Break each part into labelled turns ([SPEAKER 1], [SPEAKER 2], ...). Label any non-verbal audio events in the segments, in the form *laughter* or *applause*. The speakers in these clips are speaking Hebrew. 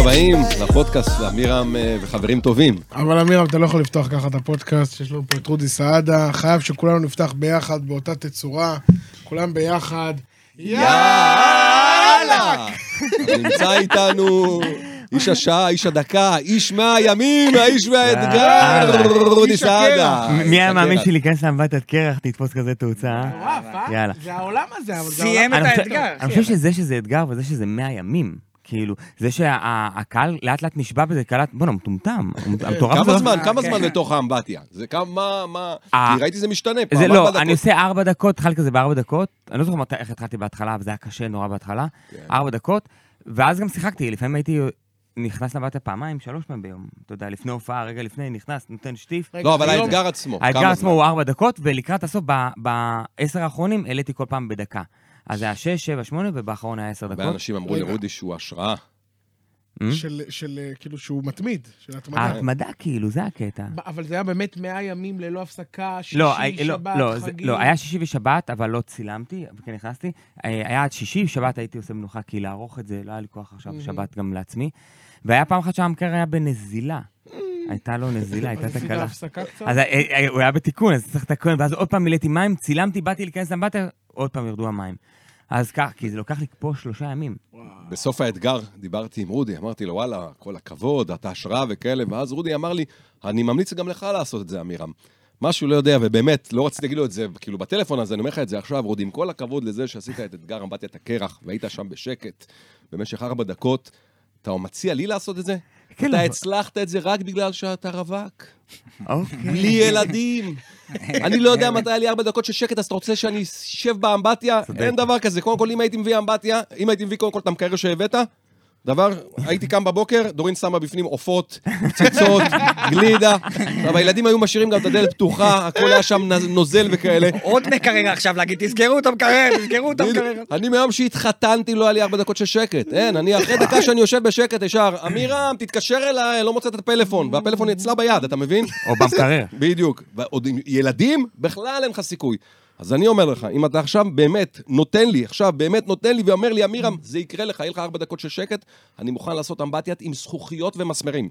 [SPEAKER 1] הבאים לפודקאסט אמירם אה, וחברים טובים.
[SPEAKER 2] אבל אמירם, אתה לא יכול לפתוח ככה את הפודקאסט, שיש לנו פה את רודי סעדה, חייב שכולנו נפתח ביחד, באותה תצורה, כולם ביחד.
[SPEAKER 1] יאללה! נמצא איתנו איש השעה, איש הדקה, איש מהימים, האיש מהאתגר,
[SPEAKER 3] יאללה.
[SPEAKER 1] רודי
[SPEAKER 2] איש
[SPEAKER 1] סעדה.
[SPEAKER 2] הקרח.
[SPEAKER 3] אה, מי היה מאמין
[SPEAKER 1] הקרח.
[SPEAKER 3] שלהיכנס לאמבטת קרח תתפוס כזה תאוצה? אה?
[SPEAKER 4] מטורף, אה?
[SPEAKER 3] יאללה.
[SPEAKER 4] זה העולם הזה, אבל זה
[SPEAKER 5] סיים
[SPEAKER 4] העולם...
[SPEAKER 5] את
[SPEAKER 3] אני חושב-
[SPEAKER 5] האתגר.
[SPEAKER 3] אני חושב שזה שזה אתגר וזה שזה 100 ימים. כאילו, זה שהקהל לאט לאט נשבע בזה, קהל לאט, בואנה, מטומטם. המטורף
[SPEAKER 1] כמה
[SPEAKER 3] הזה.
[SPEAKER 1] זמן, כמה
[SPEAKER 5] כן.
[SPEAKER 1] זמן לתוך האמבטיה? זה כמה, מה...
[SPEAKER 3] אה.
[SPEAKER 1] כי ראיתי זה משתנה.
[SPEAKER 3] זה
[SPEAKER 1] פעם,
[SPEAKER 3] לא,
[SPEAKER 1] ארבע
[SPEAKER 3] אני
[SPEAKER 1] דקות.
[SPEAKER 3] עושה ארבע דקות, התחלתי כזה בארבע דקות, אני לא זוכר מתי, איך התחלתי בהתחלה, אבל זה היה קשה נורא בהתחלה,
[SPEAKER 1] כן.
[SPEAKER 3] ארבע דקות, ואז גם שיחקתי, לפעמים הייתי נכנס לבטה פעמיים, שלוש פעמים ביום, אתה יודע, לפני הופעה, רגע לפני, נכנס, נותן שטיף.
[SPEAKER 1] לא, אבל
[SPEAKER 4] היום-
[SPEAKER 1] האתגר עצמו.
[SPEAKER 3] האתגר
[SPEAKER 1] כמה
[SPEAKER 3] עצמו
[SPEAKER 1] זמן?
[SPEAKER 3] הוא ארבע דקות, ולקראת הסוף, ב- בעשר האחרונים, העליתי כל פעם בדקה. אז זה היה שש, שבע, שמונה, ובאחרון היה עשר
[SPEAKER 1] הרבה
[SPEAKER 3] דקות.
[SPEAKER 1] אנשים אמרו
[SPEAKER 2] רגע.
[SPEAKER 1] לרודי שהוא השראה.
[SPEAKER 3] Hmm?
[SPEAKER 2] של, של, אה, כאילו, שהוא מתמיד, של התמדה.
[SPEAKER 3] ההתמדה, כאילו, זה הקטע.
[SPEAKER 4] ב- אבל זה היה באמת 100 ימים ללא הפסקה, שישי,
[SPEAKER 3] לא, הי- לא,
[SPEAKER 4] שבת,
[SPEAKER 3] לא, זה-
[SPEAKER 4] חגים.
[SPEAKER 3] לא, היה שישי ושבת, אבל לא צילמתי, אבל כן נכנסתי. אה, היה עד שישי, שבת הייתי עושה מנוחה, כי לערוך את זה, לא היה לי כוח עכשיו שבת גם לעצמי. והיה פעם אחת שהמקר היה בנזילה. הייתה לו נזילה,
[SPEAKER 4] אז *laughs*
[SPEAKER 3] הייתה
[SPEAKER 4] עשית
[SPEAKER 3] תקלה.
[SPEAKER 4] הפסקה קצת?
[SPEAKER 2] נכון.
[SPEAKER 3] אז אה, אה, הוא היה בתיקון, אז צריך לתקן, ואז עוד פעם מילאתי מים, צילמתי, באתי להיכנס לאמבטיה, עוד פעם ירדו המים. אז כך, כי זה לוקח לי פה שלושה ימים.
[SPEAKER 1] בסוף האתגר דיברתי עם רודי, אמרתי לו, וואלה, כל הכבוד, אתה השראה וכאלה, ואז רודי אמר לי, אני ממליץ גם לך לעשות את זה, אמירם. משהו לא יודע, ובאמת, לא רציתי להגיד לו את זה, כאילו, בטלפון, אז אני אומר לך את זה עכשיו, רודי, עם כל הכבוד לזה שעשית את אתגר אמבטיית הקרח, והיית שם בשקט במשך ארבע דקות, אתה מציע לי לעשות את זה?
[SPEAKER 3] כן,
[SPEAKER 1] אתה
[SPEAKER 3] אבל-
[SPEAKER 1] הצלחת את זה רק בגלל שאתה רווק,
[SPEAKER 3] אוקיי.
[SPEAKER 1] בלי ילדים. *laughs* אני לא יודע מתי היה לי ארבע דקות של שקט, אז אתה רוצה שאני אשב באמבטיה?
[SPEAKER 3] צודק.
[SPEAKER 1] אין דבר כזה. קודם כל, אם הייתי מביא אמבטיה, אם הייתי מביא קודם כל את המקרר שהבאת, דבר, הייתי קם בבוקר, דורין שמה בפנים עופות, פצצות, גלידה. אבל הילדים היו משאירים גם את הדלת פתוחה, הכל היה שם נז- נוזל וכאלה.
[SPEAKER 5] עוד מקרר עכשיו להגיד, תסגרו את המקרר, תסגרו את המקרר.
[SPEAKER 1] אני מיום שהתחתנתי לא היה לי ארבע דקות של שקט, אין, אני אחרי דקה שאני יושב בשקט ישר, אמירם, תתקשר אליי, לא מוצא את הפלאפון, והפלאפון אצלה ביד, אתה מבין?
[SPEAKER 3] או במקרר.
[SPEAKER 1] *laughs* בדיוק. ועוד עם ילדים, בכלל אין לך סיכוי. אז אני אומר לך, אם אתה עכשיו באמת נותן לי, עכשיו באמת נותן לי ואומר לי, אמירם, זה יקרה לך, יהיה לך ארבע דקות של שקט, אני מוכן לעשות אמבטיית עם זכוכיות
[SPEAKER 3] *laughs*
[SPEAKER 1] ומסמרים.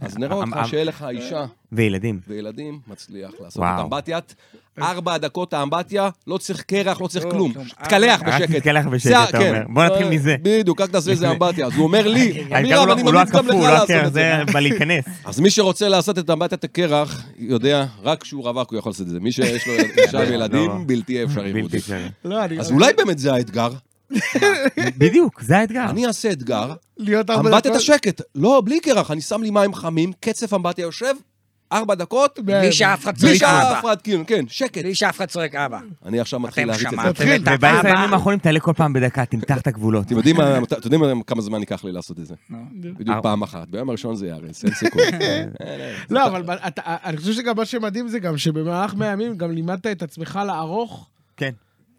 [SPEAKER 1] אז נראה אותך
[SPEAKER 3] אמ- אמ-
[SPEAKER 1] שיהיה לך אישה
[SPEAKER 3] וילדים.
[SPEAKER 1] וילדים, מצליח לעשות
[SPEAKER 3] וואו.
[SPEAKER 1] את אמבטיית. ארבע דקות האמבטיה, לא צריך קרח, לא צריך כלום. תתקלח
[SPEAKER 3] רק
[SPEAKER 1] בשקט.
[SPEAKER 3] תתקלח אה, בשקט,
[SPEAKER 1] זה ה-
[SPEAKER 3] אתה
[SPEAKER 1] כן.
[SPEAKER 3] אומר. בוא נתחיל מזה.
[SPEAKER 1] בדיוק, רק תעשה
[SPEAKER 3] *laughs*
[SPEAKER 1] איזה אמבטיה. אז הוא אומר לי,
[SPEAKER 3] העיקר הוא
[SPEAKER 1] אמירם,
[SPEAKER 3] לא-
[SPEAKER 1] אני
[SPEAKER 3] הוא לא
[SPEAKER 1] ממליץ גם לך
[SPEAKER 3] הקפוא, הוא לא
[SPEAKER 1] לעשות
[SPEAKER 3] הקרח,
[SPEAKER 1] את זה.
[SPEAKER 3] זה בלהיכנס.
[SPEAKER 1] אז מי שרוצה לעשות את אמבטיית הקרח, יודע, רק כשהוא רווק הוא יכול לעשות את זה. מי שיש
[SPEAKER 3] *laughs*
[SPEAKER 1] לו אישה וילדים, בלתי אפשרי.
[SPEAKER 3] לא, בלתי
[SPEAKER 1] רודי.
[SPEAKER 3] אפשרי.
[SPEAKER 2] לא, אני...
[SPEAKER 1] אז אולי באמת זה האתגר.
[SPEAKER 3] בדיוק, זה האתגר.
[SPEAKER 1] אני אעשה אתגר,
[SPEAKER 2] להיות ארבע דקות...
[SPEAKER 1] אמבטיית השקט. לא, בלי קרח, אני שם לי מים חמים, קצף אמבטיה יושב, ארבע דקות,
[SPEAKER 2] כן.
[SPEAKER 5] בלי שאף אחד
[SPEAKER 1] בלי
[SPEAKER 5] צועק
[SPEAKER 1] שאף
[SPEAKER 5] אבא.
[SPEAKER 1] אחד, כאילו, כן, שקט.
[SPEAKER 5] בלי שאף אחד צועק אבא.
[SPEAKER 1] אני עכשיו מתחיל
[SPEAKER 5] אתם
[SPEAKER 1] להריץ את זה.
[SPEAKER 5] שמעתם
[SPEAKER 2] תתחיל,
[SPEAKER 5] את
[SPEAKER 3] ובעשר הימים
[SPEAKER 5] האבא?
[SPEAKER 3] האחרונים תעלה כל פעם בדקה, תמתח את הגבולות.
[SPEAKER 1] אתם יודעים מה- אתם יודעים מה- כמה זמן ייקח לי לעשות את זה? בדיוק
[SPEAKER 3] ארבע.
[SPEAKER 1] פעם אחת. ביום הראשון זה ייהרס, אין סיכוי.
[SPEAKER 2] לא, אבל ב- אתה- אני חושב שגם מה שמדהים זה גם שבמהלך 100 ימים גם לימדת את עצמך לערוך,
[SPEAKER 3] כן.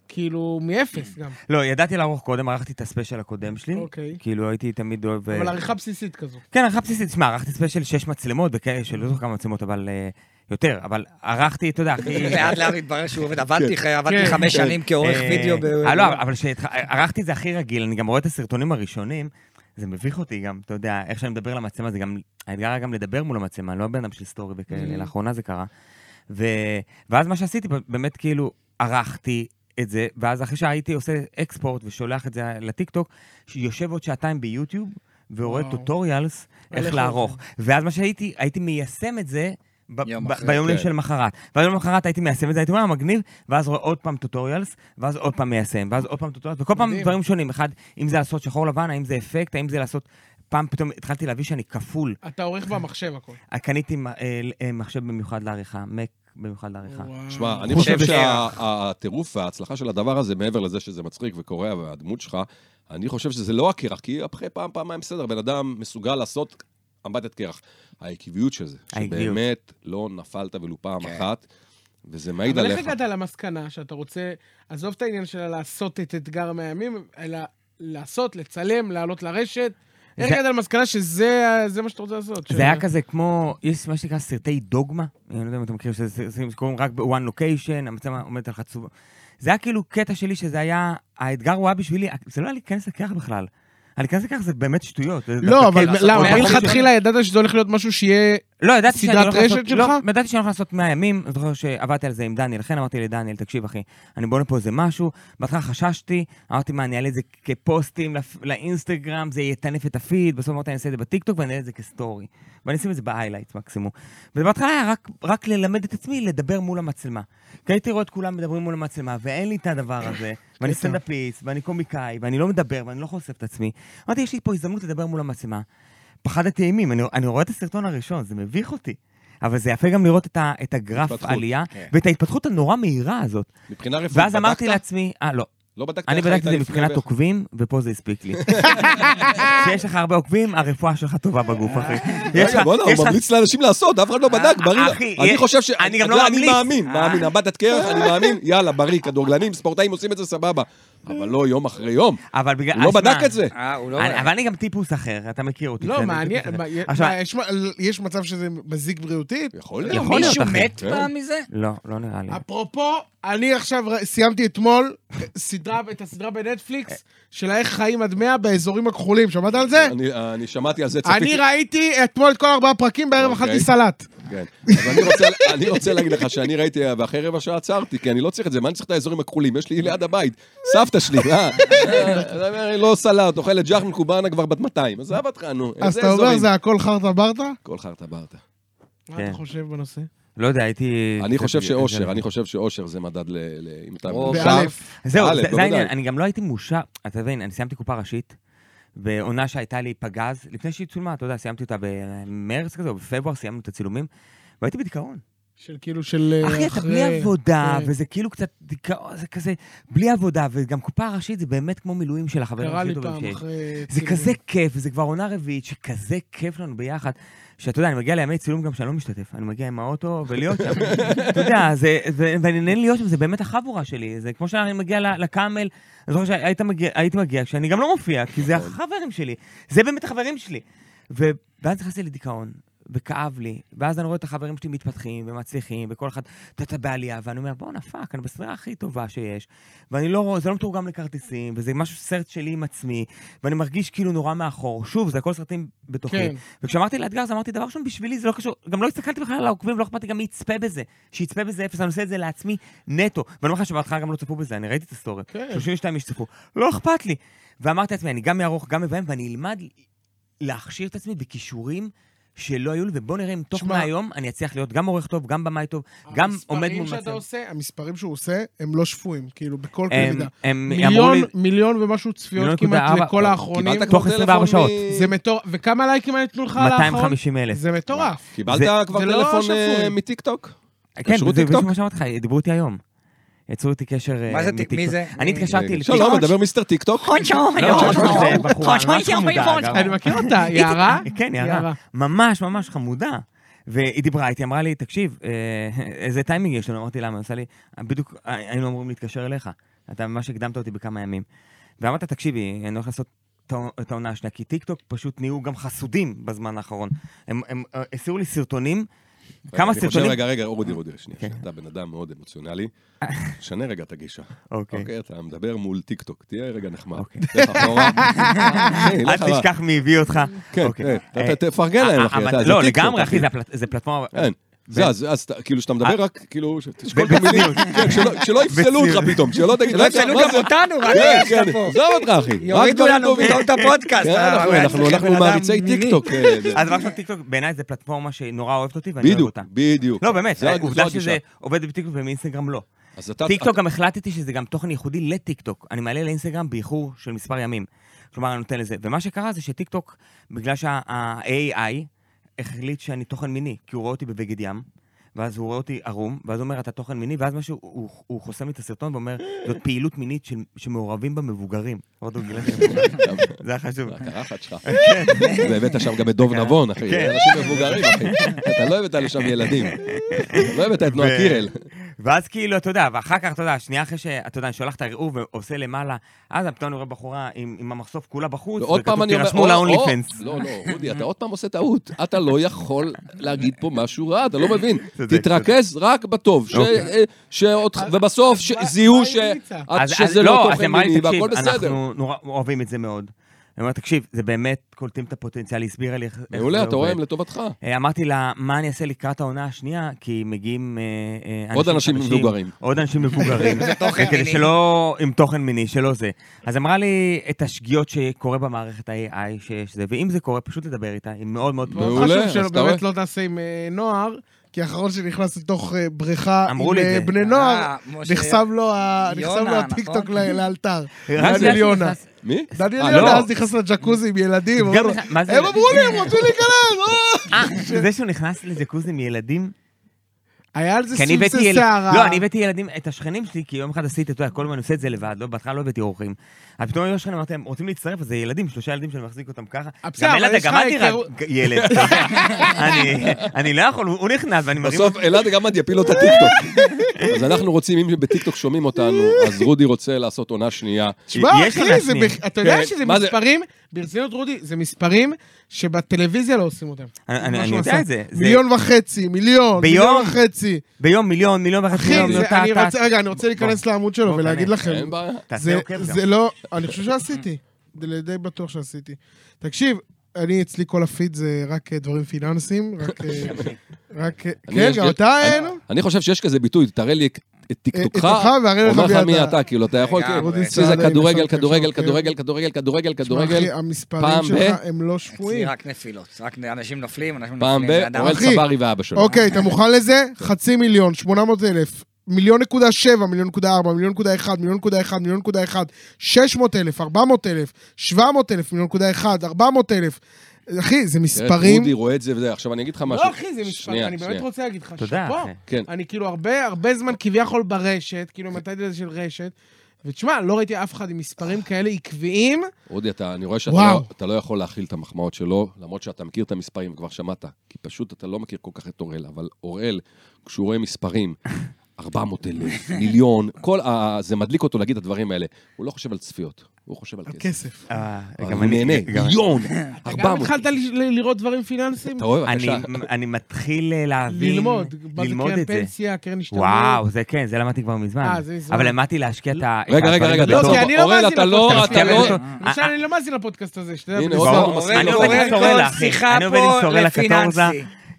[SPEAKER 2] כאילו, מאפס גם.
[SPEAKER 3] לא, ידעתי לערוך קודם, ערכתי את הספיישל הקודם שלי.
[SPEAKER 2] אוקיי.
[SPEAKER 3] כאילו, הייתי תמיד אוהב...
[SPEAKER 2] אבל
[SPEAKER 3] אה,
[SPEAKER 2] עריכה בסיסית כזו.
[SPEAKER 3] כן, ערכתי ספיישל, תשמע, ערכתי ספיישל שש מצלמות וכאלה, שלא זוכר כמה מצלמות, אבל אה, יותר, אבל ערכתי, אתה יודע,
[SPEAKER 5] *laughs*
[SPEAKER 3] הכי...
[SPEAKER 5] לאט לאט מתברר שהוא עובד, עבדתי ח- עבדתי
[SPEAKER 2] כן.
[SPEAKER 5] חמש שנים כעורך
[SPEAKER 3] אה,
[SPEAKER 5] וידאו. ב-
[SPEAKER 3] אה, לא, אבל כשהתח- ערכתי את זה הכי רגיל, אני גם רואה את הסרטונים הראשונים, זה מביך אותי גם, אתה יודע, איך שאני מדבר למצלמה, זה גם, האתגר היה גם לדבר מול המצלמה, לא בן אדם של סטורי
[SPEAKER 5] Mm-hmm.
[SPEAKER 3] וכאלה, לאחרונה זה קרה. ו... ואז מה שעשיתי, באמת כאילו, ערכתי את זה, ואז אחרי שהייתי עושה אקספורט ושולח את זה לטיקטוק, יושב עוד שעתיים ביוטיוב ורואה
[SPEAKER 2] וואו.
[SPEAKER 3] טוטוריאלס
[SPEAKER 2] איך
[SPEAKER 3] איך לערוך. ואז מה שהייתי, הייתי מיישם את זה ב-
[SPEAKER 5] יום
[SPEAKER 3] ב-
[SPEAKER 5] אחרי,
[SPEAKER 3] ביום
[SPEAKER 1] כן.
[SPEAKER 3] של מחרת. ואז יום למחרת הייתי מיישם את זה, הייתי אומר, "אה, מגניב, ואז רואה עוד פעם טוטוריאלס, ואז עוד פעם מיישם, ואז עוד פעם טוטוריאלס, וכל פעם
[SPEAKER 2] מדהים.
[SPEAKER 3] דברים שונים. אחד, אם זה לעשות שחור לבן, האם זה אפקט, האם זה לעשות... פעם פתאום התחלתי להביא שאני כפול.
[SPEAKER 2] אתה עורך במחשב הכל.
[SPEAKER 3] קניתי מ- אה, אה, מחשב במיוחד לעריכה, מק במיוחד לעריכה.
[SPEAKER 2] וואו.
[SPEAKER 1] שמע, אני
[SPEAKER 3] חושב
[SPEAKER 1] חושב
[SPEAKER 3] ש-
[SPEAKER 1] שהטירוף וההצלחה של הדבר הזה, מעבר לזה שזה מצחיק וקורע והדמות שלך, אני חושב שזה לא הקרח, כי אחרי פעם, פעמיים בסדר, בן אדם מסוגל לעשות אמבטיית קרח. העקביות של זה,
[SPEAKER 3] העקביות. כן.
[SPEAKER 1] שבאמת לא נפלת ולו פעם אחת, וזה מעיד
[SPEAKER 2] אבל איך
[SPEAKER 1] עליך.
[SPEAKER 2] הגעת למסקנה שאתה רוצה, עזוב את העניין שלה לעשות את אתגר מאה ימים, אלא לעשות, לצלם, לעלות לרשת? איך
[SPEAKER 3] זה-
[SPEAKER 2] הגעת למסקנה שזה ה- זה מה שאתה רוצה לעשות? ש-
[SPEAKER 3] זה היה כזה כמו, יש מה שנקרא סרטי דוגמה, אני לא יודע אם אתה מכיר, שזה סרטים שקוראים רק ב-one location, המצלמה עומדת עליך צהובה. זה היה כאילו קטע שלי שזה היה, האתגר הוא היה בשבילי, זה לא היה להיכנס לקרח בכלל. אני כזה כך, זה באמת שטויות. זה דווקא
[SPEAKER 4] לא, אבל
[SPEAKER 3] כן לעשות עוד
[SPEAKER 4] למה?
[SPEAKER 3] מקום
[SPEAKER 4] מלכתחילה ידעת שזה הולך להיות משהו שיהיה...
[SPEAKER 1] כן,
[SPEAKER 3] לא, ידעתי שאני
[SPEAKER 4] סדרת
[SPEAKER 3] הולך לעשות...
[SPEAKER 4] רשת
[SPEAKER 3] לא,
[SPEAKER 4] שלך?
[SPEAKER 3] ידעתי שאני הולך לעשות 100 ימים, אני זוכר שעבדתי על זה עם דניאל, לכן אמרתי לדניאל, תקשיב אחי, אני בונה פה איזה משהו, בהתחלה חששתי, אמרתי מה, אני אעלה את זה כפוסטים לפ- לאינסטגרם, זה יטנף את הפיד, בסוף אמרתי אני אעשה את זה בטיקטוק ואני אעלה את זה כסטורי. ואני אשים את זה באיילייט מקסימום. ובהתחלה היה רק, רק ללמד את עצמי לדבר מול המצלמה. כי הייתי רואה את כולם מדברים מול המצלמה, ואין לי את הדבר הזה, ואני סטנדאפיסט, ואני קומיקאי, ואני לא מדבר, ואני לא חושף את עצמי. אמרתי, יש לי פה הזדמנות לדבר מול המצלמה. פחדתי אימים, אני, אני רואה את הסרטון הראשון, זה מביך אותי. אבל זה יפה גם לראות את, ה, את הגרף
[SPEAKER 1] התפתחות.
[SPEAKER 3] עלייה, ואת ההתפתחות הנורא מהירה הזאת.
[SPEAKER 1] מבחינה רפואית,
[SPEAKER 3] ואז
[SPEAKER 1] בדקת?
[SPEAKER 3] אמרתי לעצמי, אה, לא,
[SPEAKER 1] לא בדקת
[SPEAKER 3] אני
[SPEAKER 1] איך
[SPEAKER 3] בדקתי
[SPEAKER 1] היית
[SPEAKER 3] את זה
[SPEAKER 1] לפני
[SPEAKER 3] מבחינת
[SPEAKER 1] ואיך-
[SPEAKER 3] עוקבים, ופה זה
[SPEAKER 1] *laughs*
[SPEAKER 3] הספיק לי. כשיש לך הרבה עוקבים, הרפואה שלך טובה בגוף, אחי. יש לך-
[SPEAKER 1] רגע, בוא'נה,
[SPEAKER 3] יש
[SPEAKER 1] הוא
[SPEAKER 3] לך-
[SPEAKER 1] ממליץ לאנשים לעשות, אף אחד לא בדק,
[SPEAKER 3] אה,
[SPEAKER 1] בריא.
[SPEAKER 3] אחי,
[SPEAKER 1] אני
[SPEAKER 3] יש-
[SPEAKER 1] חושב ש...
[SPEAKER 3] אני גם לא
[SPEAKER 1] יודע,
[SPEAKER 3] ממליץ.
[SPEAKER 1] אני מאמין,
[SPEAKER 3] אה.
[SPEAKER 1] מאמין, עבדת קרח, אני
[SPEAKER 3] *laughs*
[SPEAKER 1] מאמין, יאללה, בריא, כדורגלנים, ספורטאים עושים את זה סבבה. אבל לא יום אחרי יום.
[SPEAKER 3] אבל בגלל...
[SPEAKER 1] הוא לא
[SPEAKER 3] אה, אז
[SPEAKER 1] בדק
[SPEAKER 3] מה?
[SPEAKER 1] את זה.
[SPEAKER 5] אה, הוא לא...
[SPEAKER 3] אני- אבל אני גם טיפוס אחר, אתה מכיר
[SPEAKER 1] כן,
[SPEAKER 3] אותי.
[SPEAKER 2] לא,
[SPEAKER 3] שאני
[SPEAKER 2] מעניין,
[SPEAKER 3] טיפוס אחר.
[SPEAKER 2] מה, יש-
[SPEAKER 3] עכשיו-
[SPEAKER 2] מה, יש מ- יש מצב שזה מזיק בריאותית?
[SPEAKER 1] יכול להיות.
[SPEAKER 3] יכול להיות,
[SPEAKER 5] מישהו
[SPEAKER 3] אחי.
[SPEAKER 5] מת
[SPEAKER 1] כן.
[SPEAKER 5] פעם מזה?
[SPEAKER 3] לא, לא נראה
[SPEAKER 2] אה.
[SPEAKER 3] לי.
[SPEAKER 2] אפרופו, אני עכשיו ר- סיימתי אתמול סדרה, את הסדרה
[SPEAKER 1] אה.
[SPEAKER 2] בנטפליקס של איך חיים עד 100 באזורים הכחולים, שמעת על זה?
[SPEAKER 1] אני- אני שמעתי על זה,
[SPEAKER 2] אני ראיתי אתמול את כל ארבעה פרקים, בערב
[SPEAKER 1] אוקיי.
[SPEAKER 2] אכלתי סלט.
[SPEAKER 1] כן. אז אני רוצה- אני רוצה להגיד לך שאני ראיתי, ואחרי רבע שעה עצרתי, כי אני לא צריך את זה, מה אני צריך את האזורים הכחולים? יש לי ליד הבית, סבתא שלי,
[SPEAKER 2] *laughs*
[SPEAKER 1] אה? אה, לא סלט, אוכלת ג'חנון קובאנה כבר בת 200. עזב אותך, נו.
[SPEAKER 2] אז
[SPEAKER 1] איזה
[SPEAKER 2] אתה אומר,
[SPEAKER 1] אזורים?
[SPEAKER 2] זה הכל חרטה ברטה?
[SPEAKER 1] כל חרטה ברטה.
[SPEAKER 2] מה
[SPEAKER 3] כן.
[SPEAKER 2] אתה חושב בנושא?
[SPEAKER 3] לא יודע, הייתי...
[SPEAKER 1] אני
[SPEAKER 3] קצת-
[SPEAKER 1] חושב
[SPEAKER 3] כן.
[SPEAKER 1] שאושר, אני חושב שאושר זה מדד ל... ל- אם אתה
[SPEAKER 5] או,
[SPEAKER 1] מאושר.
[SPEAKER 2] באלף.
[SPEAKER 3] זהו,
[SPEAKER 1] אלף,
[SPEAKER 3] זה- זה
[SPEAKER 1] בוודאי.
[SPEAKER 3] העניין, אני גם לא הייתי מאושר, אתה מבין, אני סיימתי קופה ראשית, ועונה שהייתה לי פגז, לפני שהיא צולמה, אתה יודע, סיימתי אותה במרץ כזה, או בפברואר סיימנו את הצילומים, והייתי בדיכאון.
[SPEAKER 2] של כאילו, של... אה,
[SPEAKER 3] אחי, אתה
[SPEAKER 2] אחרי-
[SPEAKER 3] בלי עבודה,
[SPEAKER 2] כן.
[SPEAKER 3] וזה כאילו קצת דיכאון, זה כזה, בלי עבודה, וגם קופה ראשית זה באמת כמו מילואים של החברים
[SPEAKER 2] קרה
[SPEAKER 3] הכי
[SPEAKER 2] לי
[SPEAKER 3] טובים
[SPEAKER 2] פעם
[SPEAKER 3] שיש.
[SPEAKER 2] אחרי... כאילו
[SPEAKER 3] זה
[SPEAKER 2] צילומים.
[SPEAKER 3] כזה כיף, וזה כבר עונה רביעית, שכזה כיף לנו ביחד, שאתה יודע, אני מגיע לימי צילום גם שאני לא משתתף, אני מגיע עם האוטו ולהיות שם. אתה יודע, זה, ו- ואני נהנה להיות שם, זה באמת החבורה שלי, זה כמו שאני מגיע ל- לקאמל, אני זוכר שהייתי מגיע, הייתי מגיע כשאני גם לא מופיע, כי זה החברים שלי, זה באמת החברים שלי. ו- ואז נכנסתי לדיכאון. וכאב לי, ואז אני רואה את החברים שלי מתפתחים ומצליחים, וכל אחד, אתה יודע, בעלייה, ואני אומר, בואנה, פאק, אני בסדרה הכי טובה שיש, ואני לא רואה, זה לא מתורגם לכרטיסים, וזה משהו, סרט שלי עם עצמי, ואני מרגיש כאילו נורא מאחור. שוב, זה הכל סרטים בתוכי.
[SPEAKER 2] כן.
[SPEAKER 3] כן. וכשאמרתי לאתגר, אז אמרתי, דבר ראשון, בשבילי זה לא קשור, גם לא הסתכלתי בכלל על העוקבים, ולא אכפת לי גם מי יצפה בזה. שיצפה בזה אפס, אני עושה את זה לעצמי נטו. ואני אומר לך שבהתחלה גם לא צפו בזה, אני ראיתי את הסטורי.
[SPEAKER 2] כן.
[SPEAKER 3] 32 איש צפו. לא אכפת לי. ואמרתי לעצמי, אני גם אערוך, גם אביים, ואני אלמד להכשיר את עצמי בכישורים. שלא היו לי, ובוא נראה אם תוך
[SPEAKER 2] שמע.
[SPEAKER 3] 100 יום אני אצליח להיות גם עורך טוב, גם במאי טוב, גם עומד מול
[SPEAKER 2] המספרים שאתה
[SPEAKER 3] מצב.
[SPEAKER 2] עושה, המספרים שהוא עושה, הם לא שפויים, כאילו, בכל
[SPEAKER 3] הם-
[SPEAKER 2] קנה
[SPEAKER 3] הם אמרו
[SPEAKER 2] מיליון,
[SPEAKER 3] לי,
[SPEAKER 2] מיליון ומשהו
[SPEAKER 3] מיליון
[SPEAKER 2] צפיות
[SPEAKER 3] נקודה
[SPEAKER 2] כמעט
[SPEAKER 3] ארבע.
[SPEAKER 2] לכל
[SPEAKER 3] לא,
[SPEAKER 2] האחרונים.
[SPEAKER 1] קיבלת כבר
[SPEAKER 3] תוך 24
[SPEAKER 1] טלפון
[SPEAKER 3] שעות.
[SPEAKER 1] מ-
[SPEAKER 2] זה מטורף. וכמה לייקים נתנו לך על האחרון?
[SPEAKER 3] 250 אלף.
[SPEAKER 2] זה מטורף.
[SPEAKER 1] קיבלת כבר
[SPEAKER 2] זה לא
[SPEAKER 1] טלפון
[SPEAKER 2] שפוי.
[SPEAKER 1] אה, מטיקטוק?
[SPEAKER 3] כן,
[SPEAKER 1] קשרו
[SPEAKER 3] זה
[SPEAKER 1] טיקטוק?
[SPEAKER 3] בדיוק מה שאמרתי לך, דיברו איתי היום. יצרו איתי קשר אה,
[SPEAKER 5] מה זה טיק-
[SPEAKER 3] מטיקטוק.
[SPEAKER 5] מי זה?
[SPEAKER 3] אני
[SPEAKER 5] מי-
[SPEAKER 3] התקשרתי לטיקטוק.
[SPEAKER 1] שלום, לא, מדבר מיסטר טיקטוק?
[SPEAKER 3] לא, זה בחורה ממש חמודה, גם.
[SPEAKER 2] אני מכיר אותה, יערה?
[SPEAKER 3] אה. *laughs* כן, יערה. ממש ממש חמודה. והיא דיברה איתי, אמרה לי, תקשיב, אה, איזה טיימינג יש לנו? אמרתי לה, היא עושה לי, בדיוק אה, היינו אמורים להתקשר אליך. אתה ממש הקדמת אותי בכמה ימים. ואמרת, תקשיבי, אני הולך לעשות את העונה- את העונה השנייה, כי טיקטוק פשוט נהיו גם חסודים בזמן האחרון. הם הם, אה, הסירו לי סרטונים, כמה
[SPEAKER 1] אני חושב,
[SPEAKER 3] סרטונים...
[SPEAKER 1] רגע, רגע, אורי דירודי, שנייה,
[SPEAKER 3] כן.
[SPEAKER 1] שאתה בן אדם מאוד
[SPEAKER 3] *laughs*
[SPEAKER 1] אמוציונלי. שנה רגע את הגישה.
[SPEAKER 3] אוקיי.
[SPEAKER 1] אוקיי, אתה מדבר מול טיקטוק, תהיה רגע נחמד.
[SPEAKER 3] אוקיי.
[SPEAKER 1] לך אחורה. היי,
[SPEAKER 3] *laughs* אל
[SPEAKER 1] לך אחורה.
[SPEAKER 3] תשכח מי הביא אותך.
[SPEAKER 1] כן,
[SPEAKER 3] אוקיי.
[SPEAKER 1] כן,
[SPEAKER 3] אה,
[SPEAKER 1] ת- ת- תפרגן להם, אחי,
[SPEAKER 3] אה,
[SPEAKER 1] אתה- זה
[SPEAKER 3] לא,
[SPEAKER 1] טיקטוק,
[SPEAKER 3] לגמרי, אחי, זה הפלט- זה אה, פלטפורמה...
[SPEAKER 1] כן. זה, אז, אז אתה- כאילו, כשאתה מדבר, רק כאילו, ש- תשקול את
[SPEAKER 3] בצניעות.
[SPEAKER 1] המילים, כן, שלא- שלא יפסלו אותך פתאום, שלא תגיד,
[SPEAKER 5] לא
[SPEAKER 1] רגע,
[SPEAKER 5] יפסלו
[SPEAKER 1] מה
[SPEAKER 5] גם
[SPEAKER 1] זה?
[SPEAKER 5] אותנו, מה
[SPEAKER 1] כן,
[SPEAKER 5] יש
[SPEAKER 1] כן,
[SPEAKER 5] לך פה?
[SPEAKER 1] עזוב אותך, אחי. רק
[SPEAKER 5] יורידו
[SPEAKER 1] דברים
[SPEAKER 5] לנו
[SPEAKER 1] טובים.
[SPEAKER 5] פתאום את הפודקאסט.
[SPEAKER 1] כן,
[SPEAKER 5] אה,
[SPEAKER 1] אנחנו-
[SPEAKER 5] אה,
[SPEAKER 1] אנחנו-
[SPEAKER 5] אצלך בן
[SPEAKER 1] אנחנו
[SPEAKER 5] אדם
[SPEAKER 1] מעריצי
[SPEAKER 5] מיני.
[SPEAKER 1] טיקטוק. אה, זה-
[SPEAKER 3] אז דבר ראשון, טיקטוק בעיניי זה פלטפורמה שנורא אוהבת אותי, ואני אוהב
[SPEAKER 1] בדיוק,
[SPEAKER 3] אותה.
[SPEAKER 1] בדיוק.
[SPEAKER 3] לא, באמת,
[SPEAKER 1] אוקיי. זה- זו
[SPEAKER 3] עובדה
[SPEAKER 1] הגישה.
[SPEAKER 3] שזה עובד בטיקטוק ובאינסטגרם לא.
[SPEAKER 1] אז אתה-
[SPEAKER 3] טיקטוק
[SPEAKER 1] *laughs*
[SPEAKER 3] גם החלטתי שזה גם תוכן ייחודי לטיקטוק. אני מעלה לאינסטגרם באיחור של מספר ימים. כלומר, אני נותן לזה. ומה שקרה זה שטיקטוק, בגלל שה-AI החליט שאני תוכן מיני, כי הוא רואה אותי בבגד ים. ואז הוא רואה אותי ערום, ואז הוא אומר, אתה תוכן מיני, ואז משהו, הוא, הוא חוסם לי את הסרטון ואומר, זאת פעילות מינית של, שמעורבים בה מבוגרים. עוד הוא גילה שהם מבוגרים. זה
[SPEAKER 1] *laughs*
[SPEAKER 3] היה חשוב.
[SPEAKER 1] הקרחת שלך. והבאת שם גם את דוב נבון, אחי.
[SPEAKER 3] כן.
[SPEAKER 1] אנשים מבוגרים, אחי. אתה לא הבאת לשם ילדים. לא הבאת את נועה
[SPEAKER 3] ו-
[SPEAKER 1] קירל.
[SPEAKER 3] ואז כאילו, אתה יודע, ואחר כך, אתה יודע, שנייה אחרי שאתה יודע, אני שולח את הערעור ועושה למעלה, אז פתאום אני רואה בחורה עם, עם המחשוף כולה בחוץ,
[SPEAKER 1] ועוד פעם אני אומר...
[SPEAKER 3] תירשמו
[SPEAKER 1] או,
[SPEAKER 3] לאונלי
[SPEAKER 1] או,
[SPEAKER 3] פנס.
[SPEAKER 1] לא, לא, רודי, אתה עוד פעם עושה טעות. אתה לא יכול להגיד פה משהו רע, אתה לא מבין.
[SPEAKER 3] צודק,
[SPEAKER 1] תתרכז רק בטוב. ש-
[SPEAKER 3] אוקיי.
[SPEAKER 1] שאותך- ובסוף ש-
[SPEAKER 2] מה-
[SPEAKER 1] זיהו
[SPEAKER 2] מה
[SPEAKER 1] ש-
[SPEAKER 2] המליצה?
[SPEAKER 3] לא,
[SPEAKER 1] לא, שזה לא תוכן מיני והכל בסדר.
[SPEAKER 3] אנחנו נורא אוהבים את זה מאוד. אני אומר, תקשיב, זה באמת, קולטים את הפוטנציאל, היא הסבירה לי איך איך זה עובד.
[SPEAKER 1] מעולה, אתה רואה, הם לטובתך.
[SPEAKER 3] אה, אמרתי לה, מה אני אעשה לקראת העונה השנייה? כי מגיעים אה, אה,
[SPEAKER 1] עוד אנשים
[SPEAKER 3] חדשים,
[SPEAKER 1] מבוגרים.
[SPEAKER 3] עוד אנשים מבוגרים.
[SPEAKER 5] *laughs* זה תוכן
[SPEAKER 3] כדי
[SPEAKER 5] מיני.
[SPEAKER 3] שלא, עם תוכן מיני, שלא זה. אז אמרה לי את השגיאות שקורה במערכת ה-AI שיש זה, ואם זה קורה, פשוט לדבר איתה, היא מאוד מאוד...
[SPEAKER 1] מעולה.
[SPEAKER 2] חשוב
[SPEAKER 1] אז
[SPEAKER 2] שלא
[SPEAKER 1] אתה רואה?
[SPEAKER 2] באמת לא תעשה עם אה, נוער, כי האחרון שנכנס לתוך אה, בריכה עם
[SPEAKER 3] אמרו לי את
[SPEAKER 2] אה,
[SPEAKER 3] זה.
[SPEAKER 2] בני נוער,
[SPEAKER 5] אה, משה.
[SPEAKER 2] נחסם לו ה-
[SPEAKER 5] יונה,
[SPEAKER 2] נחסם לו
[SPEAKER 5] נכון?
[SPEAKER 2] הטיקטוק ל-
[SPEAKER 1] *laughs*
[SPEAKER 2] לאלתר.
[SPEAKER 3] רק בגלל
[SPEAKER 2] דניאל
[SPEAKER 3] שהוא
[SPEAKER 2] יונה.
[SPEAKER 3] נכנס-
[SPEAKER 1] מי?
[SPEAKER 2] דניאל
[SPEAKER 1] אה,
[SPEAKER 2] יונה
[SPEAKER 3] לא.
[SPEAKER 2] אז נכנס לג'קוזי עם ילדים,
[SPEAKER 3] גם-
[SPEAKER 2] אמרו לו,
[SPEAKER 3] מה זה-
[SPEAKER 2] הם אמרו לי, הם רוצים להיכנס! אה!"
[SPEAKER 3] אה, זה שהוא נכנס לג'קוזי עם ילדים?
[SPEAKER 2] היה על זה
[SPEAKER 3] כי אני
[SPEAKER 2] סוג
[SPEAKER 3] הבאתי...
[SPEAKER 2] של
[SPEAKER 3] יל-
[SPEAKER 2] סערה.
[SPEAKER 3] לא, אני הבאתי ילדים, את השכנים שלי, כי יום אחד עשיתי, אתה יודע, כל הזמן עושה את זה לבד, לא, בהתחלה לא הבאתי אורחים. אז פתאום היו שכנים, אמרתי להם, רוצים להצטרף? אז זה ילדים, שלושה ילדים שאני מחזיק אותם ככה.
[SPEAKER 2] אה, בסדר,
[SPEAKER 3] גם
[SPEAKER 2] אבל
[SPEAKER 3] אלעד,
[SPEAKER 2] יש
[SPEAKER 3] גם
[SPEAKER 2] לך
[SPEAKER 3] את נראה
[SPEAKER 2] היכרות-
[SPEAKER 3] ג- ילד.
[SPEAKER 2] *laughs*
[SPEAKER 3] אתה יודע. אני- אני לא יכול, הוא הוא נכנס ואני מרים...
[SPEAKER 1] בסוף אלעד גמד יפיל לו את הטיקטוק. אז אנחנו רוצים, אם בטיקטוק שומעים אותנו, אז רודי רוצה לעשות עונה שנייה.
[SPEAKER 2] תשמע,
[SPEAKER 3] יש
[SPEAKER 2] אחי,
[SPEAKER 3] עונה
[SPEAKER 2] זה
[SPEAKER 3] שנייה.
[SPEAKER 2] בכ- אתה יודע
[SPEAKER 1] כן,
[SPEAKER 2] שזה
[SPEAKER 1] מה זה-
[SPEAKER 2] מספרים, ברצינות רודי, זה מספרים שבטלוויזיה לא עושים אותם.
[SPEAKER 3] אני-
[SPEAKER 2] זה
[SPEAKER 3] אה, אני-
[SPEAKER 2] מה
[SPEAKER 3] אני
[SPEAKER 2] שהוא
[SPEAKER 3] יודע
[SPEAKER 2] עשה.
[SPEAKER 3] את זה, זה-
[SPEAKER 2] מיליון וחצי, מיליון, מיליון
[SPEAKER 3] ביום?
[SPEAKER 2] וחצי.
[SPEAKER 3] ביום מיליון, מיליון וחצי
[SPEAKER 2] אחי,
[SPEAKER 3] מיליון,
[SPEAKER 2] זה-
[SPEAKER 3] מיליון, טה,
[SPEAKER 2] אני
[SPEAKER 3] טה,
[SPEAKER 2] רוצה, רגע, אני רוצה
[SPEAKER 3] בוא,
[SPEAKER 2] להיכנס לעמוד שלו
[SPEAKER 3] בוא,
[SPEAKER 2] ולהגיד
[SPEAKER 3] תענה.
[SPEAKER 2] לכם,
[SPEAKER 1] אין בעיה.
[SPEAKER 3] תעשה
[SPEAKER 2] זה,
[SPEAKER 3] עוקב גם.
[SPEAKER 2] זה לא, אני חושב שעשיתי, זה די בטוח שעשיתי. תקשיב, אני אצלי כל הפיד זה רק אה, דברים פיננסיים, רק...
[SPEAKER 3] *laughs*
[SPEAKER 2] אה, רק אה,
[SPEAKER 1] אני-
[SPEAKER 2] כן,
[SPEAKER 1] יש-
[SPEAKER 2] גם אתה
[SPEAKER 1] אני-
[SPEAKER 2] אין?
[SPEAKER 1] אני חושב שיש כזה ביטוי, תראה לי את טיקטוקך,
[SPEAKER 2] אה, את טיקטוקך ואראה לך
[SPEAKER 1] אומר לך
[SPEAKER 2] מי
[SPEAKER 1] מי
[SPEAKER 2] אתה. אה,
[SPEAKER 1] אתה, כאילו, אתה יכול, כאילו,
[SPEAKER 5] רודי
[SPEAKER 1] אצלי זה
[SPEAKER 2] סעדה,
[SPEAKER 1] כדורגל,
[SPEAKER 2] הנה, שמתי
[SPEAKER 1] כדורגל,
[SPEAKER 2] עכשיו,
[SPEAKER 1] כדורגל, כדורגל, כדורגל,
[SPEAKER 2] תשמע, אחי,
[SPEAKER 1] כדורגל,
[SPEAKER 2] המספרים
[SPEAKER 1] פעם
[SPEAKER 2] שלך
[SPEAKER 1] ב-
[SPEAKER 2] הם לא
[SPEAKER 5] אצלי
[SPEAKER 2] שפויים.
[SPEAKER 5] רק נפילות, רק אנשים נופלים, אנשים
[SPEAKER 1] פעם
[SPEAKER 5] נופלים. זה
[SPEAKER 1] ב...
[SPEAKER 5] אדם
[SPEAKER 1] אורל
[SPEAKER 2] אחי.
[SPEAKER 1] צברי ואבא שלו.
[SPEAKER 2] אוקיי, אתה מוכן לזה? חצי מיליון, 800 אלף. מיליון נקודה שבע, מיליון נקודה ארבע, מיליון נקודה אחד, מיליון נקודה אחד, מיליון נקודה אחד, שש מאות אלף, ארבע מאות אלף, שבע מאות אלף, מיליון נקודה אחד, ארבע מאות אלף. אחי, זה
[SPEAKER 1] תראה,
[SPEAKER 2] מספרים...
[SPEAKER 1] רודי רואה את זה וזה, עכשיו אני אגיד לך אה, משהו.
[SPEAKER 2] לא, אחי, זה מספרים,
[SPEAKER 1] שנייה,
[SPEAKER 2] אני באמת
[SPEAKER 1] שנייה.
[SPEAKER 2] רוצה להגיד לך,
[SPEAKER 3] תודה,
[SPEAKER 2] שאפו.
[SPEAKER 3] אחי.
[SPEAKER 1] כן.
[SPEAKER 2] אני כאילו הרבה, הרבה זמן כביכול ברשת, כאילו מתי זה של רשת, ותשמע, לא ראיתי אף אחד עם מספרים כאלה עקביים.
[SPEAKER 1] רודי, אתה, אני רואה שאתה
[SPEAKER 2] וואו.
[SPEAKER 1] לא, אתה לא יכול להכיל את המחמאות שלו, למרות שאתה מכיר את המספרים וכבר שמעת, כי פשוט אתה לא מכיר כל כך את אוראל, אבל אוראל, כשהוא רואה מספרים, *laughs* 400
[SPEAKER 2] *laughs*
[SPEAKER 1] אלף, מיליון, כל ה... זה מדליק אותו להגיד את הדברים האלה. הוא לא חושב על צפיות, הוא חושב על כסף.
[SPEAKER 2] כסף.
[SPEAKER 3] אה,
[SPEAKER 1] אבל
[SPEAKER 3] גם
[SPEAKER 1] הוא
[SPEAKER 3] אני-
[SPEAKER 1] נהנה,
[SPEAKER 3] גם-
[SPEAKER 2] *laughs*
[SPEAKER 1] מיליון,
[SPEAKER 2] גם
[SPEAKER 1] 400.
[SPEAKER 2] התחלת ל- ל- לראות דברים פיננסיים?
[SPEAKER 1] אתה רואה,
[SPEAKER 3] אני-
[SPEAKER 1] בבקשה.
[SPEAKER 3] אני מתחיל אה, להבין...
[SPEAKER 2] ללמוד. מה זה
[SPEAKER 3] ללמוד
[SPEAKER 2] קרן
[SPEAKER 3] את זה.
[SPEAKER 2] פנסיה, קרן השתלמות.
[SPEAKER 3] וואו, זה כן, זה למדתי כבר מזמן.
[SPEAKER 2] אה, זה מזמן.
[SPEAKER 3] אבל למדתי להשקיע את ה... את
[SPEAKER 1] רגע, רגע,
[SPEAKER 3] הדברים
[SPEAKER 1] רגע,
[SPEAKER 2] לא,
[SPEAKER 3] בטוב.
[SPEAKER 1] תעצור
[SPEAKER 2] כי
[SPEAKER 1] פה.
[SPEAKER 2] אני לא
[SPEAKER 1] אוראל,
[SPEAKER 2] מאזין
[SPEAKER 1] אתה לא,
[SPEAKER 2] לפודקאסט
[SPEAKER 1] אתה
[SPEAKER 2] הזה.
[SPEAKER 1] לא...
[SPEAKER 2] למשל, אני לא מאזין לפודקאסט הזה, שתדע.
[SPEAKER 1] הנה,
[SPEAKER 2] בדיוק.
[SPEAKER 1] עוד
[SPEAKER 3] ברור,
[SPEAKER 1] הוא מסכים
[SPEAKER 3] אני
[SPEAKER 1] איתך.
[SPEAKER 3] עובד עם
[SPEAKER 1] אוראל,
[SPEAKER 3] סורלה,
[SPEAKER 5] לא, כל
[SPEAKER 3] אחי.
[SPEAKER 5] שיחה
[SPEAKER 3] אני עובד עם
[SPEAKER 5] פה
[SPEAKER 3] סורלה
[SPEAKER 5] לפיננסי.
[SPEAKER 3] קטורזה.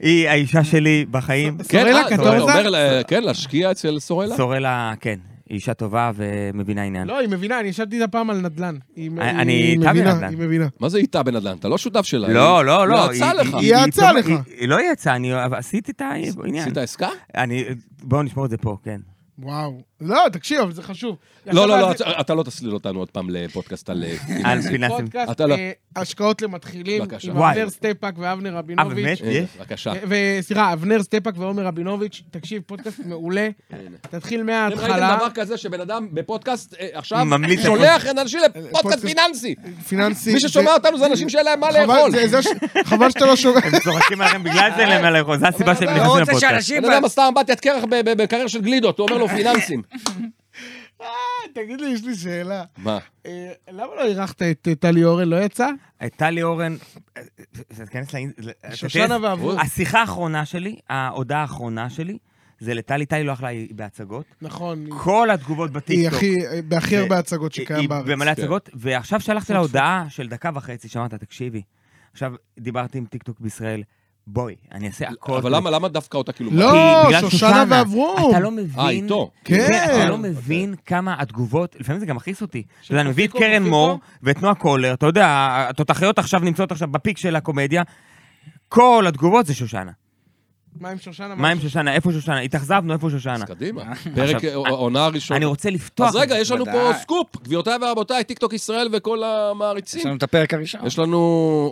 [SPEAKER 3] היא האישה שלי בחיים.
[SPEAKER 1] כן,
[SPEAKER 2] סורלה
[SPEAKER 1] אה, אתה
[SPEAKER 2] קטורזה?
[SPEAKER 1] אומר, לה- כן, להשקיע אצל סורלה?
[SPEAKER 3] סורלה, כן. היא אישה טובה ומבינה עניין.
[SPEAKER 2] לא, היא מבינה, אני ישבתי איתה פעם על נדל"ן. היא מ-
[SPEAKER 3] אה, אני-
[SPEAKER 2] היא
[SPEAKER 3] איתה
[SPEAKER 2] מבינה,
[SPEAKER 3] בנדל"ן.
[SPEAKER 2] היא מבינה.
[SPEAKER 1] מה זה איתה בנדל"ן? אתה לא שותף שלה.
[SPEAKER 3] לא, לא, לא.
[SPEAKER 1] היא יצאה לך.
[SPEAKER 2] היא- יעצה לך.
[SPEAKER 3] היא- היא לא יצאה, אני עשיתי את העניין.
[SPEAKER 1] עשית עסקה?
[SPEAKER 3] אני... בואו נשמור את זה פה, כן.
[SPEAKER 2] וואו. לא, תקשיב, אבל זה חשוב.
[SPEAKER 1] לא, לא, לא,
[SPEAKER 2] עכשיו,
[SPEAKER 1] אתה לא תסליל אותנו עוד פעם לפודקאסט על... אה,
[SPEAKER 3] על
[SPEAKER 1] פיננסים.
[SPEAKER 3] פיננסים.
[SPEAKER 2] פודקאסט
[SPEAKER 1] אתה לא.
[SPEAKER 2] אה, השקעות למתחילים,
[SPEAKER 1] בבקשה.
[SPEAKER 2] עם
[SPEAKER 3] וואי.
[SPEAKER 2] אבנר סטפאק ואבנר
[SPEAKER 3] אה,
[SPEAKER 2] רבינוביץ'.
[SPEAKER 3] באמת?
[SPEAKER 1] הנה,
[SPEAKER 3] יש?
[SPEAKER 1] בבקשה.
[SPEAKER 2] ו- סליחה, אבנר סטפאק ועומר רבינוביץ', תקשיב, פודקאסט מעולה. תתחיל
[SPEAKER 1] אתם ראיתם
[SPEAKER 2] מההתחלה.
[SPEAKER 1] דבר כזה שבן אדם בפודקאסט אה, עכשיו
[SPEAKER 3] ממליץ
[SPEAKER 1] שולח אנשים לפודקאסט
[SPEAKER 2] פודקאסט.
[SPEAKER 1] פיננסי?
[SPEAKER 2] פיננסי.
[SPEAKER 1] מי ששומע
[SPEAKER 2] זה-
[SPEAKER 1] אותנו זה אנשים שאין להם מה
[SPEAKER 2] חבל-
[SPEAKER 1] לאכול.
[SPEAKER 2] זה- זה ש- חבל שאתה לא
[SPEAKER 1] *laughs*
[SPEAKER 2] שומע.
[SPEAKER 3] הם צוחקים עליכם בגלל זה, אין להם מה לאכול. זו הסיבה שהם
[SPEAKER 1] אבל
[SPEAKER 5] לא
[SPEAKER 3] נכנסים
[SPEAKER 5] רוצה
[SPEAKER 3] לפודקאסט.
[SPEAKER 5] שאנשים...
[SPEAKER 1] בן אדם עשה אמבטיית קרח ב- ב- בקרר של גלידות, הוא אומר לו פיננסים.
[SPEAKER 2] אה, תגיד לי, יש לי שאלה.
[SPEAKER 1] מה?
[SPEAKER 2] אה, למה לא אירחת את אה, טלי אורן? לא יצא?
[SPEAKER 3] הייתה לי אורן, אה, אה, תיכנס לאינ- אה,
[SPEAKER 2] שושנה
[SPEAKER 3] תיכנס-
[SPEAKER 2] ועבוד.
[SPEAKER 3] השיחה האחרונה שלי, ההודעה האחרונה שלי, זה לטלי, טלי לא אכלה היא בהצגות.
[SPEAKER 2] נכון. היא-
[SPEAKER 3] כל התגובות
[SPEAKER 2] היא
[SPEAKER 3] בטיקטוק.
[SPEAKER 2] הכי, בהכי הרבה הצגות שקיים
[SPEAKER 3] היא
[SPEAKER 2] בארץ.
[SPEAKER 3] במלא
[SPEAKER 1] כן.
[SPEAKER 3] הצגות, ועכשיו שלחתי לה הודעה של דקה וחצי, שאמרת, תקשיבי, עכשיו דיברתי עם טיקטוק בישראל, בואי, אני אעשה הכל.
[SPEAKER 1] אבל למה- למה דווקא אותה כאילו?
[SPEAKER 2] לא.
[SPEAKER 1] מה?
[SPEAKER 3] כי בגלל
[SPEAKER 2] שושנה ואברום.
[SPEAKER 3] אתה לא מבין.
[SPEAKER 1] אה, איתו. אוקיי.
[SPEAKER 2] כן.
[SPEAKER 3] אתה לא מבין כמה התגובות, לפעמים זה גם מכעיס אותי. אתה יודע, אני מביא את
[SPEAKER 2] שפיקו,
[SPEAKER 3] קרן
[SPEAKER 2] פיקו?
[SPEAKER 3] מור ואת נועה קולר, אתה יודע, התותחיות עכשיו נמצאות עכשיו בפיק של הקומדיה. כל התגובות זה שושנה.
[SPEAKER 2] מה עם שושנה?
[SPEAKER 3] מה עם שושנה? איפה שושנה? התאכזבנו, איפה שושנה?
[SPEAKER 1] אז קדימה. פרק אה, עונה
[SPEAKER 3] אני
[SPEAKER 1] ראשונה.
[SPEAKER 3] רוצה לפתוח...
[SPEAKER 1] אז רגע, יש לנו פה
[SPEAKER 5] ודאי.
[SPEAKER 1] סקופ, גבירותיי ורבותיי, טיקטוק ישראל וכל
[SPEAKER 5] יש
[SPEAKER 1] המעריצים.
[SPEAKER 5] לנו את הפרק הראשון.
[SPEAKER 1] אה, יש לנו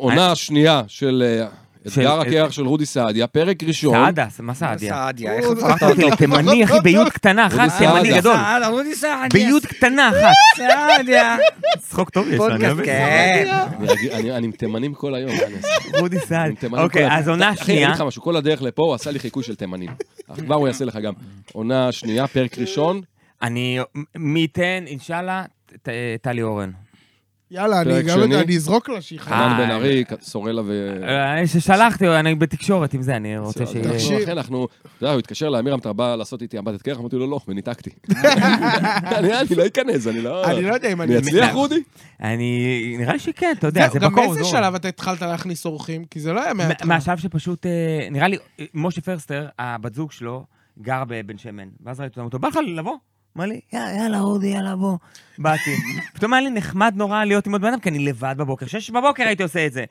[SPEAKER 1] עונה שנייה של אה,
[SPEAKER 3] של-
[SPEAKER 1] אתגר הקרח של רודי סעדיה, פרק ראשון.
[SPEAKER 3] סעדה, מה סעדיה?
[SPEAKER 5] סעדיה, איך
[SPEAKER 4] לא,
[SPEAKER 5] אה,
[SPEAKER 2] הוא-
[SPEAKER 3] אמרת אותי לתימני, אחי, ביוד קטנה אחת,
[SPEAKER 1] סעדיה.
[SPEAKER 3] תימני אה, גדול.
[SPEAKER 5] סעדה, רודי סעדיה.
[SPEAKER 4] לא,
[SPEAKER 3] ביוד קטנה אחת. *laughs*
[SPEAKER 5] סעדיה.
[SPEAKER 3] צחוק טוב יש לנו, אני
[SPEAKER 5] פודקאסט,
[SPEAKER 3] אוהב את זה.
[SPEAKER 5] כן.
[SPEAKER 1] אני- אני אני עם תימנים כל היום, מה אני אעשה?
[SPEAKER 3] רודי סעד.
[SPEAKER 1] עם תימנים כל
[SPEAKER 3] אוקיי,
[SPEAKER 1] הדרך.
[SPEAKER 3] אז עונה
[SPEAKER 1] אחי, אני
[SPEAKER 3] שנייה.
[SPEAKER 1] אגיד לך משהו, כל הדרך לפה הוא עשה לי חיקוי של תימנים. אך כבר הוא יעשה לך גם. עונה שנייה, פרק ראשון.
[SPEAKER 3] אני... מי ייתן, אינשאללה, ט- ט- טלי אורן.
[SPEAKER 2] יאללה, אני
[SPEAKER 1] פרק
[SPEAKER 2] גם לא יודע,
[SPEAKER 1] שני.
[SPEAKER 2] אני אזרוק לה שהיא חייבת.
[SPEAKER 1] חנן
[SPEAKER 3] אה,
[SPEAKER 1] בן ארי, סורלה ו...
[SPEAKER 3] אה, ששלחתי, אני בתקשורת עם זה, אני רוצה ש...
[SPEAKER 2] תקשיב.
[SPEAKER 1] תקשיב. אחי, אנחנו, אתה יודע, הוא התקשר לאמירם, אתה בא לעשות איתי אמבטת קרח? אמרתי לו, לא,
[SPEAKER 3] *laughs*
[SPEAKER 1] וניתקתי. אני אני לא אכנס, אני לא...
[SPEAKER 2] אני לא יודע אם אני...
[SPEAKER 1] אני אצליח, רודי?
[SPEAKER 3] אני... נראה לי שכן, אה, אתה יודע,
[SPEAKER 4] זהו,
[SPEAKER 3] זה
[SPEAKER 4] גם
[SPEAKER 3] בקור.
[SPEAKER 4] באיזה
[SPEAKER 3] זה
[SPEAKER 4] שלב אתה התחלת להכניס אורחים? כי זה לא היה
[SPEAKER 3] מה-
[SPEAKER 4] מההתחלה.
[SPEAKER 3] מהשלב שפשוט, אה, נראה לי, אה, משה פרסטר, הבת זוג שלו, גר בבן שמן. ואז ראיתי אותו, בא לך לבוא? אמר לי, "יא- יאללה, הודי, יאללה, בוא.
[SPEAKER 4] *laughs*
[SPEAKER 3] באתי. פתאום היה לי נחמד נורא להיות עם עוד בן אדם, כי אני לבד בבוקר. שש בבוקר הייתי עושה את זה.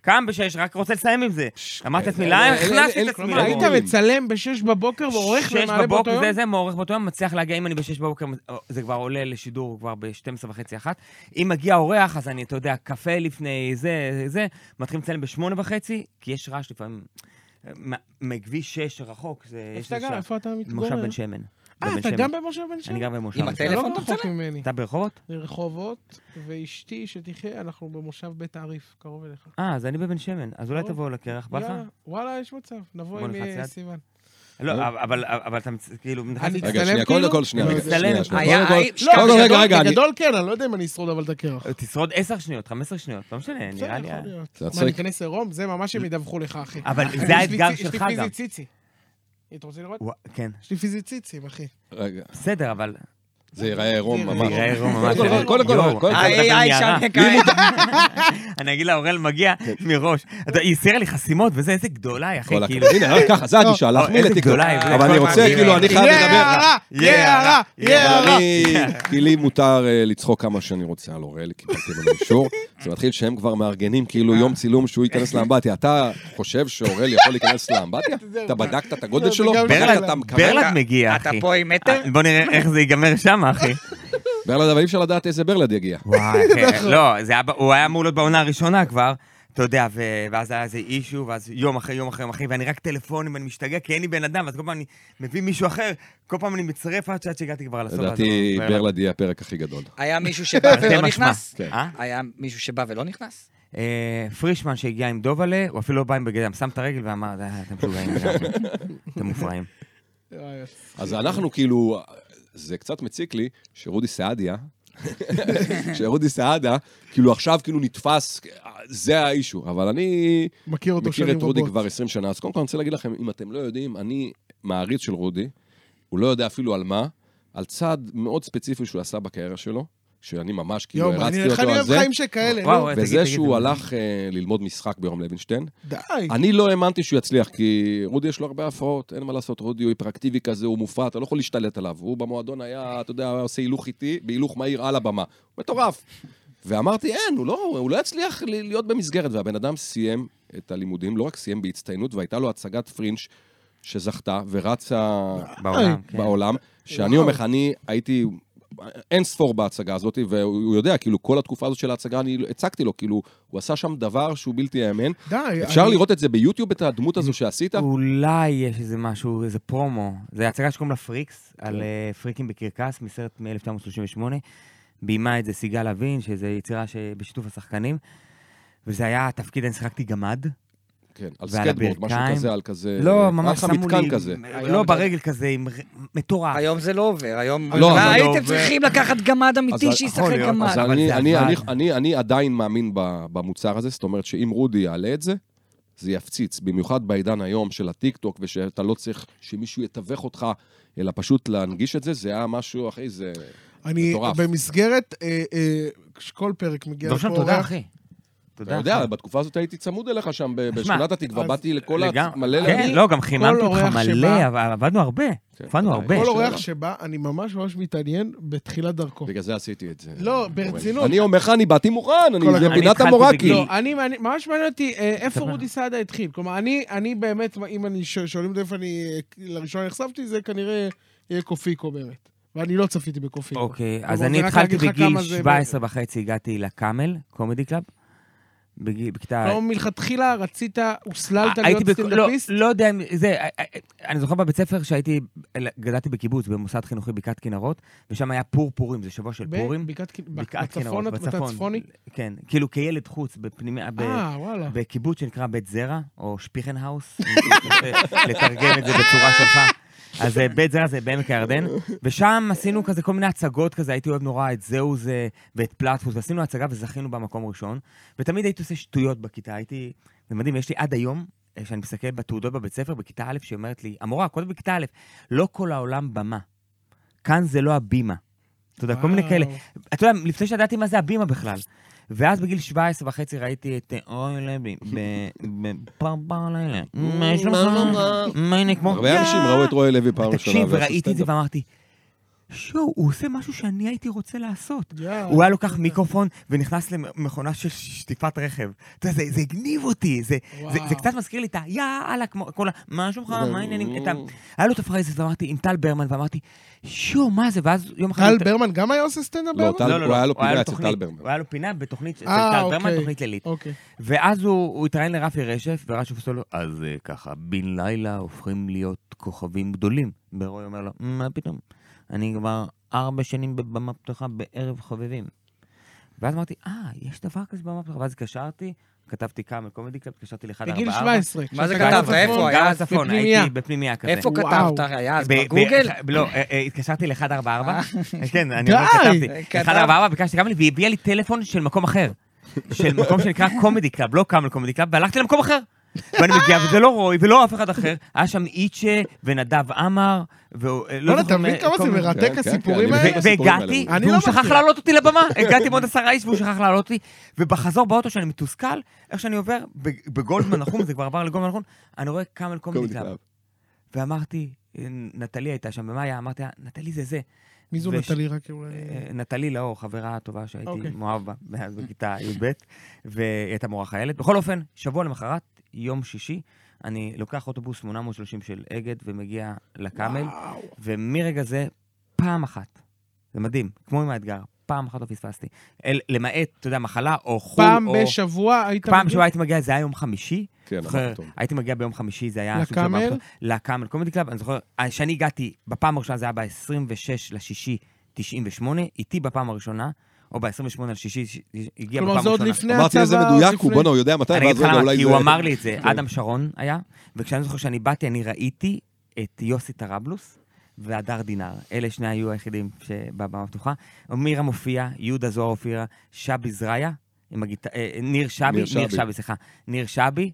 [SPEAKER 3] קם בשש, רק רוצה לסיים עם זה. אמרתי
[SPEAKER 4] אה,
[SPEAKER 3] לעצמי,
[SPEAKER 1] אין-
[SPEAKER 3] למה
[SPEAKER 1] אין-
[SPEAKER 3] הכנסתי
[SPEAKER 1] אין-
[SPEAKER 3] את
[SPEAKER 1] אין-
[SPEAKER 3] עצמי?
[SPEAKER 4] כלומר, היית
[SPEAKER 1] אומרים.
[SPEAKER 4] מצלם ב-6 בבוקר ועורך
[SPEAKER 3] שש
[SPEAKER 4] ומעלה באותו
[SPEAKER 3] בבוקר,
[SPEAKER 4] יום?
[SPEAKER 3] זה, זה, מעורך באותו יום, מצליח להגיע, אם אני ב-6 בבוקר, זה כבר עולה לשידור כבר ב-12 וחצי, אחת. אם מגיע אורח, אז אני, אתה יודע, קפה לפני זה, זה, זה, מתחילים לצלם ב-8 וחצי, כי יש רעש לפעמים. מ- מכביש 6 רחוק, זה...
[SPEAKER 4] איפה
[SPEAKER 3] יש
[SPEAKER 4] אתה
[SPEAKER 3] לי
[SPEAKER 4] גר?
[SPEAKER 3] שם.
[SPEAKER 4] איפה אתה מתגורר?
[SPEAKER 3] מושב בן שמן.
[SPEAKER 4] אה,
[SPEAKER 3] בבן
[SPEAKER 4] אתה
[SPEAKER 3] שמן.
[SPEAKER 4] גם במושב בן שמן?
[SPEAKER 3] אני גר במושב.
[SPEAKER 5] עם
[SPEAKER 3] בן שמן.
[SPEAKER 5] הטלפון?
[SPEAKER 4] לא
[SPEAKER 5] אתה
[SPEAKER 4] רחוק
[SPEAKER 5] מצלם?
[SPEAKER 4] ממני.
[SPEAKER 3] אתה ברחובות?
[SPEAKER 4] לרחובות, ואשתי שתחיה, אנחנו במושב בית עריף, קרוב אליך.
[SPEAKER 3] אה, אז אני בבן שמן. אז אולי
[SPEAKER 4] טוב.
[SPEAKER 3] תבואו לקרח, בא לך?
[SPEAKER 4] יאללה, וואלה, יש מצב, נבוא
[SPEAKER 3] בוא
[SPEAKER 4] עם
[SPEAKER 3] נלחץ
[SPEAKER 4] אה,
[SPEAKER 3] יד.
[SPEAKER 4] סיוון.
[SPEAKER 3] לא, אבל- אבל אבל אתה מצ- כאילו...
[SPEAKER 4] אני-
[SPEAKER 1] רגע,
[SPEAKER 4] מצטלם
[SPEAKER 1] שנייה,
[SPEAKER 4] כאילו?
[SPEAKER 1] קודם כל, שנייה. רגע,
[SPEAKER 2] מצטלם.
[SPEAKER 1] שנייה, שנייה.
[SPEAKER 5] היה-
[SPEAKER 1] קודם כל-
[SPEAKER 5] היה-
[SPEAKER 1] לא,
[SPEAKER 2] בגדול-
[SPEAKER 1] רגע, רגע, אני-
[SPEAKER 2] בגדול כן, אני לא יודע אם אני אשרוד אבל את הקרח.
[SPEAKER 3] תשרוד 10 שניות, 15 שניות, לא משנה,
[SPEAKER 4] בסדר,
[SPEAKER 3] נראה לי...
[SPEAKER 4] יכול להיות.
[SPEAKER 1] אתה
[SPEAKER 4] מה, אני
[SPEAKER 1] צודק.
[SPEAKER 4] אכנס עירום? זה ממש הם ידווחו לך, אחי.
[SPEAKER 3] אבל
[SPEAKER 4] אחי, יש
[SPEAKER 3] זה
[SPEAKER 4] לי
[SPEAKER 3] האתגר
[SPEAKER 4] צי-
[SPEAKER 3] שלך
[SPEAKER 4] יש
[SPEAKER 3] גם.
[SPEAKER 4] לי פיזי ציצי. אתה רוצה לראות?
[SPEAKER 3] וואו, כן.
[SPEAKER 4] יש לי פיזי ציצים, אחי.
[SPEAKER 1] רגע,
[SPEAKER 3] בסדר, אבל...
[SPEAKER 1] זה ייראה עירום
[SPEAKER 4] זה
[SPEAKER 1] ממש.
[SPEAKER 3] ייראה עירום ממש.
[SPEAKER 1] קודם כל, קודם כל,
[SPEAKER 3] יואו.
[SPEAKER 1] קודם כל,
[SPEAKER 3] אה,
[SPEAKER 5] איי, איי, שם
[SPEAKER 3] אני אגיד לה, אורל מגיע מראש. אתה- היא הסירה לי חסימות, וזה, איזה גדולה היא, אחי,
[SPEAKER 1] כן. כל
[SPEAKER 3] כאילו. לא,
[SPEAKER 1] הכבוד. הנה, רק ככה, זה הגישה, להחמיא
[SPEAKER 3] איזה
[SPEAKER 1] לטיקטוק.
[SPEAKER 3] גדולה, איזה-
[SPEAKER 1] אבל אני
[SPEAKER 5] כל
[SPEAKER 1] רוצה,
[SPEAKER 5] מעביר.
[SPEAKER 1] כאילו, אני חייב
[SPEAKER 4] יהיה
[SPEAKER 1] לדבר.
[SPEAKER 4] הערה! יהיה הערה! יהיה
[SPEAKER 1] אבל
[SPEAKER 4] הערה!
[SPEAKER 1] אני, כי לי מותר אה, לצחוק כמה שאני רוצה על אוראל, קיבלתי ממנו אישור. *laughs* זה מתחיל שהם כבר מארגנים כאילו יום צילום שהוא ייכנס לאמבטיה. אתה חושב שאוראל יכול להיכנס לאמבטיה? אתה בדקת את הגודל
[SPEAKER 2] לא,
[SPEAKER 1] שלו?
[SPEAKER 2] זה גם
[SPEAKER 1] בדקת
[SPEAKER 3] ברלנד-
[SPEAKER 1] את המקרר?
[SPEAKER 3] ברלנד מגיע,
[SPEAKER 5] אתה
[SPEAKER 3] אחי.
[SPEAKER 5] פה עם מטר?
[SPEAKER 3] בוא נראה איך זה ייגמר שם, אחי.
[SPEAKER 1] ברלנד, אבל אי אפשר לדעת איזה ברלנד יגיע.
[SPEAKER 3] וואי,
[SPEAKER 1] *laughs*
[SPEAKER 3] אחי,
[SPEAKER 1] נכון.
[SPEAKER 3] לא, זה היה ב- הוא היה אמור להיות בעונה הראשונה כבר. אתה יודע, ו- ואז היה איזה אישו, ואז יום אחרי יום אחרי יום אחרי, ואני רק טלפונים, ואני משתגע, כי אין לי בן אדם, ואז כל פעם אני מביא מישהו אחר, כל פעם אני מצרף עד שעד שהגעתי כבר לסוף.
[SPEAKER 1] לדעתי, ברלנד יהיה הפרק הכי גדול.
[SPEAKER 5] היה מישהו שבא ולא
[SPEAKER 3] משמע.
[SPEAKER 5] נכנס?
[SPEAKER 1] כן.
[SPEAKER 3] אה?
[SPEAKER 5] היה מישהו שבא ולא נכנס?
[SPEAKER 3] אה, פרישמן שהגיע עם דובלה, הוא אפילו לא בא עם בגד ים, שם את הרגל ואמר, "אה, אתם משוגעים, לגמרי. אתם
[SPEAKER 1] *laughs*
[SPEAKER 3] מופרעים.
[SPEAKER 4] אוי,
[SPEAKER 1] אז אנחנו כאילו, זה קצת מציק לי שרודי
[SPEAKER 2] *laughs*
[SPEAKER 1] סעדיה, שרודי סעדה, כאילו עכשיו כאילו נתפס, זה האישו, אבל אני
[SPEAKER 2] מכיר אותו
[SPEAKER 1] מכיר
[SPEAKER 2] שנים
[SPEAKER 1] את רודי
[SPEAKER 2] רבות.
[SPEAKER 1] כבר 20 שנה, אז קודם כל אני רוצה להגיד לכם, אם אתם לא יודעים, אני מעריץ של רודי, הוא לא יודע אפילו על מה, על צעד מאוד ספציפי שהוא עשה בקריירה שלו, שאני ממש כאילו
[SPEAKER 2] יום, אני
[SPEAKER 1] הרצתי
[SPEAKER 2] איך
[SPEAKER 1] אותו
[SPEAKER 2] אני
[SPEAKER 1] על
[SPEAKER 2] אוהב
[SPEAKER 1] זה, אה.
[SPEAKER 2] חיים שכאלה,
[SPEAKER 3] וואו,
[SPEAKER 2] נו.
[SPEAKER 3] תגיד,
[SPEAKER 1] וזה
[SPEAKER 3] תגיד,
[SPEAKER 1] שהוא
[SPEAKER 3] תגיד.
[SPEAKER 1] הלך אה, ללמוד משחק ביורם לוינשטיין,
[SPEAKER 2] די.
[SPEAKER 1] אני לא האמנתי שהוא יצליח, כי רודי יש לו הרבה הפרעות, אין מה לעשות, רודי הוא היפראקטיבי כזה, הוא מופרע, אתה לא יכול להשתלט עליו. הוא במועדון היה, אתה יודע, היה עושה הילוך איטי, בהילוך מהיר על הבמה. מטורף. ואמרתי, אין, הוא לא, הוא לא יצליח ל- להיות במסגרת. והבן אדם סיים את הלימודים, לא רק סיים בהצטיינות, והייתה לו הצגת פרינג' שזכתה ורצה
[SPEAKER 3] בעולם, כן.
[SPEAKER 1] אה, בעולם, שאני אומר לך, אני הייתי אין ספור בהצגה הזאת, והוא יודע, כאילו, כל התקופה הזאת של ההצגה, אני הצגתי לו, כאילו, הוא עשה שם דבר שהוא בלתי ייאמן.
[SPEAKER 2] די.
[SPEAKER 1] אפשר
[SPEAKER 2] אני-
[SPEAKER 1] לראות את זה ביוטיוב, את הדמות הזו שעשית?
[SPEAKER 3] אולי יש איזה משהו, איזה פרומו. זה הצגה שקוראים לה פריקס,
[SPEAKER 1] כן.
[SPEAKER 3] על אה, פריקים בקרקס, מסרט מ-1938. ביימה את זה סיגל לוין, שזו יצירה שבשיתוף השחקנים. וזה היה התפקיד, אני שיחקתי גמד.
[SPEAKER 1] כן, על
[SPEAKER 3] ועל
[SPEAKER 1] סקטבורד, משהו
[SPEAKER 3] הברכיים.
[SPEAKER 1] כזה, על כזה...
[SPEAKER 3] לא, ממש
[SPEAKER 1] היה לך
[SPEAKER 3] שמו לי...
[SPEAKER 1] מתקן כזה.
[SPEAKER 3] לא, ברגל כזה, עם ר- מטורף.
[SPEAKER 5] היום זה לא עובר, היום...
[SPEAKER 1] לא, אבל-
[SPEAKER 5] הייתם צריכים לקחת גמד אמיתי
[SPEAKER 1] אז-
[SPEAKER 3] יכול
[SPEAKER 5] שישחק
[SPEAKER 3] להיות,
[SPEAKER 5] גמד.
[SPEAKER 1] אז
[SPEAKER 3] אבל
[SPEAKER 1] אני-
[SPEAKER 3] זה
[SPEAKER 1] אני-
[SPEAKER 3] עבד.
[SPEAKER 1] אני- אני- אני עדיין מאמין ב- במוצר הזה, זאת אומרת שאם רודי יעלה את זה, זה יפציץ, במיוחד בעידן היום של הטיקטוק, ושאתה לא צריך שמישהו יתווך אותך, אלא פשוט להנגיש את זה, זה היה משהו, אחי, זה...
[SPEAKER 2] אני
[SPEAKER 1] מטורף.
[SPEAKER 2] במסגרת, אה, אה, כשכל פרק מגיע
[SPEAKER 3] דורשם, תודה, אחי.
[SPEAKER 1] אתה
[SPEAKER 3] תודה,
[SPEAKER 1] יודע,
[SPEAKER 3] אחי.
[SPEAKER 1] בתקופה הזאת הייתי צמוד אליך שם, ב-
[SPEAKER 3] תשמע,
[SPEAKER 1] בשכונת התקווה,
[SPEAKER 2] אז-
[SPEAKER 1] באתי לכל
[SPEAKER 3] לגמרי.
[SPEAKER 1] ה... מלא
[SPEAKER 3] כן, לא, גם חיממתי אותך
[SPEAKER 2] אורח
[SPEAKER 3] מלא,
[SPEAKER 2] שבא-
[SPEAKER 3] אבל עבדנו הרבה.
[SPEAKER 1] כן,
[SPEAKER 3] הופענו
[SPEAKER 1] ודאי.
[SPEAKER 3] הרבה.
[SPEAKER 2] כל
[SPEAKER 1] יש,
[SPEAKER 2] אורח
[SPEAKER 1] לא.
[SPEAKER 2] שבא, אני ממש ממש מתעניין בתחילת דרכו.
[SPEAKER 1] בגלל זה עשיתי את זה.
[SPEAKER 2] לא, ברצינות.
[SPEAKER 1] אני אומר לך, אני באתי מוכן, אני-
[SPEAKER 2] כל
[SPEAKER 1] זה
[SPEAKER 2] הכבוד.
[SPEAKER 3] אני
[SPEAKER 1] פינת
[SPEAKER 3] התחלתי
[SPEAKER 1] המורקי.
[SPEAKER 3] בגיל.
[SPEAKER 4] לא, אני, אני, ממש מעניין אותי אה, איפה
[SPEAKER 3] דבר.
[SPEAKER 4] רודי סעדה התחיל. כלומר, אני, אני באמת, אם אני, ש- שואלים אותי איפה אני אה, לראשונה נחשפתי, זה כנראה יהיה קופיק אומרת. ואני לא צפיתי בקופיק.
[SPEAKER 3] אוקיי,
[SPEAKER 4] כלומר,
[SPEAKER 3] אז
[SPEAKER 4] זה
[SPEAKER 3] אני
[SPEAKER 4] רק
[SPEAKER 3] התחלתי
[SPEAKER 4] להגיד לך
[SPEAKER 3] בגיל
[SPEAKER 4] כמה זה-
[SPEAKER 3] 17 וחצי, הגעתי לקאמל, קומדי קלאב. בגיל- בכיתה...
[SPEAKER 4] כלומר, מלכתחילה רצית, הוסללת לא להיות
[SPEAKER 3] הייתי בכ- לא,
[SPEAKER 4] סטנדאפיסט?
[SPEAKER 3] לא יודע אם זה, אה, אני זוכר בבית ספר שהייתי, גדלתי בקיבוץ, במוסד חינוכי בקעת כנרות, ושם היה פור פורים, זה שבוע של
[SPEAKER 4] ב-
[SPEAKER 3] פורים.
[SPEAKER 4] בקעת כנ-
[SPEAKER 3] בקעת
[SPEAKER 4] בצפון,
[SPEAKER 3] כנרות,
[SPEAKER 4] את- אתה
[SPEAKER 3] בצפון.
[SPEAKER 4] צפוני?
[SPEAKER 3] כן, כאילו כילד חוץ, בפנימיה, ב-
[SPEAKER 4] אה, וואלה.
[SPEAKER 3] *laughs* בקיבוץ שנקרא בית זרע, או שפיכנהאוס, אם אתה רוצה לתרגם את זה בצורה שלך. אז אה, בית זרע זה בעמק הירדן, ושם עשינו כזה כל מיני הצגות כזה, הייתי אוהב נורא את זהו זה ואת פלטפוס, ועשינו הצגה וזכינו במקום ראשון, ותמיד הייתי עושה שטויות בכיתה, הייתי, זה מדהים, יש לי עד היום, אה, כשאני מסתכל בתעודות בבית ספר, בכיתה א', שהיא אומרת לי, המורה, הכל בכיתה א', לא כל העולם במה, כאן זה לא הבימה. אתה יודע, כל מיני כאלה. אתה יודע, לפני שידעתי מה זה הבימה בכלל. ואז בגיל 17 וחצי ראיתי את אה, אוי לוי בפרפר לילה. מה שלומך? מה הנה כמו...
[SPEAKER 2] לא.
[SPEAKER 3] אה,
[SPEAKER 1] הרבה אנשים ראו את רועי לוי פעם ראשונה.
[SPEAKER 3] תקשיב,
[SPEAKER 1] ועשו
[SPEAKER 3] ראיתי את זה
[SPEAKER 1] סטנדאפ.
[SPEAKER 3] ואמרתי, שואו, הוא עושה משהו שאני הייתי רוצה לעשות.
[SPEAKER 4] יאללה.
[SPEAKER 3] הוא היה לוקח מיקרופון ונכנס למכונה של שטיפת רכב. אתה יודע, זה- זה הגניב אותי, זה-
[SPEAKER 4] וואו.
[SPEAKER 3] זה- זה קצת מזכיר לי את היאללה, כמו כל ה... מה שלומך, מה העניינים? את ה- היה לו את הפרייזס, ואמרתי, עם טל ברמן, ואמרתי, שואו, מה זה? ואז יום אחד...
[SPEAKER 2] טל ברמן גם היה עושה סטנדאפ?
[SPEAKER 1] לא,
[SPEAKER 2] ברמן?
[SPEAKER 1] טל- הוא היה לו פינה אצל
[SPEAKER 3] תוכנית,
[SPEAKER 1] טל ברמן.
[SPEAKER 3] הוא היה לו פינה בתוכנית אצל
[SPEAKER 4] אה,
[SPEAKER 3] טל ברמן,
[SPEAKER 4] אוקיי.
[SPEAKER 3] תוכנית לילית.
[SPEAKER 4] אוקיי.
[SPEAKER 3] ואז הוא הוא התראיין לרפי רשף, ורשף עושה לו, אז אה, ככה, בן לילה הופכים להיות כוכבים גדולים. ורוי אומר לו, מה פתאום? אני כבר ארבע שנים בבמה פתוחה בערב חובבים. ואז אמרתי, אה, יש דבר כזה בבמה פתוחה. ואז התקשרתי, כתבתי כמה קומדי קלאב, התקשרתי לאחד
[SPEAKER 4] בגיל
[SPEAKER 3] ארבע
[SPEAKER 4] 17.
[SPEAKER 5] מה זה
[SPEAKER 4] כשאתה
[SPEAKER 5] כתבת?
[SPEAKER 4] היה
[SPEAKER 5] איפה?
[SPEAKER 4] בצפון.
[SPEAKER 5] היה
[SPEAKER 3] גם
[SPEAKER 5] אז
[SPEAKER 3] בצפון,
[SPEAKER 4] בפנימייה.
[SPEAKER 3] הייתי בפנימייה כזה.
[SPEAKER 5] איפה
[SPEAKER 4] וואו.
[SPEAKER 5] כתבת? היה אז
[SPEAKER 3] ב- ב-
[SPEAKER 5] בגוגל? אה.
[SPEAKER 3] ח- לא, אה, אה, התקשרתי ל-1444, כן, אני
[SPEAKER 4] די.
[SPEAKER 3] לא כתבתי.
[SPEAKER 5] כתב.
[SPEAKER 3] 1444, ביקשתי כמה לי, והיא הביאה לי טלפון של מקום אחר. של מקום שנקרא קומדי קלאב, לא קאמל קומדי קלאב, והלכתי למקום אחר. ואני מגיע, וזה לא רוי, ולא אף אחד אחר. היה שם איצ'ה ונדב עמאר, והוא... אה, לא
[SPEAKER 2] וואלה,
[SPEAKER 3] זוכר
[SPEAKER 2] אתה מבין
[SPEAKER 3] מה-
[SPEAKER 2] כמה
[SPEAKER 3] כל
[SPEAKER 2] זה לא
[SPEAKER 3] מיני-
[SPEAKER 2] מרתק
[SPEAKER 1] כן, כן,
[SPEAKER 2] הסיפורים
[SPEAKER 1] כן, אני
[SPEAKER 2] האלה?
[SPEAKER 1] מבין את הסיפורים האלה,
[SPEAKER 3] והגעתי,
[SPEAKER 1] הוא-
[SPEAKER 2] אני
[SPEAKER 3] והוא
[SPEAKER 2] לא
[SPEAKER 3] שכח
[SPEAKER 2] מכיר.
[SPEAKER 3] לעלות אותי לבמה. הגעתי עם עוד עשרה איש והוא שכח לעלות אותי. ובחזור באוטו שאני מתוסכל, איך שאני עובר, בג- בגולדמן נחום, זה כבר עבר לגולדמן נחום, אני רואה קאמל קומדי
[SPEAKER 1] קומדי
[SPEAKER 3] קלאב.
[SPEAKER 1] קלאב.
[SPEAKER 3] ואמרתי, "אה, נטלי הייתה שם, ומאיה, אמרתי לה, נטלי זה זה.
[SPEAKER 4] מי זו
[SPEAKER 3] וש-
[SPEAKER 4] נטלי רק אולי?
[SPEAKER 3] אה, נטלי לאור, חברה הטובה שהייתי
[SPEAKER 4] אוקיי.
[SPEAKER 3] מאוהב בה מאז בכיתה י"ב, והיא הייתה מורה חיילת. בכל אופן, שבוע למחרת, יום שישי, אני לוקח אוטובוס 830 של אגד ומגיע לקאמל,
[SPEAKER 4] וואו.
[SPEAKER 3] ומרגע זה, פעם אחת, זה מדהים, כמו עם האתגר, פעם אחת לא פספסתי. אל- למעט, אתה יודע, מחלה או חו"ל,
[SPEAKER 4] פעם
[SPEAKER 3] או...
[SPEAKER 4] בשבוע היית
[SPEAKER 3] פעם
[SPEAKER 4] מגיע?
[SPEAKER 3] בשבוע הייתי מגיע, זה היה יום חמישי,
[SPEAKER 1] כן,
[SPEAKER 3] זוכר,
[SPEAKER 1] נכון, טוב.
[SPEAKER 3] הייתי מגיע ביום חמישי, זה היה... סוג של
[SPEAKER 4] לקאמל?
[SPEAKER 3] מערכת- לקאמל קומדי קלאב, אני זוכר, אה, כשאני הגעתי, בפעם הראשונה זה היה ב-26 לשישי 98, איתי בפעם הראשונה, או ב-28 לשישי ש- הגיע בפעם
[SPEAKER 4] כלומר, זה עוד
[SPEAKER 3] הראשונה.
[SPEAKER 4] לפני הצבא.
[SPEAKER 1] אמרתי איזה
[SPEAKER 4] עוד
[SPEAKER 1] מדויק הוא,
[SPEAKER 4] לפני-
[SPEAKER 1] בואנה, הוא יודע מתי,
[SPEAKER 3] אני אגיד
[SPEAKER 1] ואז
[SPEAKER 3] לך
[SPEAKER 1] רגע,
[SPEAKER 3] למה,
[SPEAKER 1] אולי
[SPEAKER 3] כי
[SPEAKER 1] זה-
[SPEAKER 3] הוא אמר לי את זה,
[SPEAKER 1] כן.
[SPEAKER 3] אדם שרון היה, וכשאני זוכר שאני באתי, אני ראיתי את יוסי טרבלוס והדר דינר. אלה שני היו היחידים שבבמה הפתוחה. מירה מופיע, יהודה זוהר אופירה, שבי זריה, עם הגיט... אה, ניר שבי,
[SPEAKER 1] ניר
[SPEAKER 3] ניר
[SPEAKER 1] שבי.
[SPEAKER 3] שבי, סליחה, ניר שבי,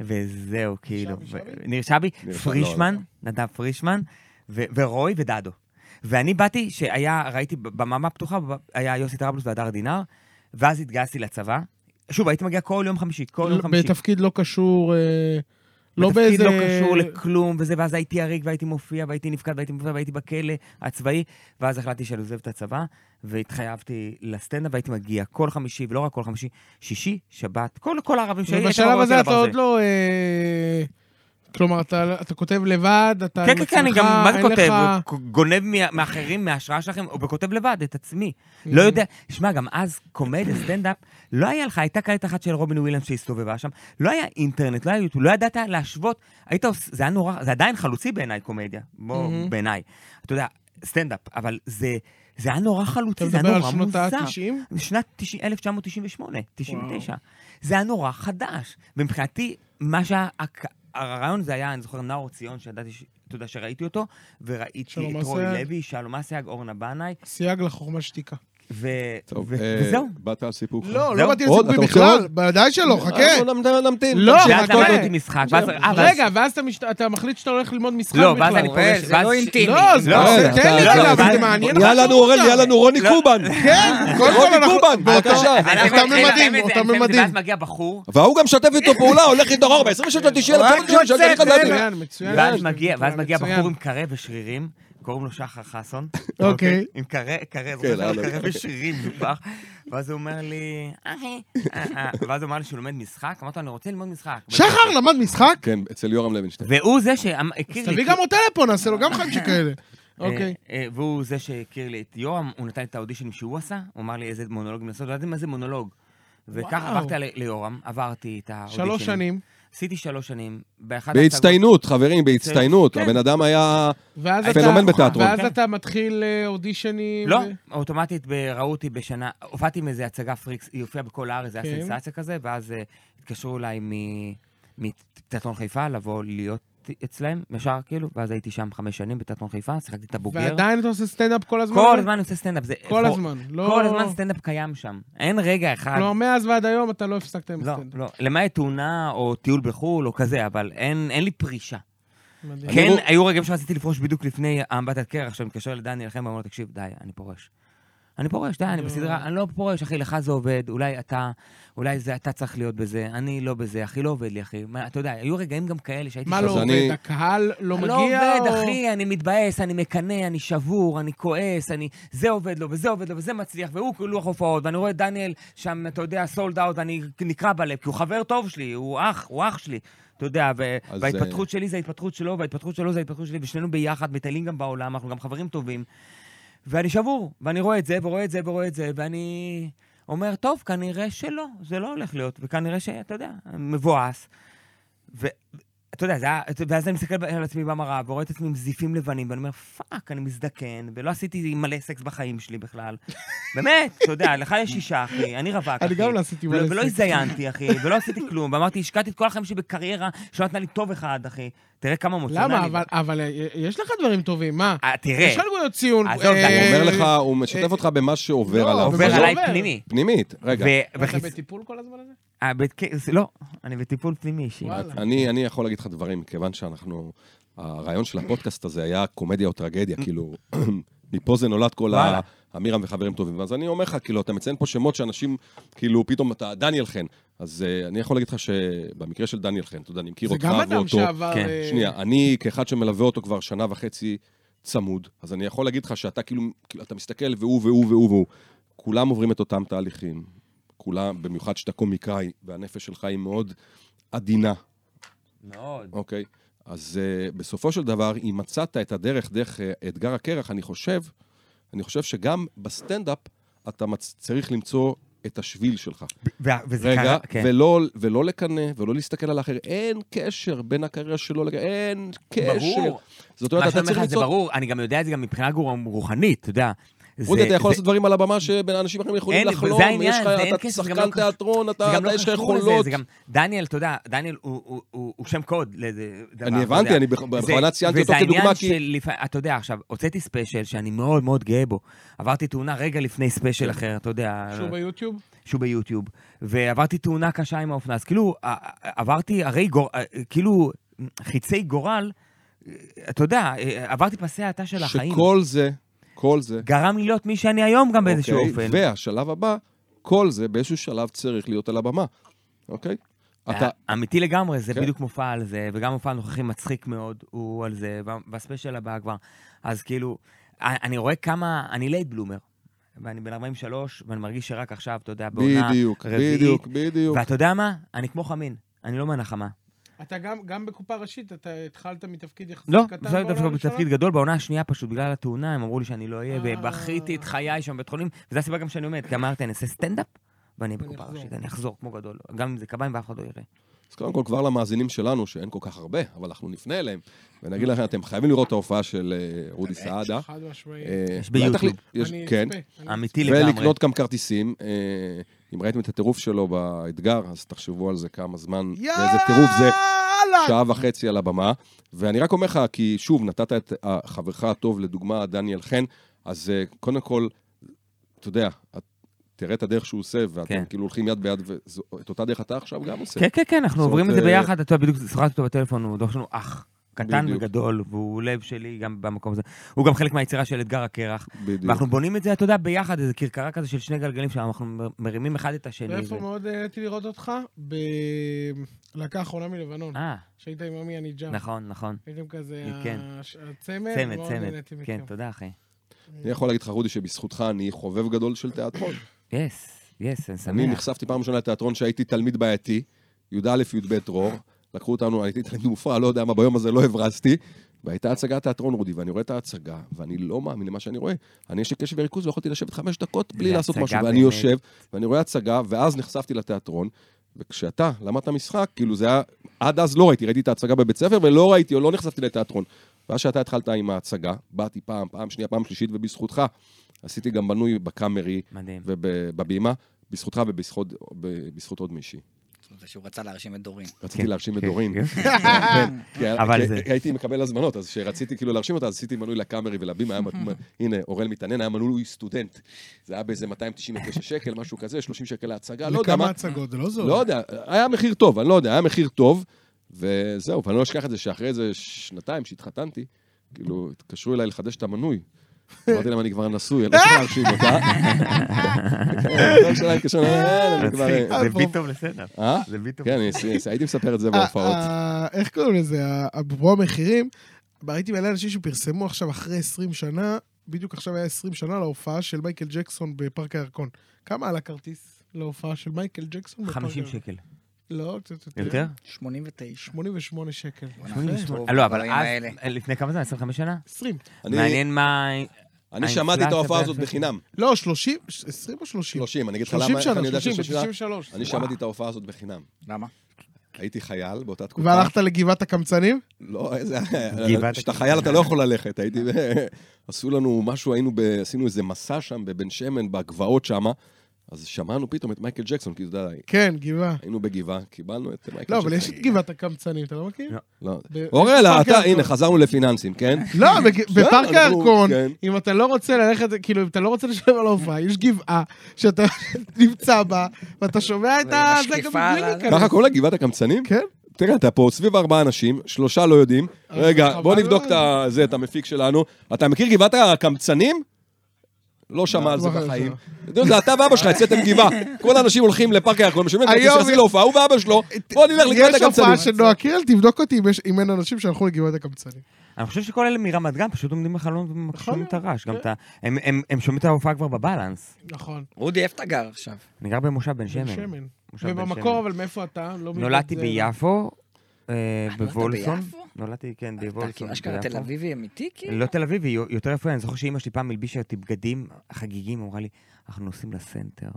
[SPEAKER 3] וזהו, כאילו. ו- ניר שבי,
[SPEAKER 1] ניר שבי,
[SPEAKER 3] פרישמן,
[SPEAKER 1] לא,
[SPEAKER 3] נדב פרישמן, ו- ורוי ודדו. ואני באתי, שהיה, ראיתי ב- בממה הפתוחה, ב- היה יוסי טרבלוס והדר דינר, ואז התגייסתי לצבא. שוב, הייתי מגיע כל יום חמישי, כל יום כאילו חמישי.
[SPEAKER 4] בתפקיד לא קשור, אה, לא
[SPEAKER 3] בתפקיד
[SPEAKER 4] באיזה...
[SPEAKER 3] לא קשור לכלום, וזה, ואז הייתי הריג, והייתי מופיע, והייתי נפקד, והייתי מופיע, והייתי בכלא הצבאי, ואז החלטתי שאני עוזב את הצבא, והתחייבתי לסטנדאפ, והייתי מגיע כל חמישי, ולא רק כל חמישי, שישי, שבת, כל, כל הערבים שהיו, הייתי
[SPEAKER 4] ובשלב
[SPEAKER 3] רואה
[SPEAKER 4] הזה
[SPEAKER 3] את
[SPEAKER 4] אתה
[SPEAKER 3] הדבר
[SPEAKER 4] עוד
[SPEAKER 3] הזה.
[SPEAKER 4] לא... אה, כלומר, אתה אתה כותב לבד, אתה עם
[SPEAKER 3] כן, כן, כן, אני
[SPEAKER 4] עצמך,
[SPEAKER 3] גם, מה זה
[SPEAKER 4] אין
[SPEAKER 3] כותב?
[SPEAKER 4] לך-
[SPEAKER 3] גונב מה- מאחרים, מההשראה שלכם, או כותב לבד, את עצמי.
[SPEAKER 4] כן.
[SPEAKER 3] לא יודע, שמע, גם אז קומדיה, סטנדאפ, לא היה לך, הייתה כעת אחת של רובין וויליאמס שהסתובבה שם, לא היה אינטרנט, לא היה יוטיוב, לא ידעת להשוות, היית עוש- זה היה נורא, זה עדיין חלוצי בעיניי קומדיה, בוא, בעיניי. אתה יודע, סטנדאפ, אבל זה... זה היה נורא
[SPEAKER 4] אתה
[SPEAKER 3] חלוצי, זה היה
[SPEAKER 4] מדבר על
[SPEAKER 3] נורא
[SPEAKER 4] שנות
[SPEAKER 3] מוזר.
[SPEAKER 4] ה-90?
[SPEAKER 3] שנת 90, 1998, 99. זה היה נורא חדש. ומבחינתי, מה שהרעיון זה היה, אני זוכר, נאור ציון, שידעתי, ש- אתה יודע, שראיתי אותו,
[SPEAKER 4] שלום
[SPEAKER 3] וראיתי את רועי
[SPEAKER 4] אסייג.
[SPEAKER 3] לוי, שלום אסייג, אורנה בנאי,
[SPEAKER 4] סייג לחוכמה שתיקה.
[SPEAKER 3] ו-
[SPEAKER 1] טוב,
[SPEAKER 3] ו-
[SPEAKER 1] אה,
[SPEAKER 3] וזהו.
[SPEAKER 1] באת על סיפור.
[SPEAKER 2] לא, כן.
[SPEAKER 3] זהו?
[SPEAKER 2] לא באתי
[SPEAKER 1] עוד?
[SPEAKER 2] לסיפורים
[SPEAKER 1] אתה רוצה
[SPEAKER 2] בכלל, ודאי שלא, חכה.
[SPEAKER 1] אנחנו נמ- נמתין.
[SPEAKER 4] אה, לא,
[SPEAKER 1] תמשיך.
[SPEAKER 3] ואז
[SPEAKER 4] מה קורה?
[SPEAKER 3] למדתי משחק, ואז... אה, ואז-
[SPEAKER 4] רגע, ואז אתה משת- אתה מחליט שאתה הולך ללמוד משחק
[SPEAKER 3] לא, ואז
[SPEAKER 4] בכלל.
[SPEAKER 3] אני
[SPEAKER 5] אוראל,
[SPEAKER 3] פוגש...
[SPEAKER 5] זה
[SPEAKER 3] ואז-
[SPEAKER 5] לא אינטימי.
[SPEAKER 4] לא, אז
[SPEAKER 3] לא,
[SPEAKER 4] בוא,
[SPEAKER 1] אתה-
[SPEAKER 4] תן לי
[SPEAKER 1] לא,
[SPEAKER 4] את
[SPEAKER 1] לא,
[SPEAKER 4] זה, זה
[SPEAKER 1] ואז-
[SPEAKER 4] מעניין.
[SPEAKER 1] יאללה, נו, אורל, יאללה, נו, רוני קובן.
[SPEAKER 2] כן, קודם כל
[SPEAKER 1] רוני
[SPEAKER 2] אנחנו...
[SPEAKER 1] קובן, בבקשה.
[SPEAKER 3] אנחנו-
[SPEAKER 2] אותם
[SPEAKER 3] רגע,
[SPEAKER 2] ממדים,
[SPEAKER 3] רגע,
[SPEAKER 2] אותם
[SPEAKER 3] רגע,
[SPEAKER 2] ממדים.
[SPEAKER 3] ואז מגיע בחור,
[SPEAKER 1] וההוא גם שתף איתו פעולה, הולך איתו אחורה, ב-26 לתשעי,
[SPEAKER 5] רק
[SPEAKER 1] 1990, שאני
[SPEAKER 5] יוצא,
[SPEAKER 1] חזרתי.
[SPEAKER 5] זה-
[SPEAKER 2] כן,
[SPEAKER 4] מצוין, מצוין.
[SPEAKER 3] ואז מגיע, ואז
[SPEAKER 4] מצוין,
[SPEAKER 3] מגיע
[SPEAKER 4] מצוין.
[SPEAKER 3] בחור עם קרה ושרירים, קוראים לו שחר חסון.
[SPEAKER 4] אוקיי.
[SPEAKER 3] עם קרה, קרה,
[SPEAKER 1] כן,
[SPEAKER 3] זוכר שהיה לו
[SPEAKER 1] אהלן.
[SPEAKER 3] קרה ושרירים, דובר. ואז הוא אומר לי, אחי, אה, אה. ואז הוא אמר לי שהוא לומד משחק, אמרתי לו, אני רוצה ללמוד משחק.
[SPEAKER 2] שחר למד משחק?
[SPEAKER 1] כן, אצל יורם לוינשטיין.
[SPEAKER 3] והוא זה שהכיר לי...
[SPEAKER 2] תביא גם אותו לפה, נעשה לו גם חיים
[SPEAKER 3] *laughs*
[SPEAKER 2] שכאלה.
[SPEAKER 3] אה,
[SPEAKER 4] אוקיי.
[SPEAKER 3] אה, והוא זה שהכיר לי את יורם, הוא נתן לי את האודישנים שהוא עשה, הוא אמר לי איזה מונולוגים לעשות, לא ידעתי מה זה מונולוג. וככה
[SPEAKER 4] וואו.
[SPEAKER 3] עברתי על- ליורם, עברתי את האודישנים.
[SPEAKER 4] שלוש שנים,
[SPEAKER 3] עשיתי שלוש שנים. באחד ההצגות-
[SPEAKER 1] בהצטיינות, חברים, בהצטיינות.
[SPEAKER 3] כן.
[SPEAKER 1] הבן אדם היה...
[SPEAKER 4] ואז אתה...
[SPEAKER 1] פנומן בתיאטרון.
[SPEAKER 4] ואז אתה מתחיל אה, אודישנים.
[SPEAKER 3] לא,
[SPEAKER 4] ו-
[SPEAKER 3] אוטומטית ב- ראו אותי בשנה, הופעתי עם איזה הצגה פריקס, היא הופיעה בכל הארץ, זה היה
[SPEAKER 4] כן.
[SPEAKER 3] סנסציה כזה, ואז אה, התקשרו אליי מ- מתיאטרון חיפה לבוא להיות אצלהם, ישר כאילו, ואז הייתי שם חמש שנים בתיאטרון חיפה, שיחקתי את הבוגר.
[SPEAKER 4] ועדיין אתה עושה סטנדאפ כל הזמן?
[SPEAKER 3] כל הזמן אני עושה סטנדאפ. זה-
[SPEAKER 4] כל הזמן. לא...
[SPEAKER 3] כל הזמן סטנדאפ קיים שם. אין רגע אחד.
[SPEAKER 4] לא, מאז ועד היום אתה לא הפסקת עם
[SPEAKER 3] לא,
[SPEAKER 4] סטנדאפ.
[SPEAKER 3] לא. למעט תאונה או טיול בחו"ל או כזה, אבל אין אין לי פרישה.
[SPEAKER 4] מדהים.
[SPEAKER 3] כן,
[SPEAKER 1] רוא-
[SPEAKER 3] היו רגעים שרציתי לפרוש בדיוק לפני האמבטת קרח, עכשיו אני מתקשר לדני אלחם ואומר לו, תקשיב, די, אני פורש. אני פורש, די, אני
[SPEAKER 4] אה.
[SPEAKER 3] בסדרה, אני לא פורש, אחי, לך זה עובד, אולי אתה, אולי זה אתה צריך להיות בזה, אני לא בזה, אחי, לא עובד לי, אחי. מה, אתה יודע, היו רגעים גם כאלה שהייתי...
[SPEAKER 4] מה
[SPEAKER 1] אז
[SPEAKER 4] לא
[SPEAKER 3] חוזר.
[SPEAKER 1] אני-
[SPEAKER 4] עובד? הקהל לא מגיע?
[SPEAKER 3] לא עובד,
[SPEAKER 4] או-
[SPEAKER 3] אחי, אני מתבאס, אני מקנא, אני שבור, אני כועס, אני... זה עובד לו, וזה עובד לו, וזה מצליח, והוא כאילו לוח הופעות, ואני רואה את דניאל שם, אתה יודע, סולד אאוט, אני נקרע בלב, כי הוא חבר טוב שלי, הוא אח, הוא אח שלי. אתה יודע, ו-
[SPEAKER 1] אז,
[SPEAKER 3] וההתפתחות שלי זה ההתפתחות שלו, וההתפתחות שלו זה ההתפתחות שלי, ושנינו ביחד, מטיילים גם בעולם, אנחנו גם חברים טובים. ואני שבור, ואני רואה את זה, ורואה את זה, ורואה את זה, ואני אומר, טוב, כנראה שלא, זה לא הולך להיות, וכנראה שאתה יודע, מבואס. ואתה יודע, זה היה, ואז אני מסתכל על עצמי במראה, ורואה את עצמי עם זיפים לבנים, ואני אומר, פאק, אני מזדקן, ולא עשיתי מלא סקס בחיים שלי
[SPEAKER 4] *laughs*
[SPEAKER 3] בכלל. באמת, אתה יודע, לך יש אישה, אחי, אני רווק, אחי.
[SPEAKER 4] אני גם לא עשיתי
[SPEAKER 3] ולא-
[SPEAKER 4] מלא
[SPEAKER 3] ולא
[SPEAKER 4] סקס.
[SPEAKER 3] הזדיינתי, אחי, ולא עשיתי כלום, ואמרתי, השקעתי את כל החיים שלי בקריירה, שלא נתנה לי טוב אחד, אחי. תראה כמה מוצא
[SPEAKER 4] למה? אבל- אבל אה, יש לך דברים טובים, מה?
[SPEAKER 3] אה, תראה,
[SPEAKER 4] יש לך נקודות ציון.
[SPEAKER 3] עזוב, דני.
[SPEAKER 2] כן.
[SPEAKER 1] הוא
[SPEAKER 4] אה,
[SPEAKER 1] אומר לך, הוא משתף אותך במה שעובר
[SPEAKER 4] לא,
[SPEAKER 1] עליו.
[SPEAKER 3] עובר
[SPEAKER 4] זה
[SPEAKER 3] עליי
[SPEAKER 4] עובר.
[SPEAKER 3] פנימי.
[SPEAKER 1] פנימית, רגע.
[SPEAKER 4] אתה
[SPEAKER 3] ו- וחיצ-
[SPEAKER 4] בטיפול כל הזמן הזה?
[SPEAKER 3] אה, בית כ- לא, אני בטיפול פנימי אישי.
[SPEAKER 4] וואלה.
[SPEAKER 1] אני, אני יכול להגיד לך דברים, כיוון שאנחנו... הרעיון של הפודקאסט הזה היה קומדיה או טרגדיה, כאילו, *clears throat* מפה זה נולד כל ה...
[SPEAKER 3] וואלה.
[SPEAKER 1] אמירם וחברים טובים. אז אני אומר לך, כאילו, אתה מציין פה שמות שאנשים, כאילו, פתאום אתה... דניאל חן. אז אה, אני יכול להגיד לך שבמקרה של דניאל חן, אתה יודע, אני מכיר
[SPEAKER 4] זה
[SPEAKER 1] אותך
[SPEAKER 4] גם אדם
[SPEAKER 1] ואותו.
[SPEAKER 4] שעבר...
[SPEAKER 3] כן.
[SPEAKER 4] אה,
[SPEAKER 1] שנייה, אני כאחד שמלווה אותו כבר שנה וחצי צמוד, אז אני יכול להגיד לך שאתה כאילו, כאילו, אתה מסתכל והוא והוא והוא והוא. כולם עוברים את אותם תהליכים. כולם, במיוחד שאתה קומיקאי, והנפש שלך היא מאוד עדינה,
[SPEAKER 3] מאוד.
[SPEAKER 1] אוקיי? אז uh, בסופו של דבר, אם מצאת את הדרך דרך uh, אתגר הקרח, אני חושב, אני חושב שגם בסטנדאפ אתה מצ... צריך למצוא את השביל שלך.
[SPEAKER 3] ו- וזה
[SPEAKER 1] רגע,
[SPEAKER 3] קרה, כן.
[SPEAKER 1] ולא, ולא לקנא, ולא להסתכל על האחר. אין קשר בין הקריירה שלו, לק- אין קשר.
[SPEAKER 3] ברור.
[SPEAKER 1] זאת
[SPEAKER 3] מה
[SPEAKER 1] אומרת, אתה
[SPEAKER 3] שאני אומר
[SPEAKER 1] צריך
[SPEAKER 3] לך זה
[SPEAKER 1] למצוא...
[SPEAKER 3] ברור, אני גם יודע את זה גם מבחינה גור- רוחנית, אתה יודע. זה-
[SPEAKER 1] רודי, אתה יכול
[SPEAKER 3] זה-
[SPEAKER 1] לעשות דברים על הבמה שבין אנשים אחרים יכולים
[SPEAKER 3] אין,
[SPEAKER 1] לחלום.
[SPEAKER 3] זה העניין,
[SPEAKER 1] יש לך-
[SPEAKER 3] זה אין
[SPEAKER 1] אתה
[SPEAKER 3] קשר, זה גם
[SPEAKER 1] שחקן
[SPEAKER 3] לא-
[SPEAKER 1] תיאטרון,
[SPEAKER 3] זה
[SPEAKER 1] אתה
[SPEAKER 3] גם לא
[SPEAKER 1] אתה יש לך
[SPEAKER 3] קשור לזה,
[SPEAKER 1] יכולות.
[SPEAKER 3] זה גם... דניאל, אתה יודע, דניאל הוא- הוא- הוא הוא שם קוד לאיזה דבר.
[SPEAKER 1] אני
[SPEAKER 3] אתה
[SPEAKER 1] הבנתי,
[SPEAKER 3] יודע.
[SPEAKER 1] אני
[SPEAKER 3] זה-
[SPEAKER 1] בכוונה ציינתי אותו כדוגמה,
[SPEAKER 3] וזה
[SPEAKER 1] כי...
[SPEAKER 3] העניין של, אתה יודע, עכשיו, הוצאתי ספיישל שאני מאוד מאוד גאה בו. עברתי תאונה רגע לפני ספיישל אחר, אתה יודע.
[SPEAKER 4] שהוא ביוטיוב?
[SPEAKER 3] שהוא ביוטיוב, ועברתי תאונה קשה עם האופנה, אז כאילו, ע- ע- עברתי הרי גור... ע- כאילו חיצי גורל, אה, אתה יודע, אה, עברתי פסי האטה של החיים.
[SPEAKER 1] שכל זה, כל זה,
[SPEAKER 3] גרם לי להיות מי שאני היום גם באיזשהו
[SPEAKER 1] אוקיי?
[SPEAKER 3] אופן.
[SPEAKER 1] והשלב הבא, כל זה באיזשהו שלב צריך להיות על הבמה, אוקיי? אתה...
[SPEAKER 3] אה, אמיתי לגמרי, זה
[SPEAKER 1] כן.
[SPEAKER 3] בדיוק מופע על זה, וגם מופע הנוכחי מצחיק מאוד, הוא על זה, וה- והספיישל הבא כבר. אז כאילו, אני אני רואה כמה, אני לייט בלומר, ואני בן 43, ואני מרגיש שרק עכשיו, אתה יודע, בעונה
[SPEAKER 1] בדיוק,
[SPEAKER 3] רביעית.
[SPEAKER 1] בדיוק, בדיוק.
[SPEAKER 3] ואתה יודע מה? אני כמו חמין, אני לא מהנחמה.
[SPEAKER 4] אתה גם, גם בקופה ראשית, אתה התחלת מתפקיד יחסית
[SPEAKER 3] לא,
[SPEAKER 4] קטן
[SPEAKER 3] זה
[SPEAKER 4] בעונה
[SPEAKER 3] דווקא
[SPEAKER 4] הראשונה?
[SPEAKER 3] בתפקיד גדול, בעונה השנייה פשוט, בגלל התאונה, הם אמרו לי שאני לא אהיה,
[SPEAKER 4] אה.
[SPEAKER 3] ובכיתי את חיי שם בבית חולים, וזו הסיבה גם שאני עומד, כי אמרתי, אני אעשה סטנדאפ, ואני
[SPEAKER 4] ואני
[SPEAKER 3] בקופה
[SPEAKER 4] אחזור.
[SPEAKER 3] ראשית, אני אחזור כמו גדול, גם אם זה קביים ואף אחד לא יראה.
[SPEAKER 1] אז קודם כל, כבר למאזינים שלנו, שאין כל כך הרבה, אבל אנחנו נפנה אליהם, ונגיד לכם, אתם חייבים לראות את ההופעה של אה, אודי סעדה.
[SPEAKER 4] חד משמעית.
[SPEAKER 1] אה,
[SPEAKER 3] יש
[SPEAKER 1] אולי
[SPEAKER 3] ביוטיוב.
[SPEAKER 1] תחליט- יש-
[SPEAKER 4] אני
[SPEAKER 1] כן.
[SPEAKER 4] אצפה, אני
[SPEAKER 3] אמיתי לגמרי.
[SPEAKER 1] ולקנות גם כרטיסים. אה, אם ראיתם את הטירוף שלו באתגר, אז תחשבו על זה כמה זמן, ואיזה טירוף זה, שעה וחצי על הבמה. ואני רק אומר לך, כי שוב, נתת את אה, חברך הטוב לדוגמה, דניאל חן, אז אה, קודם כל, אתה יודע, את- תראה את הדרך שהוא עושה, ואתם
[SPEAKER 3] כן.
[SPEAKER 1] כאילו הולכים יד ביד, ואת אותה דרך אתה עכשיו גם עושה.
[SPEAKER 3] כן, כן, כן, אנחנו
[SPEAKER 1] זאת,
[SPEAKER 3] עוברים את זה
[SPEAKER 1] אה,
[SPEAKER 3] ביחד, אתה יודע, בדיוק שוחחתי אותו בטלפון, הוא דוח שלנו אח. קטן
[SPEAKER 1] בדיוק.
[SPEAKER 3] וגדול, והוא לב שלי גם במקום הזה. הוא גם חלק מהיצירה של אתגר הקרח.
[SPEAKER 1] בדיוק.
[SPEAKER 3] ואנחנו בונים את זה, אתה יודע, ביחד, איזה כרכרה כזה של שני גלגלים שאנחנו מ- מרימים אחד את השני.
[SPEAKER 4] ואיפה
[SPEAKER 3] ו-
[SPEAKER 2] אה,
[SPEAKER 4] מאוד נהניתי לראות אותך? בלהקה האחרונה מלבנון.
[SPEAKER 3] אה,
[SPEAKER 4] שהיית עם עמי הניג'אם.
[SPEAKER 3] נכון, נכון.
[SPEAKER 4] הייתם כזה
[SPEAKER 3] כן.
[SPEAKER 4] הש- הצמד,
[SPEAKER 3] צמד,
[SPEAKER 4] מאוד
[SPEAKER 3] צמד.
[SPEAKER 4] נהניתי מכם.
[SPEAKER 3] כן, תודה, אחי.
[SPEAKER 1] אני יכול להגיד לך, רודי, שבזכותך אני חובב גדול של תיאטרון.
[SPEAKER 3] יס, יס, אני
[SPEAKER 1] אני
[SPEAKER 3] שמח.
[SPEAKER 1] נחשפתי פעם ראשונה לתיאטרון שהייתי תלמיד בעייתי, י"א י"ב דרור, לקחו אותנו, הייתי תלמיד מופרע, לא יודע מה, ביום הזה לא הברזתי, והייתה הצגת תיאטרון, רודי, ואני רואה את ההצגה, ואני לא מאמין למה שאני רואה. אני יש לי קשב וריכוז, לא יכולתי לשבת חמש דקות בלי
[SPEAKER 3] זה
[SPEAKER 1] לעשות
[SPEAKER 3] הצגה
[SPEAKER 1] משהו, ואני
[SPEAKER 3] באמת.
[SPEAKER 1] יושב, ואני רואה הצגה, ואז נחשפתי לתיאטרון, וכשאתה למדת משחק, כאילו זה היה, עד אז לא ראיתי, ראיתי את ההצגה בבית ספר, ולא ראיתי, או לא נחשפתי לתיאטרון. ואז שאתה התחלת עם ההצגה, באתי פעם, פעם שנייה, פעם שלישית, ובזכותך עשיתי גם בנוי בקאמרי,
[SPEAKER 3] מדהים.
[SPEAKER 1] ובבימה, בזכותך ובזכות ב- בזכות עוד מישהי.
[SPEAKER 5] זה שהוא רצה להרשים את דורין.
[SPEAKER 1] רציתי להרשים את דורין.
[SPEAKER 3] *laughs*
[SPEAKER 1] כי היה-
[SPEAKER 3] כן. אבל
[SPEAKER 1] כי
[SPEAKER 3] זה-
[SPEAKER 1] הייתי מקבל הזמנות, אז כשרציתי כאילו להרשים אותה, אז עשיתי מנוי לקאמרי ולבימה, היה מ-
[SPEAKER 3] *laughs*
[SPEAKER 1] הנה, אוראל מתעניין, היה מנוי סטודנט. זה היה באיזה 299 שקל, משהו כזה, 30 שקל להצגה, לא יודע
[SPEAKER 2] לכמה
[SPEAKER 1] מה.
[SPEAKER 2] הצגות, זה לא זול.
[SPEAKER 1] לא יודע, היה מחיר טוב, אני לא יודע, היה מחיר טוב, וזהו, ואני לא אשכח את זה שאחרי איזה שנתיים שהתחתנתי, כאילו, התקשרו אליי לחדש את המנוי. אמרתי להם, אני כבר נשוי, אני לא צריך להרשים אותה. כן, הבן שלה התקשר, "אה, אני כבר...
[SPEAKER 3] מצחיק, זה
[SPEAKER 2] אה,
[SPEAKER 3] ביט טוב לסדר.
[SPEAKER 1] אה?
[SPEAKER 3] זה ביט טוב.
[SPEAKER 1] כן, אני- הייתי מספר את זה
[SPEAKER 2] אה,
[SPEAKER 1] בהופעות.
[SPEAKER 2] אה, איך קוראים לזה? ה- אפרופו המחירים, ראיתי מלא אנשים שפרסמו עכשיו אחרי 20 שנה, בדיוק עכשיו היה 20 שנה להופעה של מייקל ג'קסון בפארק הירקון. כמה עלה כרטיס להופעה של מייקל ג'קסון בפארק
[SPEAKER 3] 50
[SPEAKER 2] הירקון?
[SPEAKER 3] שקל.
[SPEAKER 2] לא, קצת יותר.
[SPEAKER 3] יותר?
[SPEAKER 5] 89.
[SPEAKER 2] 88 שקל.
[SPEAKER 5] טוב,
[SPEAKER 3] אה, לא, אבל
[SPEAKER 5] הדברים
[SPEAKER 3] אז,
[SPEAKER 5] האלה.
[SPEAKER 3] לפני כמה זמן? 25 שנה?
[SPEAKER 2] 20.
[SPEAKER 1] אני-
[SPEAKER 3] מעניין מה...
[SPEAKER 1] אני
[SPEAKER 3] האינפלציה
[SPEAKER 1] שמעתי את ההופעה הזאת
[SPEAKER 3] והאפקט.
[SPEAKER 1] בחינם.
[SPEAKER 2] לא, 30, 20 או 30?
[SPEAKER 1] 30, אני אגיד לך
[SPEAKER 2] 30
[SPEAKER 1] למה, איך
[SPEAKER 2] שנה,
[SPEAKER 1] אני יודע
[SPEAKER 2] 30,
[SPEAKER 1] ש- שנה.
[SPEAKER 2] ב-93.
[SPEAKER 1] אני שמעתי את ההופעה הזאת בחינם.
[SPEAKER 5] למה?
[SPEAKER 1] הייתי חייל באותה תקופה.
[SPEAKER 2] והלכת לגבעת הקמצנים?
[SPEAKER 1] לא, איזה...
[SPEAKER 3] גבעת
[SPEAKER 1] כשאתה
[SPEAKER 3] הכנסייה.
[SPEAKER 1] חייל אתה לא יכול ללכת, הייתי... ב- עשו לנו משהו, היינו ב... עשינו איזה מסע שם בבן שמן, בגבעות שמה, אז שמענו פתאום את מייקל ג'קסון, כי אתה יודע,
[SPEAKER 2] כן, גבעה.
[SPEAKER 1] היינו בגבעה, קיבלנו את מייקל ג'קסון.
[SPEAKER 2] לא, אבל יש את גבעת הקמצנים, אתה לא מכיר?
[SPEAKER 1] לא.
[SPEAKER 2] ב-
[SPEAKER 1] אוראל,
[SPEAKER 2] בפארק
[SPEAKER 1] אתה,
[SPEAKER 2] הירקון.
[SPEAKER 1] הנה, חזרנו לפיננסים, כן?
[SPEAKER 2] לא, בג- בפארק
[SPEAKER 1] אנחנו-
[SPEAKER 2] הירקון,
[SPEAKER 1] כן.
[SPEAKER 2] אם אתה לא רוצה ללכת, כאילו, אם אתה לא רוצה לשלם על ההופעה, יש גבעה שאתה *laughs* נמצא בה, ואתה שומע את
[SPEAKER 5] ועם
[SPEAKER 2] ה... זה גם
[SPEAKER 5] השקיפה
[SPEAKER 2] בלי
[SPEAKER 5] על ה-
[SPEAKER 2] להיכנס.
[SPEAKER 1] ככה קוראים לה גבעת הקמצנים?
[SPEAKER 2] כן. אה,
[SPEAKER 1] תראה, אתה פה סביב ארבעה אנשים, שלושה לא יודעים. רגע,
[SPEAKER 2] חבל
[SPEAKER 1] בוא נבדוק את
[SPEAKER 2] מאוד.
[SPEAKER 1] ה- זה, את המפיק שלנו. אתה מכיר גבעת הקמצנים? לא שמע על זה
[SPEAKER 2] בחיים
[SPEAKER 1] בחיים.
[SPEAKER 2] שלו.
[SPEAKER 1] אתה יודע, זה אתה ואבא שלך, יצאתם
[SPEAKER 2] *laughs*
[SPEAKER 1] גבעה. כל האנשים הולכים לפארק הירקון, משלמים כרטיס
[SPEAKER 2] היום-
[SPEAKER 1] יחסי להופעה, הוא ואבא שלו, בוא נלך לגבעת
[SPEAKER 2] יש הופעה של
[SPEAKER 1] הקמצנים.
[SPEAKER 2] נועה קירל, תבדוק אותי אם יש- אם אין אנשים שהלכו לגבעת הקמצנים.
[SPEAKER 3] אני חושב שכל אלה מרמת גן פשוט עומדים בחלון ומקשיבים
[SPEAKER 2] נכון,
[SPEAKER 3] את הרעש. גם את ה... הם- הם- הם שומעים את ההופעה כבר בבלנס.
[SPEAKER 2] נכון.
[SPEAKER 5] רודי, איפה אתה גר עכשיו?
[SPEAKER 3] אני גר במושב בן שמן.
[SPEAKER 2] שמן.
[SPEAKER 3] מושב בן
[SPEAKER 2] ובמקור,
[SPEAKER 3] שמן.
[SPEAKER 2] אבל מאיפה אתה? לא מבין
[SPEAKER 3] נולדתי
[SPEAKER 2] את זה.
[SPEAKER 3] ביפו, אה, בוולפסון.
[SPEAKER 5] ביפו?
[SPEAKER 3] נולדתי, כן,
[SPEAKER 5] אתה כאילו
[SPEAKER 3] בוולפסון.
[SPEAKER 5] אשכרה
[SPEAKER 3] ביפו.
[SPEAKER 5] תל אביבי אמיתי כאילו?
[SPEAKER 3] לא תל אביבי, יו- יותר יפה, אני זוכר שאימא שלי פעם הלבישה אותי בגדים חגיגים, אמרה לי, אנחנו נוסעים לסנטר.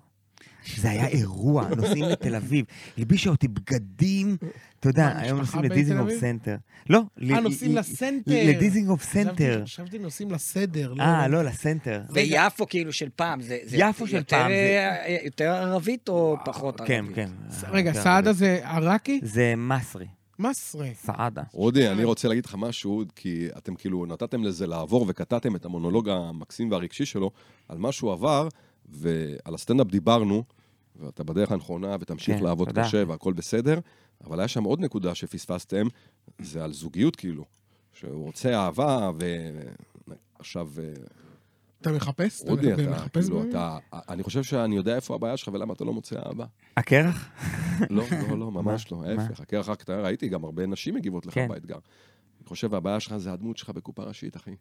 [SPEAKER 3] זה היה
[SPEAKER 2] *laughs*
[SPEAKER 3] אירוע, נוסעים לתל אביב. הלבישה אותי בגדים, אתה יודע,
[SPEAKER 2] מה,
[SPEAKER 3] היום
[SPEAKER 2] משפחה
[SPEAKER 3] נוסעים
[SPEAKER 2] בתל
[SPEAKER 3] לדיזינגוף
[SPEAKER 2] אביב?
[SPEAKER 3] סנטר. לא, ל-
[SPEAKER 2] אה,
[SPEAKER 3] ל-
[SPEAKER 2] נוסעים
[SPEAKER 3] ל-
[SPEAKER 2] לסנטר.
[SPEAKER 3] לדיזינגוף
[SPEAKER 2] חשבתי-
[SPEAKER 3] סנטר.
[SPEAKER 2] חשבתי נוסעים לסדר.
[SPEAKER 3] אה, לא, לסנטר.
[SPEAKER 5] ויפו כאילו של פעם, זה זה
[SPEAKER 3] יפו של
[SPEAKER 5] יותר,
[SPEAKER 3] פעם, זה-
[SPEAKER 5] אה, יותר ערבית או פחות ערבית?
[SPEAKER 3] כן, כן.
[SPEAKER 2] לא- רגע,
[SPEAKER 3] כן,
[SPEAKER 2] אה, סעדה
[SPEAKER 3] אבל-
[SPEAKER 2] זה עראקי?
[SPEAKER 3] זה מסרי,
[SPEAKER 2] מסרי.
[SPEAKER 3] סעדה.
[SPEAKER 1] רודי,
[SPEAKER 3] כן.
[SPEAKER 1] אני רוצה להגיד לך משהו, כי אתם כאילו נתתם לזה לעבור וקטעתם את המונולוג המקסים והרגשי שלו, על מה שהוא עבר, ועל הסטנדאפ דיברנו, ואתה בדרך הנכונה, ותמשיך
[SPEAKER 3] כן,
[SPEAKER 1] לעבוד
[SPEAKER 3] תודה.
[SPEAKER 1] קשה והכל בסדר, אבל היה שם עוד נקודה שפספסתם, זה על זוגיות כאילו, שהוא רוצה אהבה, ו... עכשיו, אה,
[SPEAKER 2] אתה מחפש?
[SPEAKER 1] רודי,
[SPEAKER 2] מחפש-
[SPEAKER 1] אתה,
[SPEAKER 2] מחפש
[SPEAKER 1] כאילו,
[SPEAKER 2] דברים?
[SPEAKER 1] אתה, אני חושב שאני יודע איפה הבעיה שלך ולמה אתה לא מוצא אהבה.
[SPEAKER 2] *laughs*
[SPEAKER 3] הקרח?
[SPEAKER 1] לא, לא, לא, ממש לא,
[SPEAKER 3] *laughs* מה?
[SPEAKER 1] ההפך. הקרח רק אתה ראיתי, גם הרבה נשים מגיבות לך
[SPEAKER 3] כן.
[SPEAKER 1] באתגר. אני חושב, הבעיה שלך זה הדמות שלך בקופה ראשית, אחי.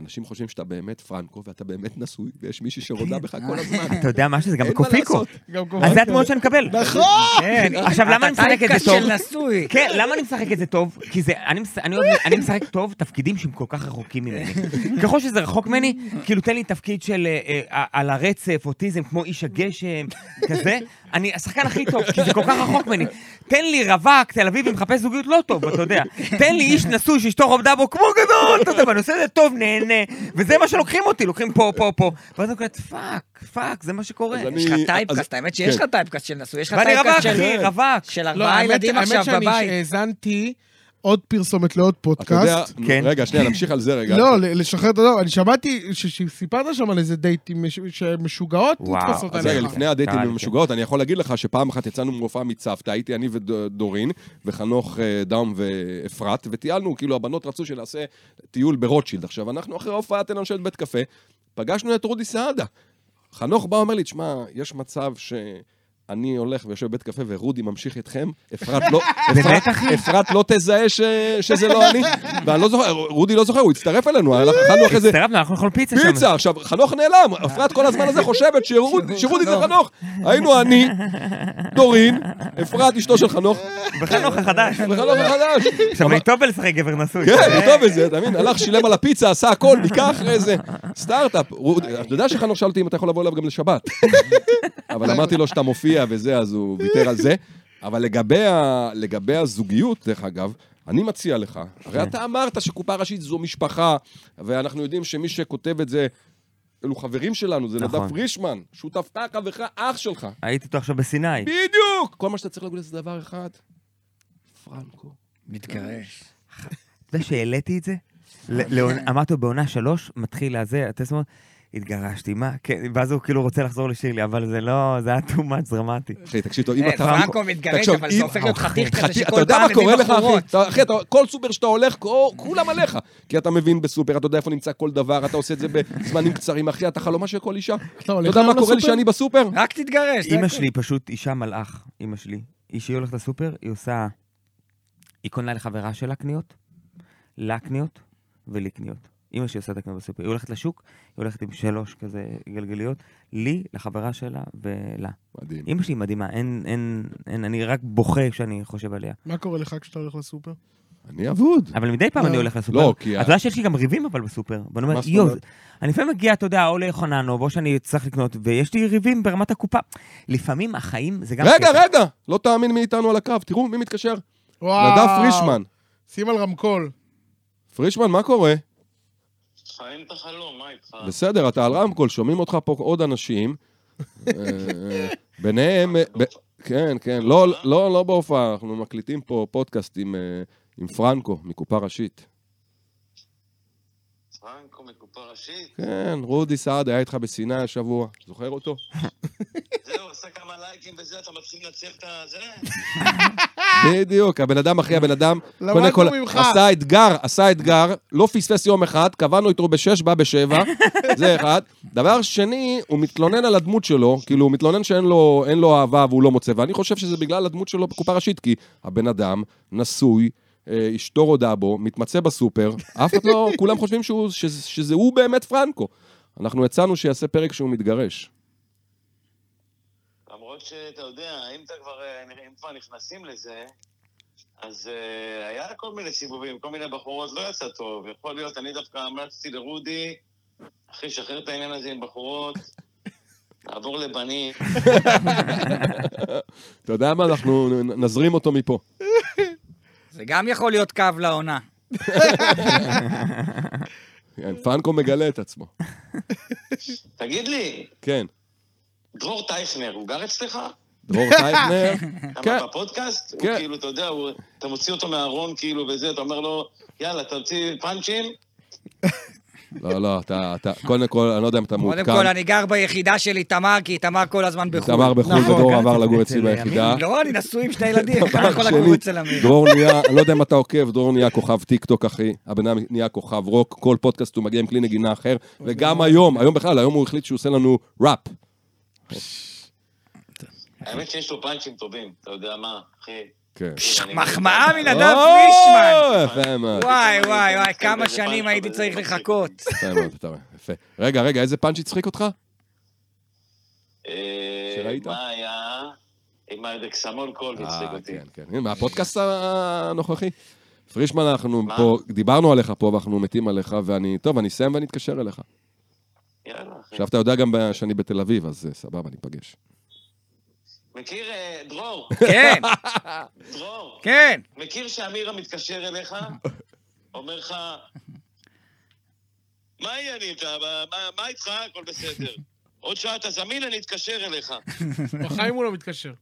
[SPEAKER 1] אנשים חושבים שאתה באמת פרנקו ואתה באמת נשוי, ויש מישהי
[SPEAKER 3] כן.
[SPEAKER 1] שרודה בך
[SPEAKER 3] אה.
[SPEAKER 1] כל הזמן.
[SPEAKER 3] אתה יודע מה שזה, גם
[SPEAKER 1] אין מה
[SPEAKER 3] בקופיקו.
[SPEAKER 1] לעשות.
[SPEAKER 2] גם
[SPEAKER 3] אז זה
[SPEAKER 2] קורה.
[SPEAKER 3] התמונות שאני מקבל.
[SPEAKER 2] נכון!
[SPEAKER 3] כן, עכשיו למה אני משחק את
[SPEAKER 5] הטייפקאסט
[SPEAKER 3] זה טוב? *laughs*
[SPEAKER 5] של נשוי.
[SPEAKER 3] כן, למה אני משחק את זה טוב? כי זה, אני, מש- אני, אוהב- אני משחק טוב תפקידים שהם כל כך רחוקים ממני. ככל שזה רחוק ממני, כאילו תן לי תפקיד של אה, אה, על הרצף, אוטיזם, כמו איש הגשם, כזה, אני השחקן הכי טוב, כי זה כל כך רחוק ממני. תן לי רווק, תל אביבי, מחפש זוגיות לא טוב, אתה יודע. תן לי איש נשוי שאשתו רובדה בו כמו גדול, אתה יודע, ואני עושה את זה טוב, נהנה. וזה מה שלוקחים אותי, לוקחים פה, פה, פה. ואז אני קוראת, פאק, פאק, זה מה שקורה.
[SPEAKER 1] אז אני-
[SPEAKER 5] יש לך
[SPEAKER 1] אז-
[SPEAKER 5] טייפקאסט, האמת שיש לך
[SPEAKER 1] כן.
[SPEAKER 5] טייפקאסט של נשוי, יש לך
[SPEAKER 3] ואני רווק, כן.
[SPEAKER 5] טייפקאסט
[SPEAKER 3] אחי,
[SPEAKER 5] של...
[SPEAKER 3] רווק.
[SPEAKER 5] של
[SPEAKER 2] לא,
[SPEAKER 5] ארבעה
[SPEAKER 2] האמת-
[SPEAKER 5] ילדים עכשיו
[SPEAKER 2] האמת שאני
[SPEAKER 5] בבית.
[SPEAKER 2] האזנתי עוד פרסומת לעוד
[SPEAKER 1] אתה יודע,
[SPEAKER 2] פודקאסט.
[SPEAKER 3] כן.
[SPEAKER 1] רגע, שנייה, נמשיך על זה רגע.
[SPEAKER 2] לא, ל- לשחרר את הדור. אני שמעתי ש- שסיפרת שם על איזה דייטים מש- שמשוגעות
[SPEAKER 3] וואו,
[SPEAKER 2] נתפסות
[SPEAKER 1] אז רגע,
[SPEAKER 2] עליך.
[SPEAKER 1] לפני הדייטים
[SPEAKER 3] קראתי.
[SPEAKER 1] עם המשוגעות, אני יכול להגיד לך שפעם אחת יצאנו ממופע מצוותא, הייתי אני ודורין, וחנוך אה, דאום ואפרת, וטיילנו, כאילו הבנות רצו שנעשה טיול ברוטשילד. עכשיו, אנחנו אחרי ההופעה, תן לנו לשבת בבית קפה, פגשנו את רודי סעדה. חנוך בא, אומר לי, תשמע, יש מצב ש... אני הולך ויושב בבית קפה ורודי ממשיך איתכם, אפרת לא, אפרת, אפרת לא תזהה ש, שזה לא אני, ואני לא זוכר, רודי לא זוכר, הוא הצטרף אלינו, אכלנו אחרי זה
[SPEAKER 3] הצטרפנו, אנחנו נאכול פיצה שם.
[SPEAKER 1] פיצה. עכשיו, חנוך נעלם, אפרת כל הזמן הזה חושבת שרודי- שרודי זה חנוך. היינו אני, דורין, אפרת אשתו של חנוך,
[SPEAKER 3] בחנוך החדש.
[SPEAKER 1] וחנוך החדש.
[SPEAKER 3] עכשיו, אני טוב בלשחק גבר נשוי.
[SPEAKER 1] כן, הוא טוב בזה, אתה מבין? הלך, שילם על הפיצה, עשה הכל, ניקח אחרי זה. סטארט-אפ. רודי- אתה יודע שחנוך שאל אותי אם אתה יכול לבוא אליו גם לשבת. אבל אמרתי לו שאתה מופיע וזה, אז הוא ויתר על זה. אבל לגבי ה- לגבי הזוגיות, דרך אגב, אני מציע לך, הרי אתה אמרת שקופה ראשית זו משפחה, ואנחנו יודעים שמי שכותב את זה, אלו חברים שלנו, זה
[SPEAKER 3] נכון.
[SPEAKER 1] נדב פרישמן, שותפך, חברך, אח שלך.
[SPEAKER 3] הייתי איתו עכשיו בסיני.
[SPEAKER 1] בדיוק! כל מה שאתה צריך להגיד זה דבר אחד, פרנקו.
[SPEAKER 5] מתגרש.
[SPEAKER 3] אתה יודע שהעליתי את זה? ל- לעונ- אמרתי לו, בעונה שלוש, מתחיל הזה, הטסמון, התגרשתי, מה? כן, ואז הוא כאילו רוצה לחזור לשירלי, אבל זה לא, זה היה too much דרמטי.
[SPEAKER 1] אחי, תקשיב טוב, אם
[SPEAKER 5] אה,
[SPEAKER 1] אתה...
[SPEAKER 5] פרנקו מתגרש,
[SPEAKER 1] תקשיב,
[SPEAKER 5] אבל
[SPEAKER 1] אם-
[SPEAKER 5] זה הופך להיות חתיך כזה
[SPEAKER 1] חתי-
[SPEAKER 5] שכל פעם
[SPEAKER 1] אתה יודע מה
[SPEAKER 5] מביא
[SPEAKER 1] קורה לך, אחי?
[SPEAKER 5] בחורות.
[SPEAKER 1] אתה- אחי, אתה- כל סופר שאתה הולך, כו- כולם עליך. כי אתה מבין בסופר, אתה יודע איפה נמצא כל דבר, אתה עושה את זה בזמנים קצרים, אחי, אתה חלומה של כל אישה. אתה
[SPEAKER 4] הולך
[SPEAKER 1] יודע
[SPEAKER 4] היום
[SPEAKER 1] מה קורה לי
[SPEAKER 4] לסופר?
[SPEAKER 1] שאני בסופר?
[SPEAKER 5] רק תתגרש. זה
[SPEAKER 3] אימא
[SPEAKER 5] הכל.
[SPEAKER 3] שלי פשוט אישה מלאך, אימא שלי. היא שהיא הולכת לסופר, היא עושה... היא קונה לחברה שלה קניות, לה קניות ולי קניות. אימא שלי עושה את הקניות בסופר. היא הולכת לשוק, היא הולכת עם שלוש כזה גלגליות, לי, לחברה שלה ולה.
[SPEAKER 1] מדהים.
[SPEAKER 3] אימא שלי מדהימה, אין, אין, אין, אני רק בוכה כשאני חושב עליה.
[SPEAKER 4] מה קורה לך כשאתה הולך לסופר?
[SPEAKER 1] אני אבוד.
[SPEAKER 3] אבל מדי פעם
[SPEAKER 4] לא.
[SPEAKER 3] אני הולך לסופר.
[SPEAKER 1] לא, כי ה-
[SPEAKER 3] אתה יודע שיש לי גם ריבים אבל בסופר. ואני
[SPEAKER 1] מה
[SPEAKER 3] אומר,
[SPEAKER 1] זאת
[SPEAKER 3] יואו,
[SPEAKER 1] אומרת?
[SPEAKER 3] אני לפעמים מגיע, אתה יודע, או ליוחננוב, או שאני צריך לקנות, ויש לי ריבים ברמת הקופה. לפעמים החיים זה גם...
[SPEAKER 1] רגע,
[SPEAKER 3] כיף.
[SPEAKER 1] רגע, לא תאמין מי איתנו על הקו, תראו מי מתקשר.
[SPEAKER 4] וואו.
[SPEAKER 1] נדב פרישמן.
[SPEAKER 4] שים על רמקול.
[SPEAKER 1] פרישמן, מה קורה?
[SPEAKER 6] חיים את החלום, מה איתך?
[SPEAKER 1] בסדר, אתה על רמקול, שומעים אותך פה עוד אנשים. אה, ביניהם... אה, ב- כן, כן, לא, לא, לא בהופעה, אנחנו מקליטים פה פודקאסט עם, אה, עם פרנקו, מקופה ראשית.
[SPEAKER 6] פרנקו מקופה
[SPEAKER 1] *laughs*
[SPEAKER 6] ראשית?
[SPEAKER 1] כן, רודי סעד היה איתך בסיני השבוע, זוכר אותו?
[SPEAKER 6] זהו, עשה כמה לייקים וזה, אתה מתחיל לנצח את הזה?
[SPEAKER 1] בדיוק, הבן אדם, אחי, הבן אדם,
[SPEAKER 4] למדנו
[SPEAKER 1] קודם כל,
[SPEAKER 4] ממך.
[SPEAKER 1] עשה אתגר, עשה אתגר, לא פספס יום אחד, קבענו איתו בשש, בא
[SPEAKER 4] *laughs*
[SPEAKER 1] בשבע, זה אחד. דבר שני, הוא מתלונן על הדמות שלו, כאילו, הוא מתלונן שאין לו, אין לו אהבה והוא לא מוצא, ואני חושב שזה בגלל הדמות שלו בקופה ראשית, כי הבן אדם נשוי, אה, אשתו רודה בו, מתמצא בסופר, אף אחד
[SPEAKER 4] *laughs*
[SPEAKER 1] לא, כולם חושבים שהוא, שזה, שזה הוא באמת פרנקו. אנחנו הצענו שיעשה פרק שהוא מתגרש.
[SPEAKER 6] למרות שאתה יודע, אם אתה כבר, אה, אם כבר נכנסים לזה, אז אה, היה כל מיני סיבובים, כל מיני בחורות, לא יצא טוב. יכול להיות, אני דווקא המלצתי לרודי, אחי, שחרר את העניין הזה עם בחורות, תעבור לבנים.
[SPEAKER 1] אתה יודע מה, אנחנו נ- נזרים אותו מפה.
[SPEAKER 5] זה גם יכול להיות קו לעונה.
[SPEAKER 1] כן, פרנקו מגלה את עצמו.
[SPEAKER 6] תגיד לי,
[SPEAKER 1] כן,
[SPEAKER 6] דרור טייכנר, הוא גר אצלך?
[SPEAKER 4] *laughs*
[SPEAKER 1] דרור טייפנר. כן.
[SPEAKER 6] אבל בפודקאסט, הוא
[SPEAKER 1] כן.
[SPEAKER 6] כאילו, אתה יודע, הוא- אתה מוציא אותו מהארון כאילו וזה, אתה אומר לו, יאללה, תמציא פאנצ'ים,
[SPEAKER 1] לא, לא, אתה, אתה, קודם כל, אני לא יודע אם אתה מעודכן.
[SPEAKER 5] קודם כל, אני גר ביחידה של איתמר, כי איתמר כל הזמן בחו"ל.
[SPEAKER 1] איתמר בחו"ל
[SPEAKER 3] נכון,
[SPEAKER 1] ודרור
[SPEAKER 3] גם
[SPEAKER 1] עבר
[SPEAKER 3] אצל-
[SPEAKER 1] לגור
[SPEAKER 3] אצל
[SPEAKER 1] אצלי ביחידה.
[SPEAKER 5] לא, אני נשוי עם
[SPEAKER 1] *laughs*
[SPEAKER 5] שני ילדים, איך
[SPEAKER 1] דבר
[SPEAKER 5] אני יכול לגור
[SPEAKER 1] שני,
[SPEAKER 5] אצל אמיר?
[SPEAKER 1] דרור נהיה, אני לא יודע אם אתה עוקב, דרור נהיה כוכב טיקטוק, אחי. הבן אדם נהיה כוכב רוק, כל פודקאסט הוא מגיע עם כלי נגינה אחר. וגם היום, היום בכלל, היום הוא החליט שהוא עושה לנו ראפ.
[SPEAKER 6] האמת שיש לו פאנצ'ים טובים, אתה יודע מה, אחי.
[SPEAKER 1] כן.
[SPEAKER 6] אני-
[SPEAKER 5] מחמאה מנדב
[SPEAKER 1] או,
[SPEAKER 5] פרישמן.
[SPEAKER 1] יפה מאוד,
[SPEAKER 5] וואי, וואי, וואי,
[SPEAKER 6] כן,
[SPEAKER 5] כמה
[SPEAKER 6] וזה
[SPEAKER 5] שנים
[SPEAKER 6] פאנץ'
[SPEAKER 5] הייתי
[SPEAKER 6] כזה,
[SPEAKER 5] צריך
[SPEAKER 6] זה מצחיק.
[SPEAKER 5] לחכות.
[SPEAKER 1] יפה מאוד, אתה רואה, יפה. רגע, רגע, איזה פאנץ' הצחיק אותך?
[SPEAKER 6] אה,
[SPEAKER 1] שראית?
[SPEAKER 6] מה היה? עם הדקסמון קול הצחיק
[SPEAKER 1] אה,
[SPEAKER 6] אותי.
[SPEAKER 1] כן, כן. הנה, מהפודקאסט הנוכחי. פרישמן, אנחנו
[SPEAKER 6] מה?
[SPEAKER 1] פה, דיברנו עליך פה ואנחנו מתים עליך, ואני, טוב, אני אסיים ואני אתקשר אליך.
[SPEAKER 6] יאללה, אחי.
[SPEAKER 1] עכשיו, אתה יודע גם ב- שאני בתל אביב, אז אה, סבבה, ניפגש.
[SPEAKER 6] מכיר, אה,
[SPEAKER 1] *laughs*
[SPEAKER 6] דרור,
[SPEAKER 5] כן,
[SPEAKER 6] דרור,
[SPEAKER 5] כן.
[SPEAKER 6] מכיר שאמירה מתקשר אליך, אומר לך, מה העניינים, אתה- מה- מה- מה איתך, הכל בסדר. עוד שעה אתה זמין, אני אתקשר אליך.
[SPEAKER 4] בחיים הוא לא מתקשר.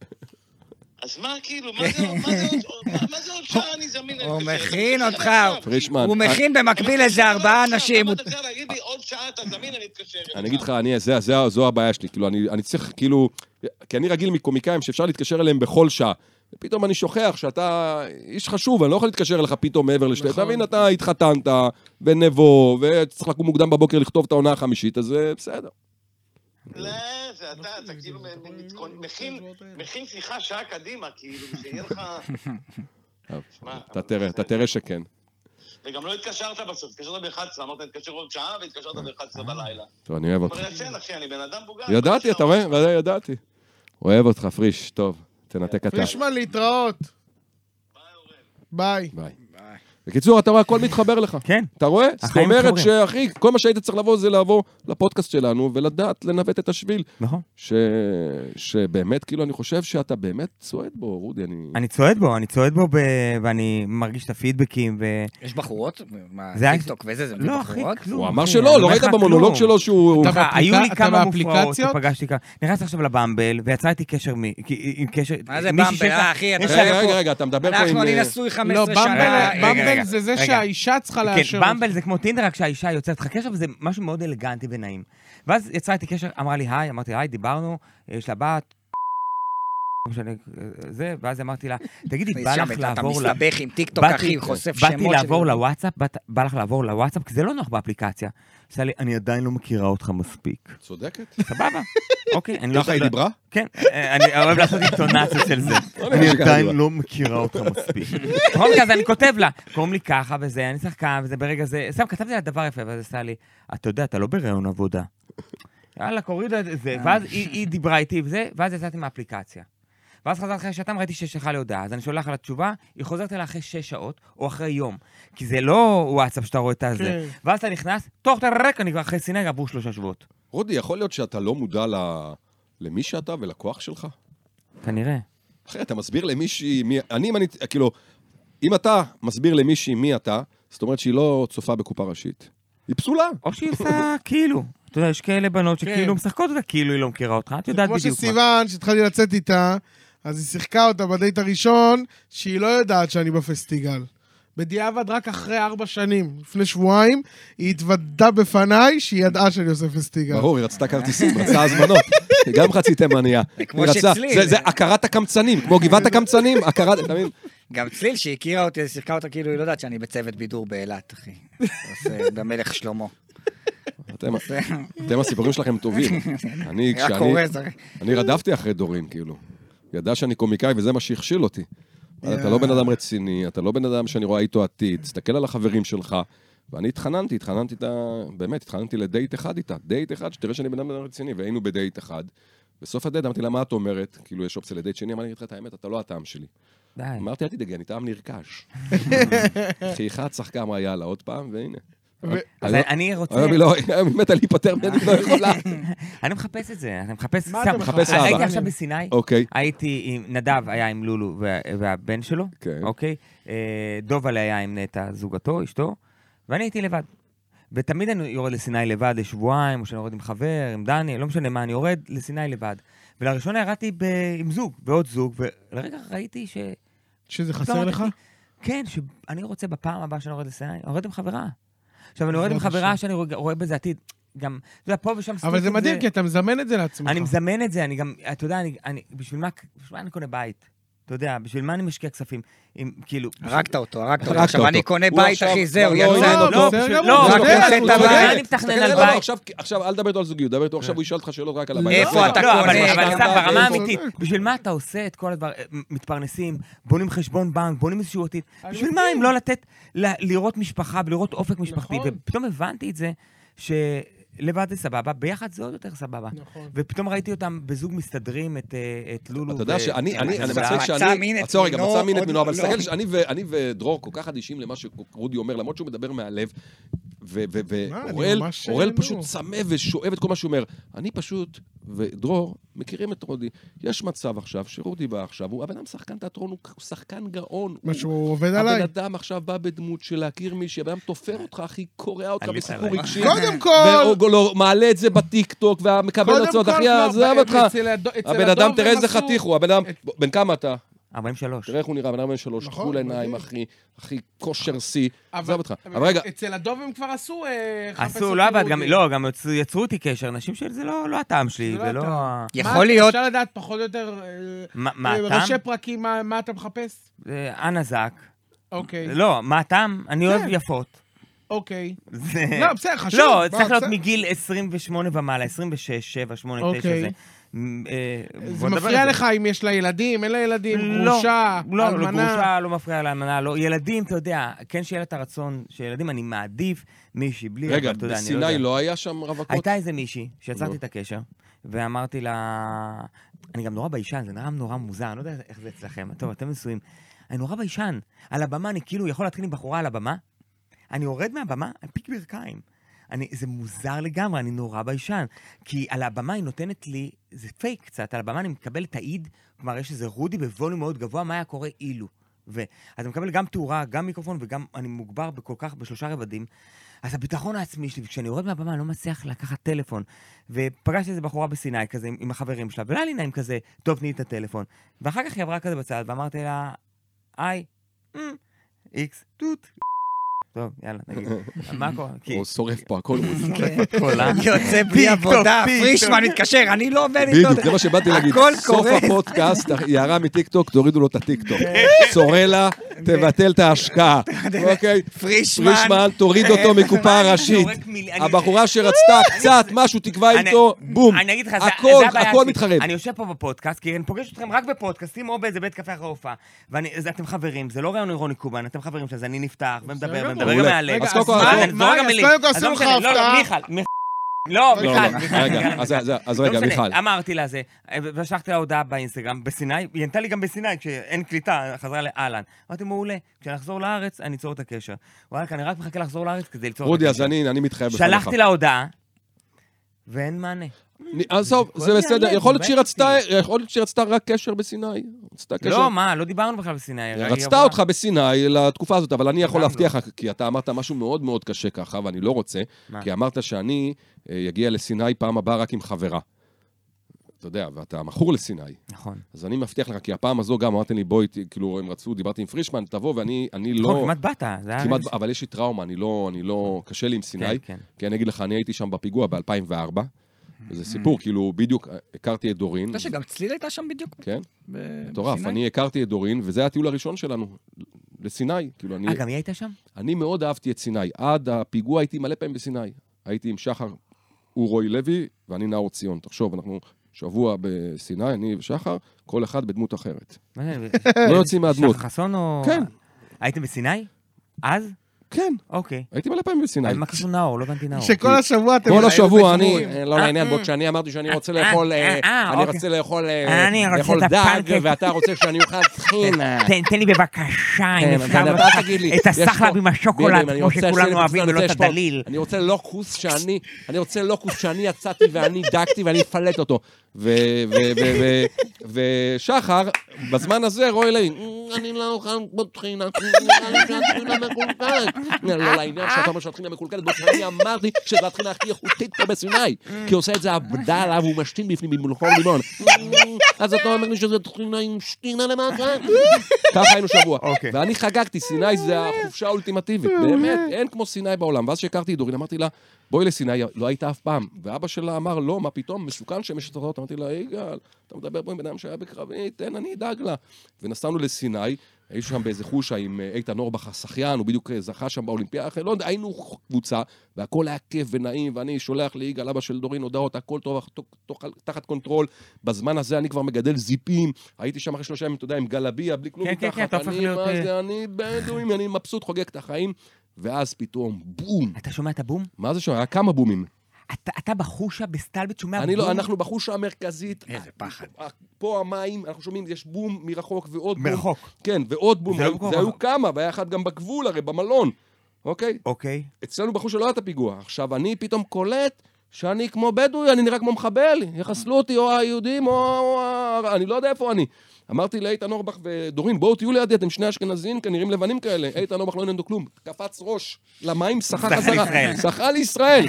[SPEAKER 6] אז מה כאילו, מה זה מה זה עוד- מה- מה זה עוד שעה אני זמין? אני
[SPEAKER 5] הוא
[SPEAKER 6] מתקשר?
[SPEAKER 5] מכין
[SPEAKER 6] אני
[SPEAKER 5] אותך,
[SPEAKER 6] מתקשר עכשיו.
[SPEAKER 1] פרישמן,
[SPEAKER 5] הוא מכין במקביל איזה ארבעה אנשים.
[SPEAKER 6] למה לא אתה צריך להגיד לי עוד שעה אתה זמין, אני אתקשר אליך.
[SPEAKER 1] אה, אני אגיד לך, אני, זה, זה, זו הבעיה שלי, כאילו, אני, אני צריך, כאילו, כי אני רגיל מקומיקאים שאפשר להתקשר אליהם בכל שעה. ופתאום אני שוכח שאתה איש חשוב, אני לא יכול להתקשר אליך פתאום מעבר לשתי.
[SPEAKER 5] נכון.
[SPEAKER 1] אתה מבין, אתה התחתנת, ונבו, וצריך לקום מוקדם בבוקר לכתוב את העונה החמישית, אז אה, בסדר.
[SPEAKER 6] לא, זה אתה, אתה כאילו מ- מ- מתכונן- מכין- מכין שיחה שעה קדימה, כאילו, שיהיה לך...
[SPEAKER 1] טוב,
[SPEAKER 6] *laughs* שמע,
[SPEAKER 1] אתה תראה, אתה תראה שכן.
[SPEAKER 6] וגם לא התקשרת בסוף, התקשרת ב-11, אמרת, נתקשר עוד שעה, והתקשרת ב-11 בלילה.
[SPEAKER 1] טוב, אני אוהב אותך.
[SPEAKER 6] אבל ישן, אחי, אני בן אדם בוגר.
[SPEAKER 1] אה, אוקיי. ידעתי, אתה רואה? ודאי, ידעתי. אוהב אותך, פריש, טוב, תנתק אתה.
[SPEAKER 4] פרישמן, להתראות.
[SPEAKER 6] מה, אורן?
[SPEAKER 4] ביי.
[SPEAKER 1] ביי. בקיצור, אתה רואה, הכל מתחבר לך.
[SPEAKER 3] כן.
[SPEAKER 1] אתה רואה? זאת
[SPEAKER 3] החיים
[SPEAKER 1] אומרת
[SPEAKER 3] מתחברים.
[SPEAKER 1] שאחי, כל מה שהיית צריך לבוא זה לבוא לפודקאסט שלנו ולדעת לנווט את השביל.
[SPEAKER 3] נכון.
[SPEAKER 1] ש... שבאמת, כאילו, אני חושב שאתה באמת צועד בו, רודי, אני...
[SPEAKER 3] אני צועד בו, אני צועד בו ב... ואני מרגיש את הפידבקים, ו...
[SPEAKER 5] יש בחורות? מה,
[SPEAKER 3] זה היה-
[SPEAKER 5] טיקטוק וזה, זה מביא
[SPEAKER 3] לא, אחי,
[SPEAKER 5] בחורות?
[SPEAKER 3] כלום.
[SPEAKER 1] הוא אמר
[SPEAKER 3] אחי,
[SPEAKER 1] שלא,
[SPEAKER 3] אני
[SPEAKER 1] לא
[SPEAKER 3] אומר
[SPEAKER 1] ראית
[SPEAKER 3] לך
[SPEAKER 1] במונולוג
[SPEAKER 3] כלום.
[SPEAKER 1] שלו שהוא...
[SPEAKER 3] ככה,
[SPEAKER 4] באפליקצ-
[SPEAKER 3] היו לי
[SPEAKER 4] אתה
[SPEAKER 3] כמה מופרעות
[SPEAKER 4] באפליקציות?
[SPEAKER 3] שפגשתי ככה. נכנסתי עכשיו לבמבל, ויצא איתי קשר מ... כי- עם קשר...
[SPEAKER 5] מה זה
[SPEAKER 3] מישהי
[SPEAKER 5] במבל?
[SPEAKER 3] שיש לה-
[SPEAKER 5] אה, אחי, אתה
[SPEAKER 3] יש
[SPEAKER 1] רגע,
[SPEAKER 3] לה-
[SPEAKER 5] יודע,
[SPEAKER 1] רגע,
[SPEAKER 5] פה-
[SPEAKER 1] רגע, אתה מדבר פה עם...
[SPEAKER 5] אנחנו, אני
[SPEAKER 1] אה,
[SPEAKER 5] נשוי
[SPEAKER 4] לא,
[SPEAKER 5] 15 שנה.
[SPEAKER 3] רגע,
[SPEAKER 4] במבל
[SPEAKER 3] רגע,
[SPEAKER 4] במבל זה זה
[SPEAKER 3] רגע.
[SPEAKER 4] שהאישה צריכה לאשר.
[SPEAKER 3] כן, במבל זה כמו טינדר, רק שהאישה יוצאת לך קשר, וזה משהו מאוד אלגנטי ונעים. ואז יצא איתי קשר, אמרה לי היי, אמרתי לה, היי, דיברנו, אה, יש לה בת, *laughs* לא משנה, אה, זה, ואז אמרתי לה,
[SPEAKER 5] *laughs*
[SPEAKER 3] תגידי, בא לך
[SPEAKER 5] אתה
[SPEAKER 3] לעבור ל...
[SPEAKER 5] מסתבך עם טיקטוק,
[SPEAKER 3] באתי-
[SPEAKER 5] אחי, חושף שמות.
[SPEAKER 3] באתי
[SPEAKER 5] של-
[SPEAKER 3] לעבור לוואטסאפ, באת- בא לך לעבור לוואטסאפ, כי זה לא נוח באפליקציה. עשה לי, אני עדיין לא מכירה אותך מספיק.
[SPEAKER 1] צודקת. *laughs*
[SPEAKER 3] סבבה, אוקיי, אני לא
[SPEAKER 1] ככה
[SPEAKER 3] יכול...
[SPEAKER 1] היא דיברה?
[SPEAKER 3] כן, אה, אני אוהב לעשות אינטונציה
[SPEAKER 1] *laughs*
[SPEAKER 3] של זה. אני
[SPEAKER 1] שככה
[SPEAKER 3] עדיין
[SPEAKER 1] דיברה.
[SPEAKER 3] לא מכירה אותך *laughs* מספיק. בכל מקרה, אז אני כותב לה, קוראים לי ככה וזה, אני שחקן וזה ברגע זה, סתם כתבתי לה דבר יפה, ואז עשה לי, אתה יודע, אתה לא בראיון עבודה. יאללה, קורידה את זה,
[SPEAKER 4] אה.
[SPEAKER 3] ואז היא היא דיברה איתי וזה, ואז יצאתי מהאפליקציה. ואז חזרתי אחרי שעתיים, ראיתי ששלחה לי הודעה, אז אני שולח לה תשובה, היא חוזרת אליה אחרי שש שעות, או אחרי יום. כי זה לא וואטסאפ שאתה רואה את הזה.
[SPEAKER 4] כן.
[SPEAKER 3] ואז אתה נכנס, תוך תרק, אני כבר אחרי סיני, עברו שלושה שבועות.
[SPEAKER 1] רודי, יכול להיות שאתה לא מודע ל- למי שאתה ולכוח שלך?
[SPEAKER 3] כנראה.
[SPEAKER 1] אחי, אתה מסביר למישהי מי... אני, אם אני... כאילו, אם אתה מסביר למישהי מי אתה, זאת אומרת שהיא לא צופה בקופה ראשית. היא פסולה.
[SPEAKER 3] או שהיא
[SPEAKER 4] *laughs*
[SPEAKER 3] עושה כאילו. אתה יודע, יש כאלה בנות שכאילו משחקות אותה כאילו היא לא מכירה אותך, את יודעת
[SPEAKER 4] כן. כמו
[SPEAKER 3] בדיוק מה.
[SPEAKER 4] שסיוון, שהתחלתי לצאת איתה, אז היא שיחקה אותה בדייט הראשון, שהיא לא יודעת שאני בפסטיגל. בדיעבד, רק אחרי ארבע שנים, לפני שבועיים, היא התוודתה בפניי שהיא ידעה שאני עושה פסטיגל.
[SPEAKER 1] ברור, היא רצתה כרטיסים, רצתה הזמנות. היא גם חצי תימניה.
[SPEAKER 5] כמו
[SPEAKER 1] היא רצתה-
[SPEAKER 5] שאצלי.
[SPEAKER 1] זה- זה הכרת הקמצנים, כמו גבעת הקמצנים, הכרת... אתה מבין?
[SPEAKER 5] גם צליל שהכירה אותי, שיחקה אותה כאילו, היא לא יודעת שאני בצוות בידור באילת, אחי. עושה במלך שלמה.
[SPEAKER 1] אתם- אתם הסיפורים שלכם טובים. אני,
[SPEAKER 5] רק
[SPEAKER 1] כשאני...
[SPEAKER 5] קורא, זה-
[SPEAKER 1] אני רדפתי אחרי דורין, כאילו. ידע שאני קומיקאי וזה מה שהכשיל אותי. אבל אתה לא בן אדם רציני, אתה לא בן אדם שאני רואה איתו עתיד, תסתכל על החברים שלך. ואני התחננתי, התחננתי את ה... באמת, התחננתי לדייט אחד איתה. דייט אחד, שתראה שאני בן אדם רציני, והיינו בדייט אחד. בסוף הדייט אמרתי לה, מה את אומרת? כאילו, יש אופציה לדייט שני, אמרתי לך את האמת, אתה לא הטעם שלי.
[SPEAKER 3] די.
[SPEAKER 1] אמרתי, אל תדאגי, אני טעם נרכש. חייכה, צחקה, אמרה, יאללה, עוד פעם, והנה.
[SPEAKER 3] אז
[SPEAKER 1] היום-
[SPEAKER 3] אני רוצה,
[SPEAKER 1] היום היא לא, היום היא מתה להיפטר ממני, היא לא יכולה.
[SPEAKER 3] אני מחפש את זה, אני מחפש...
[SPEAKER 4] מה
[SPEAKER 3] סתם,
[SPEAKER 4] אתה
[SPEAKER 1] מחפש
[SPEAKER 3] אני
[SPEAKER 1] אהבה.
[SPEAKER 3] הייתי עכשיו בסיני,
[SPEAKER 1] אוקיי,
[SPEAKER 3] הייתי עם... נדב היה עם לולו וה- והבן שלו,
[SPEAKER 1] כן.
[SPEAKER 3] אוקיי? אה, דובל היה עם נטע, זוגתו, אשתו, ואני הייתי לבד. ותמיד אני יורד לסיני לבד לשבועיים, או שאני יורד עם חבר, עם דני, לא משנה מה, אני יורד לסיני לבד. ולראשונה ירדתי ב... עם זוג, ועוד זוג, ולרגע ראיתי ש...
[SPEAKER 4] שזה
[SPEAKER 3] לא
[SPEAKER 4] חסר
[SPEAKER 3] אמרתי,
[SPEAKER 4] לך?
[SPEAKER 3] כן, שאני רוצה בפעם הבאה שאני יורד לסיני, אני יורד עם חברה. עכשיו, אני יורד עם
[SPEAKER 4] בעזרת
[SPEAKER 3] חברה
[SPEAKER 4] השם.
[SPEAKER 3] שאני רואה- רואה בזה עתיד. גם, אתה יודע, פה ושם...
[SPEAKER 4] אבל זה
[SPEAKER 3] סטריטים
[SPEAKER 4] מדהים, כי אתה מזמן את זה לעצמך.
[SPEAKER 2] נכון.
[SPEAKER 3] אני מזמן את זה, אני גם, אתה יודע, אני, אני בשביל מה, בשביל מה אני קונה בית? אתה יודע, בשביל מה אני משקיע כספים? אם, כאילו...
[SPEAKER 5] הרגת אותו, הרגת
[SPEAKER 1] הרגת
[SPEAKER 5] אותו. עכשיו
[SPEAKER 1] אותו.
[SPEAKER 5] אני קונה
[SPEAKER 1] הוא
[SPEAKER 5] בית,
[SPEAKER 1] עכשיו
[SPEAKER 5] אחי, זהו,
[SPEAKER 1] כבר לא
[SPEAKER 5] יצא.
[SPEAKER 1] עניין
[SPEAKER 4] לא,
[SPEAKER 1] אותו.
[SPEAKER 3] לא,
[SPEAKER 4] בסדר
[SPEAKER 3] בשביל-
[SPEAKER 4] גמור,
[SPEAKER 3] לא,
[SPEAKER 1] אוקיי.
[SPEAKER 4] הוא
[SPEAKER 5] רק
[SPEAKER 4] צודק, הוא
[SPEAKER 5] רוצה את
[SPEAKER 4] צודק.
[SPEAKER 5] הבית.
[SPEAKER 3] אני מתכנן
[SPEAKER 1] תסתכל
[SPEAKER 3] על
[SPEAKER 1] עליו, לא,
[SPEAKER 3] בית.
[SPEAKER 1] עכשיו- עכשיו, אל תדבר איתו על זוגיות, דבר איתו עכשיו, הוא ישאל אותך שאלות רק על הבית.
[SPEAKER 5] איפה
[SPEAKER 1] רגע,
[SPEAKER 5] אתה
[SPEAKER 3] לא, אבל-
[SPEAKER 5] קונה?
[SPEAKER 3] אבל
[SPEAKER 5] כמה
[SPEAKER 3] סתם, ברמה
[SPEAKER 5] זה?
[SPEAKER 3] האמיתית, בשביל מה אתה עושה את כל הדבר, מתפרנסים, בונים חשבון בנק, בונים איזשהו עתיד, בשביל מה אם לא לתת, ל- לראות משפחה ולראות אופק משפחתי,
[SPEAKER 4] נכון.
[SPEAKER 3] ופתאום הבנתי את זה, שלבד זה סבבה, ביחד זה עוד יותר סבבה.
[SPEAKER 4] נכון.
[SPEAKER 3] ופתאום ראיתי אותם בזוג מסתדרים, את, אה, את לולו.
[SPEAKER 1] אתה יודע
[SPEAKER 3] ו-
[SPEAKER 1] שאני, אני, אני
[SPEAKER 3] וזה
[SPEAKER 1] מצחיק
[SPEAKER 5] מצא מין
[SPEAKER 1] שאני,
[SPEAKER 5] את
[SPEAKER 1] עצור רגע,
[SPEAKER 5] מינו,
[SPEAKER 1] מצא מין את
[SPEAKER 5] עוד
[SPEAKER 1] מינו, אבל
[SPEAKER 5] לא.
[SPEAKER 1] תסתכל, שאני ו- אני ודרור כל כך אדישים למה שרודי אומר, למרות שהוא מדבר מהלב, ו- ו-
[SPEAKER 4] מה, אני
[SPEAKER 1] ואוראל
[SPEAKER 4] ממש, אה, לא.
[SPEAKER 1] אוראל
[SPEAKER 4] נו.
[SPEAKER 1] פשוט צמא ושואב את כל מה שהוא אומר. אני פשוט, ודרור, מכירים את רודי, יש מצב עכשיו שרודי בא עכשיו, הוא הבן אדם שחקן תיאטרון, הוא הוא שחקן גאון.
[SPEAKER 4] מה
[SPEAKER 1] הוא-
[SPEAKER 4] שהוא עובד
[SPEAKER 1] הבן
[SPEAKER 4] עליי.
[SPEAKER 1] אדם עכשיו בא בדמות של להכיר מישהי, הבן אדם תופר אותך, אחי, קורע אותך
[SPEAKER 3] אני מת
[SPEAKER 1] בסיפור
[SPEAKER 3] עליי.
[SPEAKER 1] רגשי.
[SPEAKER 4] קודם כל,
[SPEAKER 1] והוא מעלה את זה בטיקטוק, והמקבל
[SPEAKER 4] קודם
[SPEAKER 1] הצעות,
[SPEAKER 4] כל,
[SPEAKER 1] אחי,
[SPEAKER 4] לא,
[SPEAKER 1] עזב
[SPEAKER 4] ב-
[SPEAKER 1] אותך.
[SPEAKER 4] אצל הד- אצל
[SPEAKER 1] הבן אדם,
[SPEAKER 4] הדוב
[SPEAKER 1] תראה
[SPEAKER 4] הם
[SPEAKER 1] איזה
[SPEAKER 4] עשו-
[SPEAKER 1] חתיך הוא, הבן אדם,
[SPEAKER 4] את-
[SPEAKER 1] בן כמה אתה?
[SPEAKER 3] 43.
[SPEAKER 1] תראה איך הוא נראה, בן אדם בן שלוש,
[SPEAKER 4] נכון,
[SPEAKER 1] כול עיניים,
[SPEAKER 4] מדהים.
[SPEAKER 1] אחי, אחי, כושר שיא,
[SPEAKER 4] אבל-
[SPEAKER 1] עזב אותך. אבל רגע,
[SPEAKER 4] אצל הדוב הם כבר עשו... אה, חפש
[SPEAKER 3] עשו,
[SPEAKER 4] אותי
[SPEAKER 3] לא עבד,
[SPEAKER 4] רודי.
[SPEAKER 3] גם, לא, גם יצרו- יצרו אותי קשר, אנשים שזה לא לא הטעם שלי,
[SPEAKER 4] זה לא
[SPEAKER 3] זה לא...
[SPEAKER 4] הטעם.
[SPEAKER 3] ה-
[SPEAKER 4] מה,
[SPEAKER 5] יכול להיות,
[SPEAKER 4] אפשר לדעת פחות או יותר... אה,
[SPEAKER 3] מה- מה
[SPEAKER 4] אה,
[SPEAKER 3] הטעם?
[SPEAKER 4] ראשי פרקים, מה- מה אתה מחפש?
[SPEAKER 3] זה אנה זק.
[SPEAKER 4] אוקיי,
[SPEAKER 3] לא, מה הטעם? אני אוהב יפות.
[SPEAKER 4] אוקיי.
[SPEAKER 3] זה-
[SPEAKER 4] כן. לא, בסדר, חשוב.
[SPEAKER 3] לא,
[SPEAKER 4] מה,
[SPEAKER 3] צריך להיות
[SPEAKER 4] בסדר.
[SPEAKER 3] מגיל 28 ומעלה, 26, 7, 8, 9,
[SPEAKER 4] אוקיי.
[SPEAKER 3] זה. מ- אה,
[SPEAKER 4] זה
[SPEAKER 3] בוא נדבר
[SPEAKER 4] מפריע
[SPEAKER 3] על זה.
[SPEAKER 4] לך אם יש לה ילדים, אין לה ילדים,
[SPEAKER 3] לא,
[SPEAKER 4] גרושה,
[SPEAKER 3] לא, לא,
[SPEAKER 4] אלמנה.
[SPEAKER 3] גרושה לא מפריע לאלמנה, לא. ילדים, אתה יודע, כן שיהיה לה את הרצון של ילדים, אני מעדיף מישהי בלי...
[SPEAKER 1] רגע,
[SPEAKER 3] אבל אתה יודע, אני
[SPEAKER 1] בסיני
[SPEAKER 3] יודע.
[SPEAKER 1] לא היה שם רווקות?
[SPEAKER 3] הייתה איזה מישהי, שיצרתי
[SPEAKER 1] נו.
[SPEAKER 3] את הקשר, ואמרתי לה... אני גם נורא ביישן, זה נראה נורא מוזר, אני לא יודע איך זה אצלכם. טוב, אתם נשואים. אני נורא ביישן. על הבמה, אני כאילו יכול להתחיל עם בחורה על הבמה, אני יורד מהבמה, אני פיק ברכיים. אני, זה מוזר לגמרי, אני נורא ביישן. כי על הבמה היא נותנת לי, זה פייק קצת, על הבמה אני מקבל תעיד, כלומר יש איזה רודי בווליום מאוד גבוה, מה היה קורה אילו. ו... אז אני מקבל גם תאורה, גם מיקרופון וגם אני מוגבר בכל כך, בשלושה רבדים. אז הביטחון העצמי שלי, וכשאני יורד מהבמה אני לא מצליח לקחת טלפון. ופגשתי איזה בחורה בסיני כזה עם, עם החברים שלה, ולא היה לי נעים כזה, טוב, תני לי את הטלפון. ואחר כך היא עברה כזה בצד, ואמרתי לה, היי, אמ, איקס, טוט. טוב, יאללה, נגיד. מה קורה? כי-
[SPEAKER 1] הוא שורף פה הכל. הוא-
[SPEAKER 3] *laughs* כן. קולה.
[SPEAKER 5] יוצא בלי
[SPEAKER 3] פיקטוק,
[SPEAKER 5] עבודה,
[SPEAKER 3] פיקטוק.
[SPEAKER 5] פרישמן מתקשר, אני לא עובד איתו.
[SPEAKER 1] בדיוק, זה מה שבאתי להגיד.
[SPEAKER 5] הכל
[SPEAKER 1] סוף
[SPEAKER 5] קורה.
[SPEAKER 1] הפודקאסט, יערה מטיקטוק, תורידו לו את הטיקטוק.
[SPEAKER 3] כן. *laughs*
[SPEAKER 1] סורלה, תבטל את ההשקעה. אוקיי?
[SPEAKER 5] פרישמן.
[SPEAKER 1] פרישמן, תוריד אותו מקופה הראשית.
[SPEAKER 3] זורק מיל- אני-
[SPEAKER 1] הבחורה שרצתה קצת משהו, תקווה
[SPEAKER 3] אני-
[SPEAKER 1] איתו, בום.
[SPEAKER 3] אני אגיד לך, זה-
[SPEAKER 1] הכל,
[SPEAKER 3] זה הבעיה
[SPEAKER 1] הכל
[SPEAKER 3] שלי.
[SPEAKER 1] מתחרב.
[SPEAKER 3] אני יושב פה בפודקאסט, כי אני פוגש אתכם רק בפודקאסטים או באיזה בית קפה אחרי הופעה. ואתם חברים, זה לא ראיון עם רוני קובן, אתם חברים שלי, אז אני נפתח ומדבר, ומדבר גם
[SPEAKER 1] מעולה.
[SPEAKER 3] מהלב.
[SPEAKER 1] אז קודם כל-
[SPEAKER 3] מה,
[SPEAKER 1] אז
[SPEAKER 3] אני זורק גם
[SPEAKER 2] אז
[SPEAKER 3] מילים.
[SPEAKER 2] קודם כל
[SPEAKER 3] אז
[SPEAKER 2] עשינו
[SPEAKER 3] לא
[SPEAKER 2] לך
[SPEAKER 3] משנה, לא, לא,
[SPEAKER 2] הפתעה.
[SPEAKER 3] מיכל, מיכל. לא,
[SPEAKER 1] לא, לא,
[SPEAKER 3] מיכל, מיכל.
[SPEAKER 1] רגע,
[SPEAKER 3] מיכל,
[SPEAKER 1] אז-
[SPEAKER 3] מיכל.
[SPEAKER 1] אז- אז
[SPEAKER 3] לא
[SPEAKER 1] רגע,
[SPEAKER 3] משנה,
[SPEAKER 1] מיכל.
[SPEAKER 3] אמרתי לה זה, ושלחתי לה הודעה באינסטגרם, בסיני, היא ענתה לי גם בסיני, כשאין קליטה, חזרה לאהלן. אמרתי, מעולה, כשנחזור לארץ, אני אצור את הקשר. וואלכ, אני רק מחכה לחזור לארץ כדי ליצור את הקשר.
[SPEAKER 1] רודי, אז אני אני מתחייב בפניך.
[SPEAKER 3] לא, שלחתי לה הודעה, ואין מענה.
[SPEAKER 1] אני- עזוב,
[SPEAKER 3] כואב
[SPEAKER 1] זה
[SPEAKER 3] לי
[SPEAKER 1] בסדר.
[SPEAKER 3] הלב,
[SPEAKER 1] יכול להיות שהיא
[SPEAKER 3] באמת.
[SPEAKER 1] רצתה- יכול להיות שהיא רצתה רק קשר בסיני. רצתה קשר.
[SPEAKER 3] לא, מה, לא דיברנו בכלל בסיני.
[SPEAKER 1] היא
[SPEAKER 3] הרי
[SPEAKER 1] רצתה
[SPEAKER 3] עברה.
[SPEAKER 1] אותך בסיני לתקופה הזאת, אבל אני יכול
[SPEAKER 3] גם
[SPEAKER 1] להבטיח לך, כי אתה אמרת משהו מאוד מאוד קשה ככה, ואני לא רוצה,
[SPEAKER 3] מה?
[SPEAKER 1] כי אמרת שאני אה, אגיע לסיני פעם הבאה רק עם חברה. אתה יודע, ואתה מכור לסיני.
[SPEAKER 3] נכון.
[SPEAKER 1] אז אני מבטיח לך, כי הפעם הזו גם אמרתם לי, בואי, ת- כאילו, הם רצו, דיברתי עם פרישמן, תבוא, ואני אני
[SPEAKER 3] נכון,
[SPEAKER 1] לא...
[SPEAKER 3] כמעט באת, זה היה...
[SPEAKER 1] כמעט, אבל יש לי טראומה, אני לא, אני לא, קשה לי עם
[SPEAKER 3] כן,
[SPEAKER 1] סיני.
[SPEAKER 3] כן.
[SPEAKER 1] כי אני אגיד לך, אני הייתי שם בפיגוע ב-2004, וזה סיפור, כאילו, בדיוק הכרתי את דורין.
[SPEAKER 5] אתה יודע שגם צליל הייתה שם בדיוק?
[SPEAKER 1] כן,
[SPEAKER 5] ב-
[SPEAKER 1] מטורף.
[SPEAKER 5] בסיני?
[SPEAKER 1] אני הכרתי את דורין, וזה היה הטיול הראשון שלנו, לסיני. כאילו, אני...
[SPEAKER 3] אה, גם היא הייתה שם?
[SPEAKER 1] אני מאוד אהבתי את סיני. עד הפיגוע הייתי מלא פעמים בסיני. הייתי עם שחר אורוי לוי ואני נאור ציון. תחשוב, אנחנו שבוע בסיני, אני ושחר, כל אחד בדמות אחרת.
[SPEAKER 3] מה זה?
[SPEAKER 1] *laughs* לא יוצאים מהדמות.
[SPEAKER 3] שחר חסון או...
[SPEAKER 1] כן.
[SPEAKER 3] הייתם בסיני? אז?
[SPEAKER 1] כן,
[SPEAKER 3] אוקיי.
[SPEAKER 1] הייתי מלא פעמים בסיני.
[SPEAKER 3] אז מה קשור נאור? לא הבנתי נאור.
[SPEAKER 2] שכל השבוע אתם...
[SPEAKER 1] כל השבוע לא אני,
[SPEAKER 2] בדיבורים.
[SPEAKER 1] אה, לא לעניין, בו כשאני אמרתי שאני רוצה
[SPEAKER 3] אה,
[SPEAKER 1] לאכול,
[SPEAKER 3] אה,
[SPEAKER 1] אה,
[SPEAKER 3] אה,
[SPEAKER 1] אני
[SPEAKER 3] אוקיי.
[SPEAKER 1] רוצה לאכול אה,
[SPEAKER 3] אה, אני רוצה
[SPEAKER 1] לאכול
[SPEAKER 3] את
[SPEAKER 1] דג,
[SPEAKER 3] הפנקק.
[SPEAKER 1] ואתה רוצה שאני אוכל טחינה.
[SPEAKER 3] אה. תן- תן לי בבקשה, אם
[SPEAKER 1] כן,
[SPEAKER 3] אפשר,
[SPEAKER 1] אבל אתה תגיד לי,
[SPEAKER 3] את
[SPEAKER 1] יש פה-
[SPEAKER 3] הסחלב עם השוקולד,
[SPEAKER 1] בדיוק, אני
[SPEAKER 3] כמו
[SPEAKER 1] רוצה
[SPEAKER 3] שכולנו
[SPEAKER 1] סלט,
[SPEAKER 3] אוהבים,
[SPEAKER 1] אני
[SPEAKER 3] ולא
[SPEAKER 1] רוצה
[SPEAKER 3] את
[SPEAKER 1] שפוט.
[SPEAKER 3] הדליל.
[SPEAKER 1] אני רוצה
[SPEAKER 3] *laughs*
[SPEAKER 1] לוקוס שאני, אני רוצה לוקוס שאני יצאתי ואני דגתי ואני אפלט אותו. ו- ו- ו- ו- ושחר, בזמן הזה, רואה אליי, "אמ, אני לא אוכל כמו טחינה, אמ, אני אוכל טחינה מקולקלת. לא לעניין שאתה אומר שהטחינה מקולקלת, בו שאני אמרתי שזו הטחינה הכי איכותית פה בסיני. כי עושה את זה עבדאללה והוא משתין בפנים במלוכו לימון. אז אתה אומר לי שזו טחינה עם שתינה למטה? ככה היינו שבוע.
[SPEAKER 3] אוקיי.
[SPEAKER 1] ואני חגגתי, סיני זה החופשה האולטימטיבית, באמת, אין כמו סיני בעולם. ואז כשהכרתי את דורין, אמרתי לה, בואי לסיני, לא היית אף פעם. ואבא שלה אמר, לא, מה פתאום, מסוכן שהם ישתתפות. אמרתי לה, יגאל, אתה מדבר פה עם בן אדם שהיה בקרבית, תן, אני אדאג לה. ונסענו לסיני, היינו שם באיזה חושה עם אה, איתן אורבך השחיין, הוא בדיוק אה, זכה שם באולימפיאדה, אחרי, לא יודע, היינו קבוצה, והכל היה כיף ונעים, ואני שולח ליגאל, אבא של דורין, הודעות, הכל טוב, תוך- תוך- תחת קונטרול. בזמן הזה אני כבר מגדל זיפים, הייתי שם אחרי שלושה ימים, אתה יודע, עם גלביה, בלי כלום,
[SPEAKER 3] כן, כן,
[SPEAKER 1] תחת,
[SPEAKER 3] כן, אתה הופך
[SPEAKER 1] אני,
[SPEAKER 3] להיות,
[SPEAKER 1] מה
[SPEAKER 3] אה,
[SPEAKER 1] זה, אני בדואים, אני מבסוט, חוגג את החיים, ואז פתאום, בום.
[SPEAKER 3] אתה שומע את הבום?
[SPEAKER 1] מה זה שם? היה כמה בומים.
[SPEAKER 3] אתה- אתה בחושה בסטלבט שומע בום?
[SPEAKER 1] אני לא, אנחנו בחושה המרכזית,
[SPEAKER 5] איזה פחד.
[SPEAKER 1] פה המים, אנחנו שומעים, יש בום מרחוק ועוד בום.
[SPEAKER 3] מרחוק.
[SPEAKER 1] כן, ועוד בום.
[SPEAKER 3] זה לא
[SPEAKER 1] היו-
[SPEAKER 3] בכל
[SPEAKER 1] זה היו
[SPEAKER 3] רחוק.
[SPEAKER 1] כמה, והיה אחד גם בגבול, הרי במלון, אוקיי?
[SPEAKER 3] אוקיי.
[SPEAKER 1] אצלנו בחושה לא היה את הפיגוע. עכשיו, אני פתאום קולט שאני כמו בדואי, אני נראה כמו מחבל, יחסלו אותי, או היהודים, או... או ה- אני לא יודע איפה אני. אמרתי לאיתן אורבך ודורין, בואו תהיו לידי, אתם שני אשכנזים, כנראים לבנים כאלה. איתן אורבך לא עניין אותו כלום. קפץ ראש למים, שחה
[SPEAKER 3] שחה
[SPEAKER 1] חזרה.
[SPEAKER 3] לישראל.
[SPEAKER 1] שחה לישראל.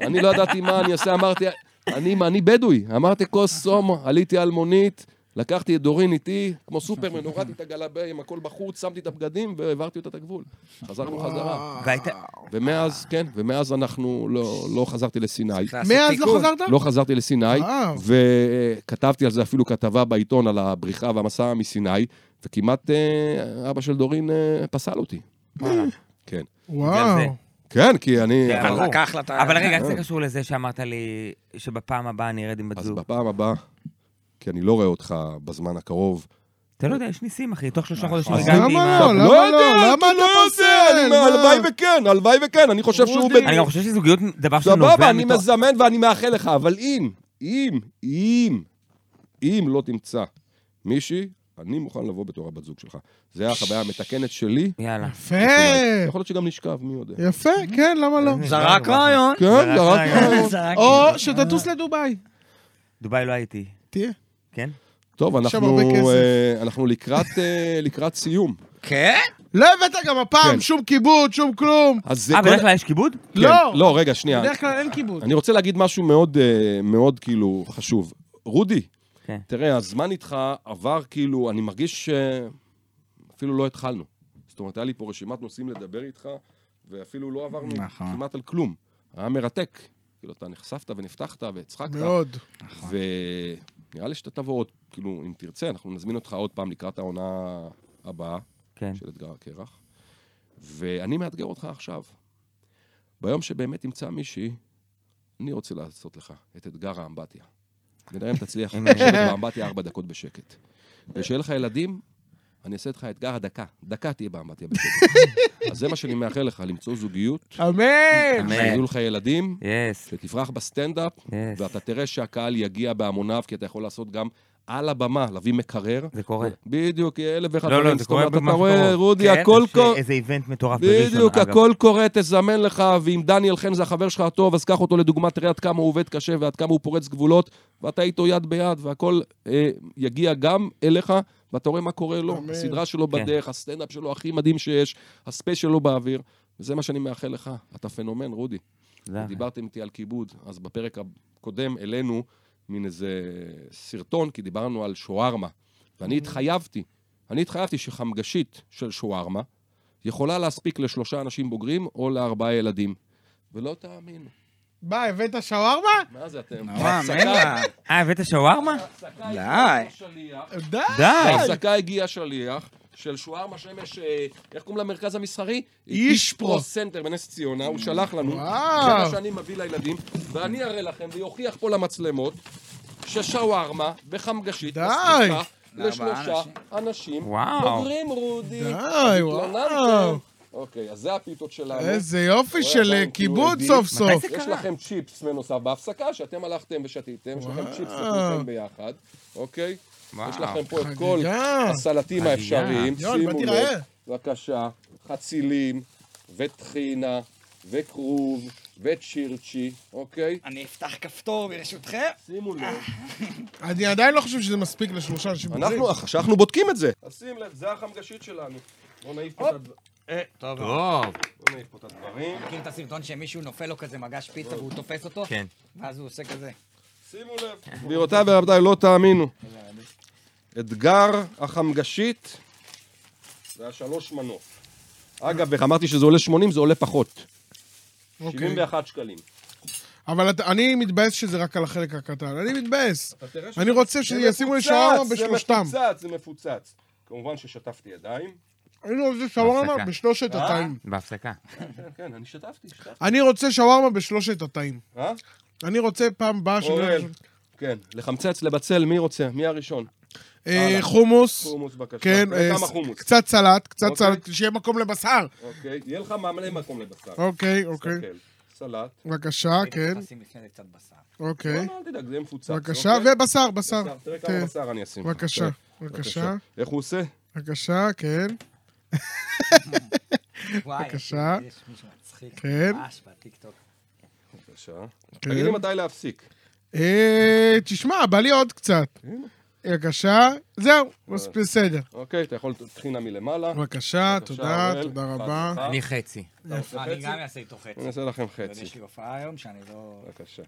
[SPEAKER 1] אני לא ידעתי מה אני אעשה, אמרתי, אני, מה, אני בדואי. אמרתי, כוס סום, עליתי על מונית, לקחתי את דורין איתי, כמו סופרמן, הורדתי את הגלבי עם הכל בחוץ, שמתי את הבגדים והעברתי אותה את הגבול. חזרנו חזרה.
[SPEAKER 3] והייתה...
[SPEAKER 1] אה, ומאז, כן, ומאז אנחנו, לא, לא חזרתי לסיני.
[SPEAKER 2] מאז לא חזרת?
[SPEAKER 1] לא חזרתי לסיני,
[SPEAKER 2] וואו.
[SPEAKER 1] וכתבתי על זה אפילו כתבה בעיתון, על הבריחה והמסע מסיני, וכמעט אה, אבא של דורין אה, פסל אותי. כן.
[SPEAKER 2] וואו.
[SPEAKER 3] בגלל זה.
[SPEAKER 1] כן, כי אני...
[SPEAKER 3] כן,
[SPEAKER 1] אבל-
[SPEAKER 5] אבל
[SPEAKER 3] ברור.
[SPEAKER 5] לקח לה את ה...
[SPEAKER 3] אבל רגע,
[SPEAKER 1] אה,
[SPEAKER 3] איך זה קשור לזה שאמרת לי שבפעם הבאה אני ארד עם בת
[SPEAKER 1] אז
[SPEAKER 3] זוג?
[SPEAKER 1] בפעם הבאה, כי אני לא רואה אותך בזמן הקרוב.
[SPEAKER 3] אתה לא יודע, יש ניסים, אחי. תוך שלושה חודשים
[SPEAKER 1] נכון. אז
[SPEAKER 3] הגעתי עם
[SPEAKER 2] למה לא?
[SPEAKER 3] ה...
[SPEAKER 2] למה לא? למה אתה פוסל?
[SPEAKER 1] אני-
[SPEAKER 2] מה?
[SPEAKER 1] הלוואי וכן, הלוואי וכן, אני חושב שהוא...
[SPEAKER 2] רודי.
[SPEAKER 1] ב-
[SPEAKER 3] אני גם חושב שזוגיות דבר שנובע
[SPEAKER 1] סבבה, אני מזמן ואני מאחל לך, אבל אם אם, אם, אם לא תמצא מישהי, אני מוכן לבוא בתור הבת זוג שלך. זה החוויה המתקנת שלי.
[SPEAKER 3] יאללה.
[SPEAKER 2] יפה!
[SPEAKER 1] יכול להיות שגם נשכב, מי יודע.
[SPEAKER 2] יפה,
[SPEAKER 3] Mhm.
[SPEAKER 2] כן, למה לא?
[SPEAKER 5] זרק רעיון.
[SPEAKER 1] כן,
[SPEAKER 3] זה
[SPEAKER 1] זרק
[SPEAKER 3] רק *laughs*
[SPEAKER 1] רעיון.
[SPEAKER 5] זרק.
[SPEAKER 2] או שתטוס לדובאי.
[SPEAKER 3] דובאי לא הייתי.
[SPEAKER 2] תהיה.
[SPEAKER 3] כן?
[SPEAKER 1] טוב,
[SPEAKER 2] יש שם
[SPEAKER 1] אנחנו,
[SPEAKER 2] הרבה כסף.
[SPEAKER 1] אה, אנחנו לקראת, אה, לקראת סיום.
[SPEAKER 5] כן?
[SPEAKER 2] לא הבאת גם
[SPEAKER 1] כן.
[SPEAKER 2] הפעם שום כיבוד, שום כלום.
[SPEAKER 1] אז זה
[SPEAKER 3] אה,
[SPEAKER 1] כל-
[SPEAKER 3] בדרך כלל יש כיבוד?
[SPEAKER 1] כן,
[SPEAKER 2] לא.
[SPEAKER 1] לא, רגע, שנייה.
[SPEAKER 2] בדרך כלל אין כיבוד.
[SPEAKER 1] אני רוצה להגיד משהו מאוד, אה, מאוד כאילו חשוב. רודי,
[SPEAKER 3] כן.
[SPEAKER 1] תראה, הזמן איתך עבר כאילו, אני מרגיש שאפילו לא התחלנו. זאת אומרת, היה לי פה רשימת נושאים לדבר איתך, ואפילו לא עברנו
[SPEAKER 5] נכון.
[SPEAKER 1] כמעט על כלום. היה מרתק. כאילו, אתה נחשפת ונפתחת והצחקת.
[SPEAKER 2] מאוד.
[SPEAKER 1] ונראה לי שאתה תבוא עוד, כאילו, אם תרצה, אנחנו נזמין אותך עוד פעם לקראת העונה הבאה.
[SPEAKER 3] כן.
[SPEAKER 1] של אתגר הקרח, ואני מאתגר אותך עכשיו. ביום שבאמת תמצא מישהי, אני רוצה לעשות לך את אתגר האמבטיה. ונראה אם תצליח
[SPEAKER 3] אמן.
[SPEAKER 1] לשבת באמבטיה ארבע דקות בשקט. וכשיהיה לך ילדים, אני אעשה איתך אתגר הדקה. דקה תהיה באמבטיה בשקט. אז זה מה שאני מאחל לך, למצוא זוגיות,
[SPEAKER 2] אמן!
[SPEAKER 1] שיהיו לך ילדים,
[SPEAKER 3] יס,
[SPEAKER 1] שתפרח בסטנדאפ,
[SPEAKER 3] יס.
[SPEAKER 1] ואתה תראה שהקהל יגיע בהמוניו, כי אתה יכול לעשות גם על הבמה, להביא מקרר.
[SPEAKER 3] זה קורה.
[SPEAKER 1] בדיוק, אלף ואחד
[SPEAKER 3] לא, לא,
[SPEAKER 1] דברים.
[SPEAKER 3] זה
[SPEAKER 1] זאת
[SPEAKER 3] קורה
[SPEAKER 1] אומרת, אתה
[SPEAKER 3] במשהו
[SPEAKER 1] רואה,
[SPEAKER 3] קרוב.
[SPEAKER 1] רודי,
[SPEAKER 5] כן,
[SPEAKER 1] הכל
[SPEAKER 3] יש,
[SPEAKER 1] קורה.
[SPEAKER 3] אה, איזה איבנט מטורף בראשון, אגב.
[SPEAKER 1] בדיוק, הכל קורה, תזמן לך, ואם דניאל חן זה החבר שלך הטוב, אז קח אותו לדוגמה, תראה עד כמה הוא עובד קשה ועד כמה הוא פורץ גבולות, ואתה איתו יד ביד, והכל אה, יגיע גם אליך, ואתה רואה מה קורה לו. הסדרה שלו
[SPEAKER 3] כן.
[SPEAKER 1] בדרך, הסטנדאפ שלו הכי מדהים שיש, הספייס שלו באוויר, וזה מה שאני מאחל לך. אתה פנומן, רודי.
[SPEAKER 3] תודה.
[SPEAKER 1] דיברתם איתי על כיבוד, אז בפרק הקודם העלינו מין איזה סרטון, כי דיברנו על שוארמה. ואני התחייבתי, אני התחייבתי שחמגשית של שוארמה יכולה להספיק לשלושה אנשים בוגרים או לארבעה ילדים. ולא תאמינו.
[SPEAKER 2] מה, הבאת שווארמה?
[SPEAKER 1] מה זה אתם?
[SPEAKER 5] נורא, אין לה.
[SPEAKER 3] אה, הבאת שווארמה?
[SPEAKER 5] די.
[SPEAKER 2] די! כן.
[SPEAKER 3] די.
[SPEAKER 1] בהפסקה הגיע שליח של שוארמה שמש, אה, איך קוראים למרכז המסחרי?
[SPEAKER 2] אישפרו.
[SPEAKER 1] סנטר בנס ציונה, הוא שלח לנו.
[SPEAKER 2] וואו.
[SPEAKER 1] זה מה שאני מביא לילדים, ואני אראה לכם ויוכיח פה למצלמות ששווארמה בחמגשית
[SPEAKER 2] די.
[SPEAKER 1] מספיקה
[SPEAKER 5] לארבעה
[SPEAKER 1] לשלושה
[SPEAKER 5] אנשים.
[SPEAKER 1] אנשים.
[SPEAKER 3] וואו.
[SPEAKER 1] בוגרים רודי.
[SPEAKER 2] די, וואו.
[SPEAKER 1] התלוננתם. אוקיי, אז זה הפיתות שלנו.
[SPEAKER 2] איזה יופי
[SPEAKER 1] רואה,
[SPEAKER 2] של
[SPEAKER 1] עדיין
[SPEAKER 2] אה,
[SPEAKER 1] כאילו
[SPEAKER 2] כיבוד
[SPEAKER 1] עדים.
[SPEAKER 2] סוף
[SPEAKER 1] מתי
[SPEAKER 2] סוף.
[SPEAKER 3] זה
[SPEAKER 1] יש
[SPEAKER 3] קרה?
[SPEAKER 1] לכם צ'יפס בנוסף בהפסקה, שאתם הלכתם ושתיתם, יש לכם צ'יפס לכולכם ביחד, אוקיי?
[SPEAKER 3] וואו,
[SPEAKER 1] יש לכם פה את
[SPEAKER 2] חגיגה.
[SPEAKER 1] כל הסלטים האפשריים,
[SPEAKER 2] יואל,
[SPEAKER 1] שימו
[SPEAKER 2] באתי
[SPEAKER 1] לב,
[SPEAKER 2] רעב.
[SPEAKER 1] בבקשה, חצילים, וטחינה, וכרוב, וצ'ירצ'י, אוקיי?
[SPEAKER 5] אני אפתח כפתור ברשותכם.
[SPEAKER 1] שימו לב.
[SPEAKER 2] אני עדיין לא חושב שזה מספיק לשלושה אנשים. בוגרים.
[SPEAKER 1] אנחנו, אנחנו בודקים את זה. אז שים לב, זה החמגשית שלנו. בוא נעיף פה את הד-
[SPEAKER 2] אה,
[SPEAKER 5] טוב.
[SPEAKER 3] טוב.
[SPEAKER 1] בוא נעיף פה את הדברים.
[SPEAKER 5] מכיר את הסרטון שמישהו נופל לו כזה מגש פיצה והוא תופס אותו?
[SPEAKER 3] כן.
[SPEAKER 5] ואז הוא עושה כזה.
[SPEAKER 1] שימו לב. גבירותיי ורבותיי, לא תאמינו. אתגר החמגשית והשלוש מנוף. אגב, איך אמרתי שזה עולה 80, זה עולה פחות.
[SPEAKER 2] אוקיי.
[SPEAKER 1] 71 שקלים.
[SPEAKER 2] אבל אתה- אני מתבאס שזה רק על החלק הקטן. אני מתבאס.
[SPEAKER 1] תראה
[SPEAKER 2] אני רוצה שישימו לי
[SPEAKER 1] מפוצץ,
[SPEAKER 2] שווארמה בשלושתם.
[SPEAKER 1] זה מפוצץ, זה מפוצץ. כמובן ששטפתי ידיים.
[SPEAKER 2] אני רוצה שווארמה
[SPEAKER 3] הפסקה.
[SPEAKER 2] בשלושת
[SPEAKER 1] אה?
[SPEAKER 2] התאים.
[SPEAKER 3] בהפסקה.
[SPEAKER 1] כן, כן, אני שטפתי, שטפתי.
[SPEAKER 2] אני רוצה שווארמה בשלושת התאים.
[SPEAKER 1] אה?
[SPEAKER 2] אני רוצה פעם הבאה שאני
[SPEAKER 1] אורל.
[SPEAKER 2] לא-
[SPEAKER 1] כן, לחמצץ, לבצל, מי רוצה? מי הראשון?
[SPEAKER 2] אה,
[SPEAKER 1] הלאה.
[SPEAKER 2] חומוס.
[SPEAKER 1] חומוס בבקשה.
[SPEAKER 2] כן,
[SPEAKER 1] אה,
[SPEAKER 2] אה,
[SPEAKER 1] כמה חומוס.
[SPEAKER 2] קצת סלט, קצת
[SPEAKER 1] אוקיי.
[SPEAKER 2] סלט, שיהיה מקום לבשר.
[SPEAKER 1] אוקיי, יהיה לך מעמלי מקום לבשר.
[SPEAKER 2] אוקיי, אוקיי.
[SPEAKER 1] תסתכל. סלט.
[SPEAKER 2] בבקשה,
[SPEAKER 5] אה,
[SPEAKER 2] כן,
[SPEAKER 5] נשים לפני זה קצת בשר.
[SPEAKER 2] אוקיי.
[SPEAKER 1] לא, אל תדאג, זה יהיה מפוצץ.
[SPEAKER 2] בבקשה,
[SPEAKER 1] אוקיי?
[SPEAKER 2] ובשר, בשר.
[SPEAKER 1] בשר, תראה
[SPEAKER 2] כן.
[SPEAKER 1] כמה אוקיי. בשר אני אשים.
[SPEAKER 2] בבקשה,
[SPEAKER 1] תראה,
[SPEAKER 2] בבקשה,
[SPEAKER 1] איך הוא עושה?
[SPEAKER 2] בבקשה, כן,
[SPEAKER 5] וואי,
[SPEAKER 2] בבקשה.
[SPEAKER 5] יש מישהו מצחיק.
[SPEAKER 2] כן.
[SPEAKER 5] ממש בטיקטוק.
[SPEAKER 1] בבקשה. תגיד לי מתי להפסיק.
[SPEAKER 2] אה, תשמע, בא לי עוד קצת. בבקשה, זהו, מס- בסדר.
[SPEAKER 1] אוקיי, אתה יכול טחינה מלמעלה.
[SPEAKER 2] בבקשה,
[SPEAKER 1] בבקשה,
[SPEAKER 2] תודה,
[SPEAKER 1] אוראל.
[SPEAKER 2] תודה
[SPEAKER 1] אחד,
[SPEAKER 2] רבה.
[SPEAKER 1] אחד.
[SPEAKER 3] אני חצי.
[SPEAKER 1] אתה רוצה
[SPEAKER 5] אני
[SPEAKER 1] חצי?
[SPEAKER 5] גם אעשה איתו חצי.
[SPEAKER 1] אני אעשה לכם
[SPEAKER 5] אבל יש
[SPEAKER 1] חצי.
[SPEAKER 5] לי הופעה היום שאני לא...
[SPEAKER 1] בבקשה.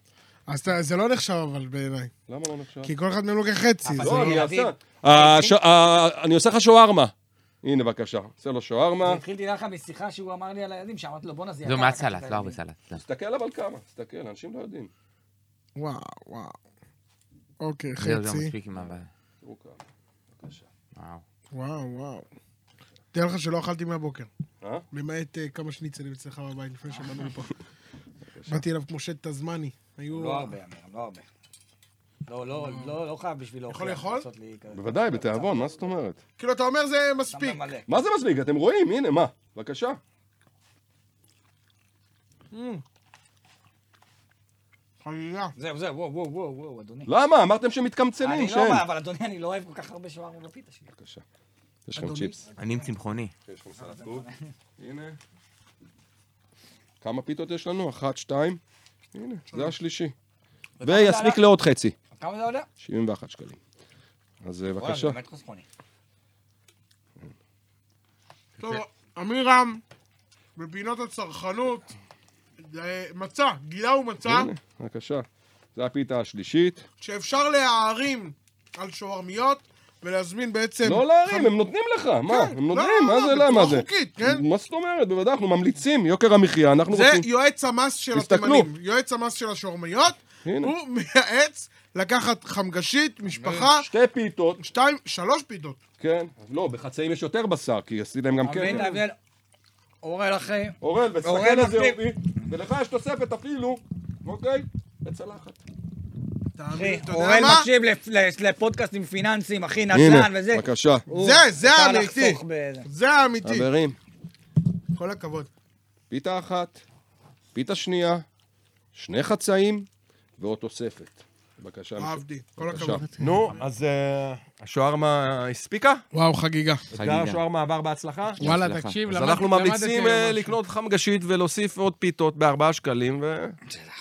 [SPEAKER 2] אז אתה- זה לא נחשב אבל בעיניי,
[SPEAKER 1] למה לא נחשב?
[SPEAKER 2] כי כל אחד מהם לוקח חצי.
[SPEAKER 5] אבל
[SPEAKER 2] זה-
[SPEAKER 5] זה
[SPEAKER 1] לא, אני
[SPEAKER 5] ילדים.
[SPEAKER 1] אעשה. אה, ש- אה, אני עושה לך שווארמה. הנה, בבקשה. עושה לו שווארמה.
[SPEAKER 5] התחיל תדע לך משיחה שהוא אמר לי על הילדים, שאמרתי לו בואנה זה יקר.
[SPEAKER 3] זו מעט
[SPEAKER 5] לקחת את
[SPEAKER 3] סלט, אה. לא הרבה
[SPEAKER 5] הילדים."
[SPEAKER 3] סלט. לא.
[SPEAKER 1] תסתכל אבל כמה. תסתכל, אנשים לא יודעים.
[SPEAKER 2] וואו, וואו. אוקיי,
[SPEAKER 3] זהו, זהו,
[SPEAKER 2] חצי.
[SPEAKER 3] לא, מספיק עם ה...
[SPEAKER 1] תראו כמה. בבקשה.
[SPEAKER 3] וואו.
[SPEAKER 2] וואו, וואו. תאר לך שלא אכלתי מהבוקר.
[SPEAKER 1] אה?
[SPEAKER 2] למעט אה, כמה שניצלים אצלך בבית לפני שבאנו לפה. באתי אליו כמו שט תזמני. היו...
[SPEAKER 5] לא הרבה, אמירם, לא הרבה. לא, לא, לא, לא חייב בשביל להוכיח.
[SPEAKER 2] יכול לאכול?
[SPEAKER 5] לעשות לי כזה.
[SPEAKER 1] בוודאי, בתיאבון, מה זאת אומרת?
[SPEAKER 2] כאילו, אתה אומר זה
[SPEAKER 5] שם
[SPEAKER 2] מספיק.
[SPEAKER 5] מלא.
[SPEAKER 1] מה זה מספיק? אתם רואים, הנה, מה? בבקשה.
[SPEAKER 2] חגיגה.
[SPEAKER 5] זהו, זהו, וואו, וואו, וואו, וואו, אדוני.
[SPEAKER 2] לא,
[SPEAKER 1] למה? אמרתם שמתקמצנים,
[SPEAKER 5] אני
[SPEAKER 1] שם.
[SPEAKER 5] לא בא, אבל אדוני, אני לא אוהב כל כך הרבה שווארמה בפיתה שלי.
[SPEAKER 1] בבקשה. יש לכם צ'יפס.
[SPEAKER 3] אני עם צמחוני.
[SPEAKER 1] יש לכם סלט קוק. הנה. כמה פיתות יש לנו? אחת, שתיים. הנה, זה השלישי. ויספיק לעוד חצי.
[SPEAKER 5] כמה זה עולה?
[SPEAKER 1] 71 שקלים. אז אה,
[SPEAKER 5] וואלה,
[SPEAKER 1] בבקשה.
[SPEAKER 5] זה באמת חסכוני.
[SPEAKER 2] טוב, אמירם, בפינות הצרכנות, אה, מצא, גילה הוא מצא,
[SPEAKER 1] הנה, בבקשה. זו הפיתה השלישית.
[SPEAKER 2] שאפשר להערים על שווארמיות ולהזמין בעצם...
[SPEAKER 1] לא להרים, הם נותנים לך, מה?
[SPEAKER 2] כן,
[SPEAKER 1] הם
[SPEAKER 2] לא,
[SPEAKER 1] נותנים, מה
[SPEAKER 2] לא,
[SPEAKER 1] זה
[SPEAKER 2] בצורה
[SPEAKER 1] למה זה?
[SPEAKER 2] חוקית, כן?
[SPEAKER 1] מה זאת אומרת? בוודאי, אנחנו ממליצים, יוקר המחיה, אנחנו
[SPEAKER 2] זה
[SPEAKER 1] רוצים...
[SPEAKER 2] יועץ המס של
[SPEAKER 1] תסתכלו.
[SPEAKER 2] התימנים, יועץ המס של השורמיות,
[SPEAKER 1] הנה.
[SPEAKER 2] הוא מייעץ לקחת חמגשית, משפחה,
[SPEAKER 1] שתי פיתות,
[SPEAKER 2] שתיים, שלוש פיתות.
[SPEAKER 1] כן. לא, בחצאים יש יותר בשר, כי עשיתי להם גם
[SPEAKER 5] מבין
[SPEAKER 1] כן.
[SPEAKER 5] את ההבדל? אורל אוקיי. אחי,
[SPEAKER 1] אורל, ותסתכל
[SPEAKER 5] אורל
[SPEAKER 1] על זה,
[SPEAKER 5] מקליב.
[SPEAKER 1] אורי. ולך יש תוספת אפילו, אוקיי? בצלחת.
[SPEAKER 2] תאמין,
[SPEAKER 5] אחי,
[SPEAKER 2] אתה יודע
[SPEAKER 5] אורל
[SPEAKER 2] מה?
[SPEAKER 5] מקשיב לפ- לפ- לפודקאסטים פיננסיים, אחי, נדל"ן
[SPEAKER 1] הנה, אוקיי.
[SPEAKER 5] וזה.
[SPEAKER 1] בבקשה.
[SPEAKER 5] הוא-
[SPEAKER 2] זה, זה
[SPEAKER 5] אפשר
[SPEAKER 2] האמיתי.
[SPEAKER 5] לחסוך בזה.
[SPEAKER 2] זה האמיתי.
[SPEAKER 1] חברים,
[SPEAKER 2] כל הכבוד.
[SPEAKER 1] פיתה אחת, פיתה שנייה, שני חצאים ועוד תוספת. בבקשה.
[SPEAKER 2] אהבתי, כל
[SPEAKER 1] בבקשה.
[SPEAKER 2] הכבוד.
[SPEAKER 1] נו, אז אה, השווארמה הספיקה?
[SPEAKER 4] וואו, חגיגה.
[SPEAKER 1] אתגר השווארמה עבר בהצלחה?
[SPEAKER 4] וואלה, תקשיב,
[SPEAKER 1] אז
[SPEAKER 4] למד-
[SPEAKER 1] אנחנו
[SPEAKER 4] למדתי
[SPEAKER 1] ממליצים
[SPEAKER 4] היום
[SPEAKER 1] אה,
[SPEAKER 4] משהו.
[SPEAKER 1] לקנות חמגשית ולהוסיף עוד פיתות בארבעה שקלים ו-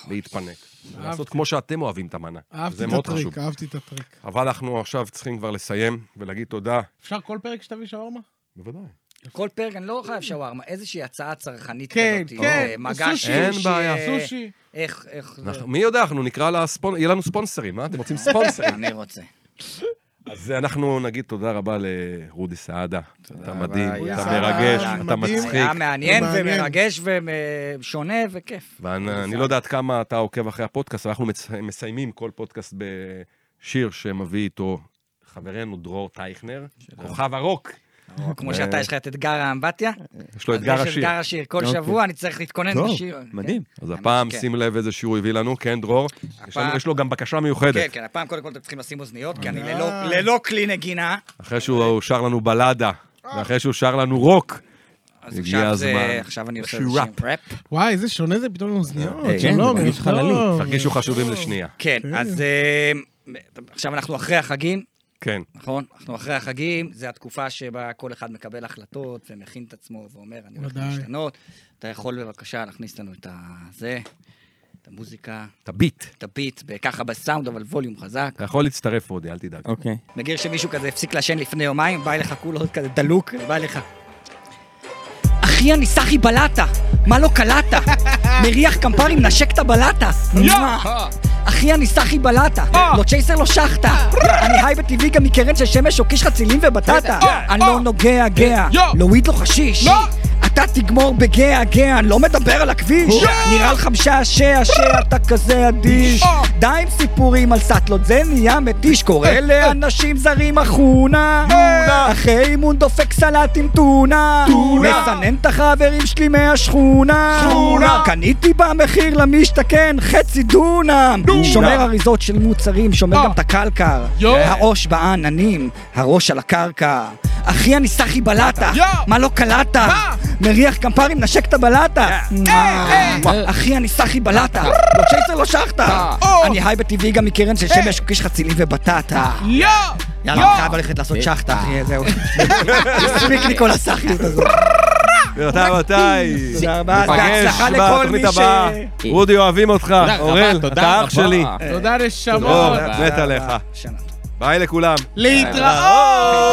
[SPEAKER 1] להתפנק. לעשות כמו שאתם אוהבים את המנה.
[SPEAKER 4] נכון. אהבתי
[SPEAKER 1] זה
[SPEAKER 4] את
[SPEAKER 1] מאוד חשוב.
[SPEAKER 4] הטריק, אהבתי את הטריק.
[SPEAKER 1] אבל אנחנו עכשיו צריכים כבר לסיים ולהגיד תודה.
[SPEAKER 4] אפשר כל פרק שתביא שווארמה?
[SPEAKER 1] בוודאי.
[SPEAKER 5] כל פרק, אני לא חייב שווארמה, איזושהי הצעה צרכנית
[SPEAKER 4] כן,
[SPEAKER 5] כזאת.
[SPEAKER 4] כן,
[SPEAKER 5] אה, מגש
[SPEAKER 4] סושי.
[SPEAKER 1] אין
[SPEAKER 5] שושי,
[SPEAKER 1] בעיה. נכון.
[SPEAKER 5] אה,
[SPEAKER 4] סושי.
[SPEAKER 5] איך, איך זה?
[SPEAKER 1] אנחנו- מי יודע, אנחנו נקרא לה, ספונ- יהיה לנו ספונסרים, אה? אתם רוצים ספונסרים?
[SPEAKER 5] אני רוצה.
[SPEAKER 1] אז אנחנו נגיד תודה רבה לרודי סעדה. אתה
[SPEAKER 5] רבה,
[SPEAKER 1] מדהים,
[SPEAKER 5] היה-
[SPEAKER 1] אתה מרגש,
[SPEAKER 2] היה
[SPEAKER 1] אתה
[SPEAKER 2] מדהים.
[SPEAKER 1] מצחיק.
[SPEAKER 5] היה מעניין
[SPEAKER 2] מעניין.
[SPEAKER 5] ומרגש ושונה וכיף.
[SPEAKER 1] ואני לא יודעת כמה אתה עוקב אחרי הפודקאסט, אבל אנחנו מצ- מסיימים כל פודקאסט בשיר שמביא איתו חברנו דרור טייכנר, כוכב הרוק.
[SPEAKER 5] או כמו שאתה, יש לך את אתגר האמבטיה.
[SPEAKER 1] יש לו אה. אתגר
[SPEAKER 5] אז יש
[SPEAKER 1] השיר.
[SPEAKER 5] אתגר השיר. כל
[SPEAKER 7] אוקיי.
[SPEAKER 5] שבוע אני צריך להתכונן
[SPEAKER 7] טוב,
[SPEAKER 5] לשיר.
[SPEAKER 7] מדהים.
[SPEAKER 1] אז
[SPEAKER 5] אני-
[SPEAKER 1] הפעם
[SPEAKER 5] כן.
[SPEAKER 1] שים לב איזה שיר הוא הביא לנו, כן, דרור? יש לנו-
[SPEAKER 5] הפעם-
[SPEAKER 1] יש לו גם בקשה
[SPEAKER 5] כן,
[SPEAKER 1] מיוחדת.
[SPEAKER 5] כן, הפעם קודם כל אתם צריכים לשים אוזניות, כי אני ללא- ללא כלי נגינה.
[SPEAKER 1] אחרי שהוא שר לנו בלדה,
[SPEAKER 5] אה.
[SPEAKER 1] ואחרי שהוא שר לנו רוק,
[SPEAKER 5] אז
[SPEAKER 1] הגיע
[SPEAKER 5] עכשיו זה,
[SPEAKER 1] הזמן.
[SPEAKER 5] עכשיו אני עושה
[SPEAKER 1] שהוא
[SPEAKER 5] איזשהו ראפ.
[SPEAKER 4] וואי, איזה שונה זה פתאום לאוזניות. שלום,
[SPEAKER 5] אה, כן,
[SPEAKER 1] לא,
[SPEAKER 7] זה מרגיש
[SPEAKER 4] טוב.
[SPEAKER 7] חללית.
[SPEAKER 1] תרגישו חשובים לשנייה.
[SPEAKER 5] כן, אז אה, עכשיו אנחנו אחרי החגים,
[SPEAKER 1] כן.
[SPEAKER 5] נכון? אנחנו אחרי החגים, זו התקופה שבה כל אחד מקבל החלטות ומכין את עצמו ואומר, אני הולך
[SPEAKER 4] ודאי.
[SPEAKER 5] להשתנות. אתה יכול בבקשה להכניס לנו את הזה, את המוזיקה,
[SPEAKER 1] את הביט.
[SPEAKER 5] את הביט, ככה בסאונד, אבל ווליום חזק.
[SPEAKER 1] אתה יכול להצטרף, רודי, אל תדאג.
[SPEAKER 7] אוקיי.
[SPEAKER 5] מכיר שמישהו כזה הפסיק לעשן לפני יומיים, בא אליך כולו כזה דלוק, בא אליך. אחי, אני סחי בלטה, מה לא קלטת? מריח קמפרים, נשק את הבלטה. מואה. אחי, אני סחי בלטה, לא צ'ייסר, לא שחטה. אני היי בטבעי גם מקרן של שמש או קיש חצילים ובטטה. אני לא נוגע גאה, לא וויד, לא חשיש. אתה תגמור בגאה גאה, אני לא מדבר על הכביש. נראה לך משעשע שאתה כזה אדיש. די עם סיפורים על סאטלות, זה נהיה מתיש. קורא לאנשים זרים אה, אחונה. אחרי אימון דופק סלט עם טונה. מסנן את החברים שלי מהשכונה. קניתי במחיר למשתכן כן, חצי דונם. אה. שומר אריזות של מוצרים, שומר גם את הקלקר. העו"ש בעננים, הראש על הקרקע. אחי, אני סחי בלטה. מה אה, לא קלטת? מריח קמפרים, נשק את הבלטה. אחי, אני סחי בלטה. לא צ'ייסר, לא שחטה. אני היי בטבעי גם מקרן של שמש, קיש חצילים ובטטה. יאללה, אני חייב ללכת לעשות שחטה, אחי, זהו. הספיק לי כל הסחיות הזאת.
[SPEAKER 1] ואתה מתי?
[SPEAKER 5] תודה רבה, אז בהצלחה לכל מי
[SPEAKER 1] בתוכנית הבאה.
[SPEAKER 5] ש-
[SPEAKER 1] רודי, אוהבים אותך.
[SPEAKER 7] רבה,
[SPEAKER 1] אורל,
[SPEAKER 7] תודה
[SPEAKER 1] אתה אח
[SPEAKER 7] רבה.
[SPEAKER 1] שלי.
[SPEAKER 4] תודה, נשמות.
[SPEAKER 1] דרור, מת עליך.
[SPEAKER 5] שנה.
[SPEAKER 1] ביי לכולם.
[SPEAKER 4] להתראות.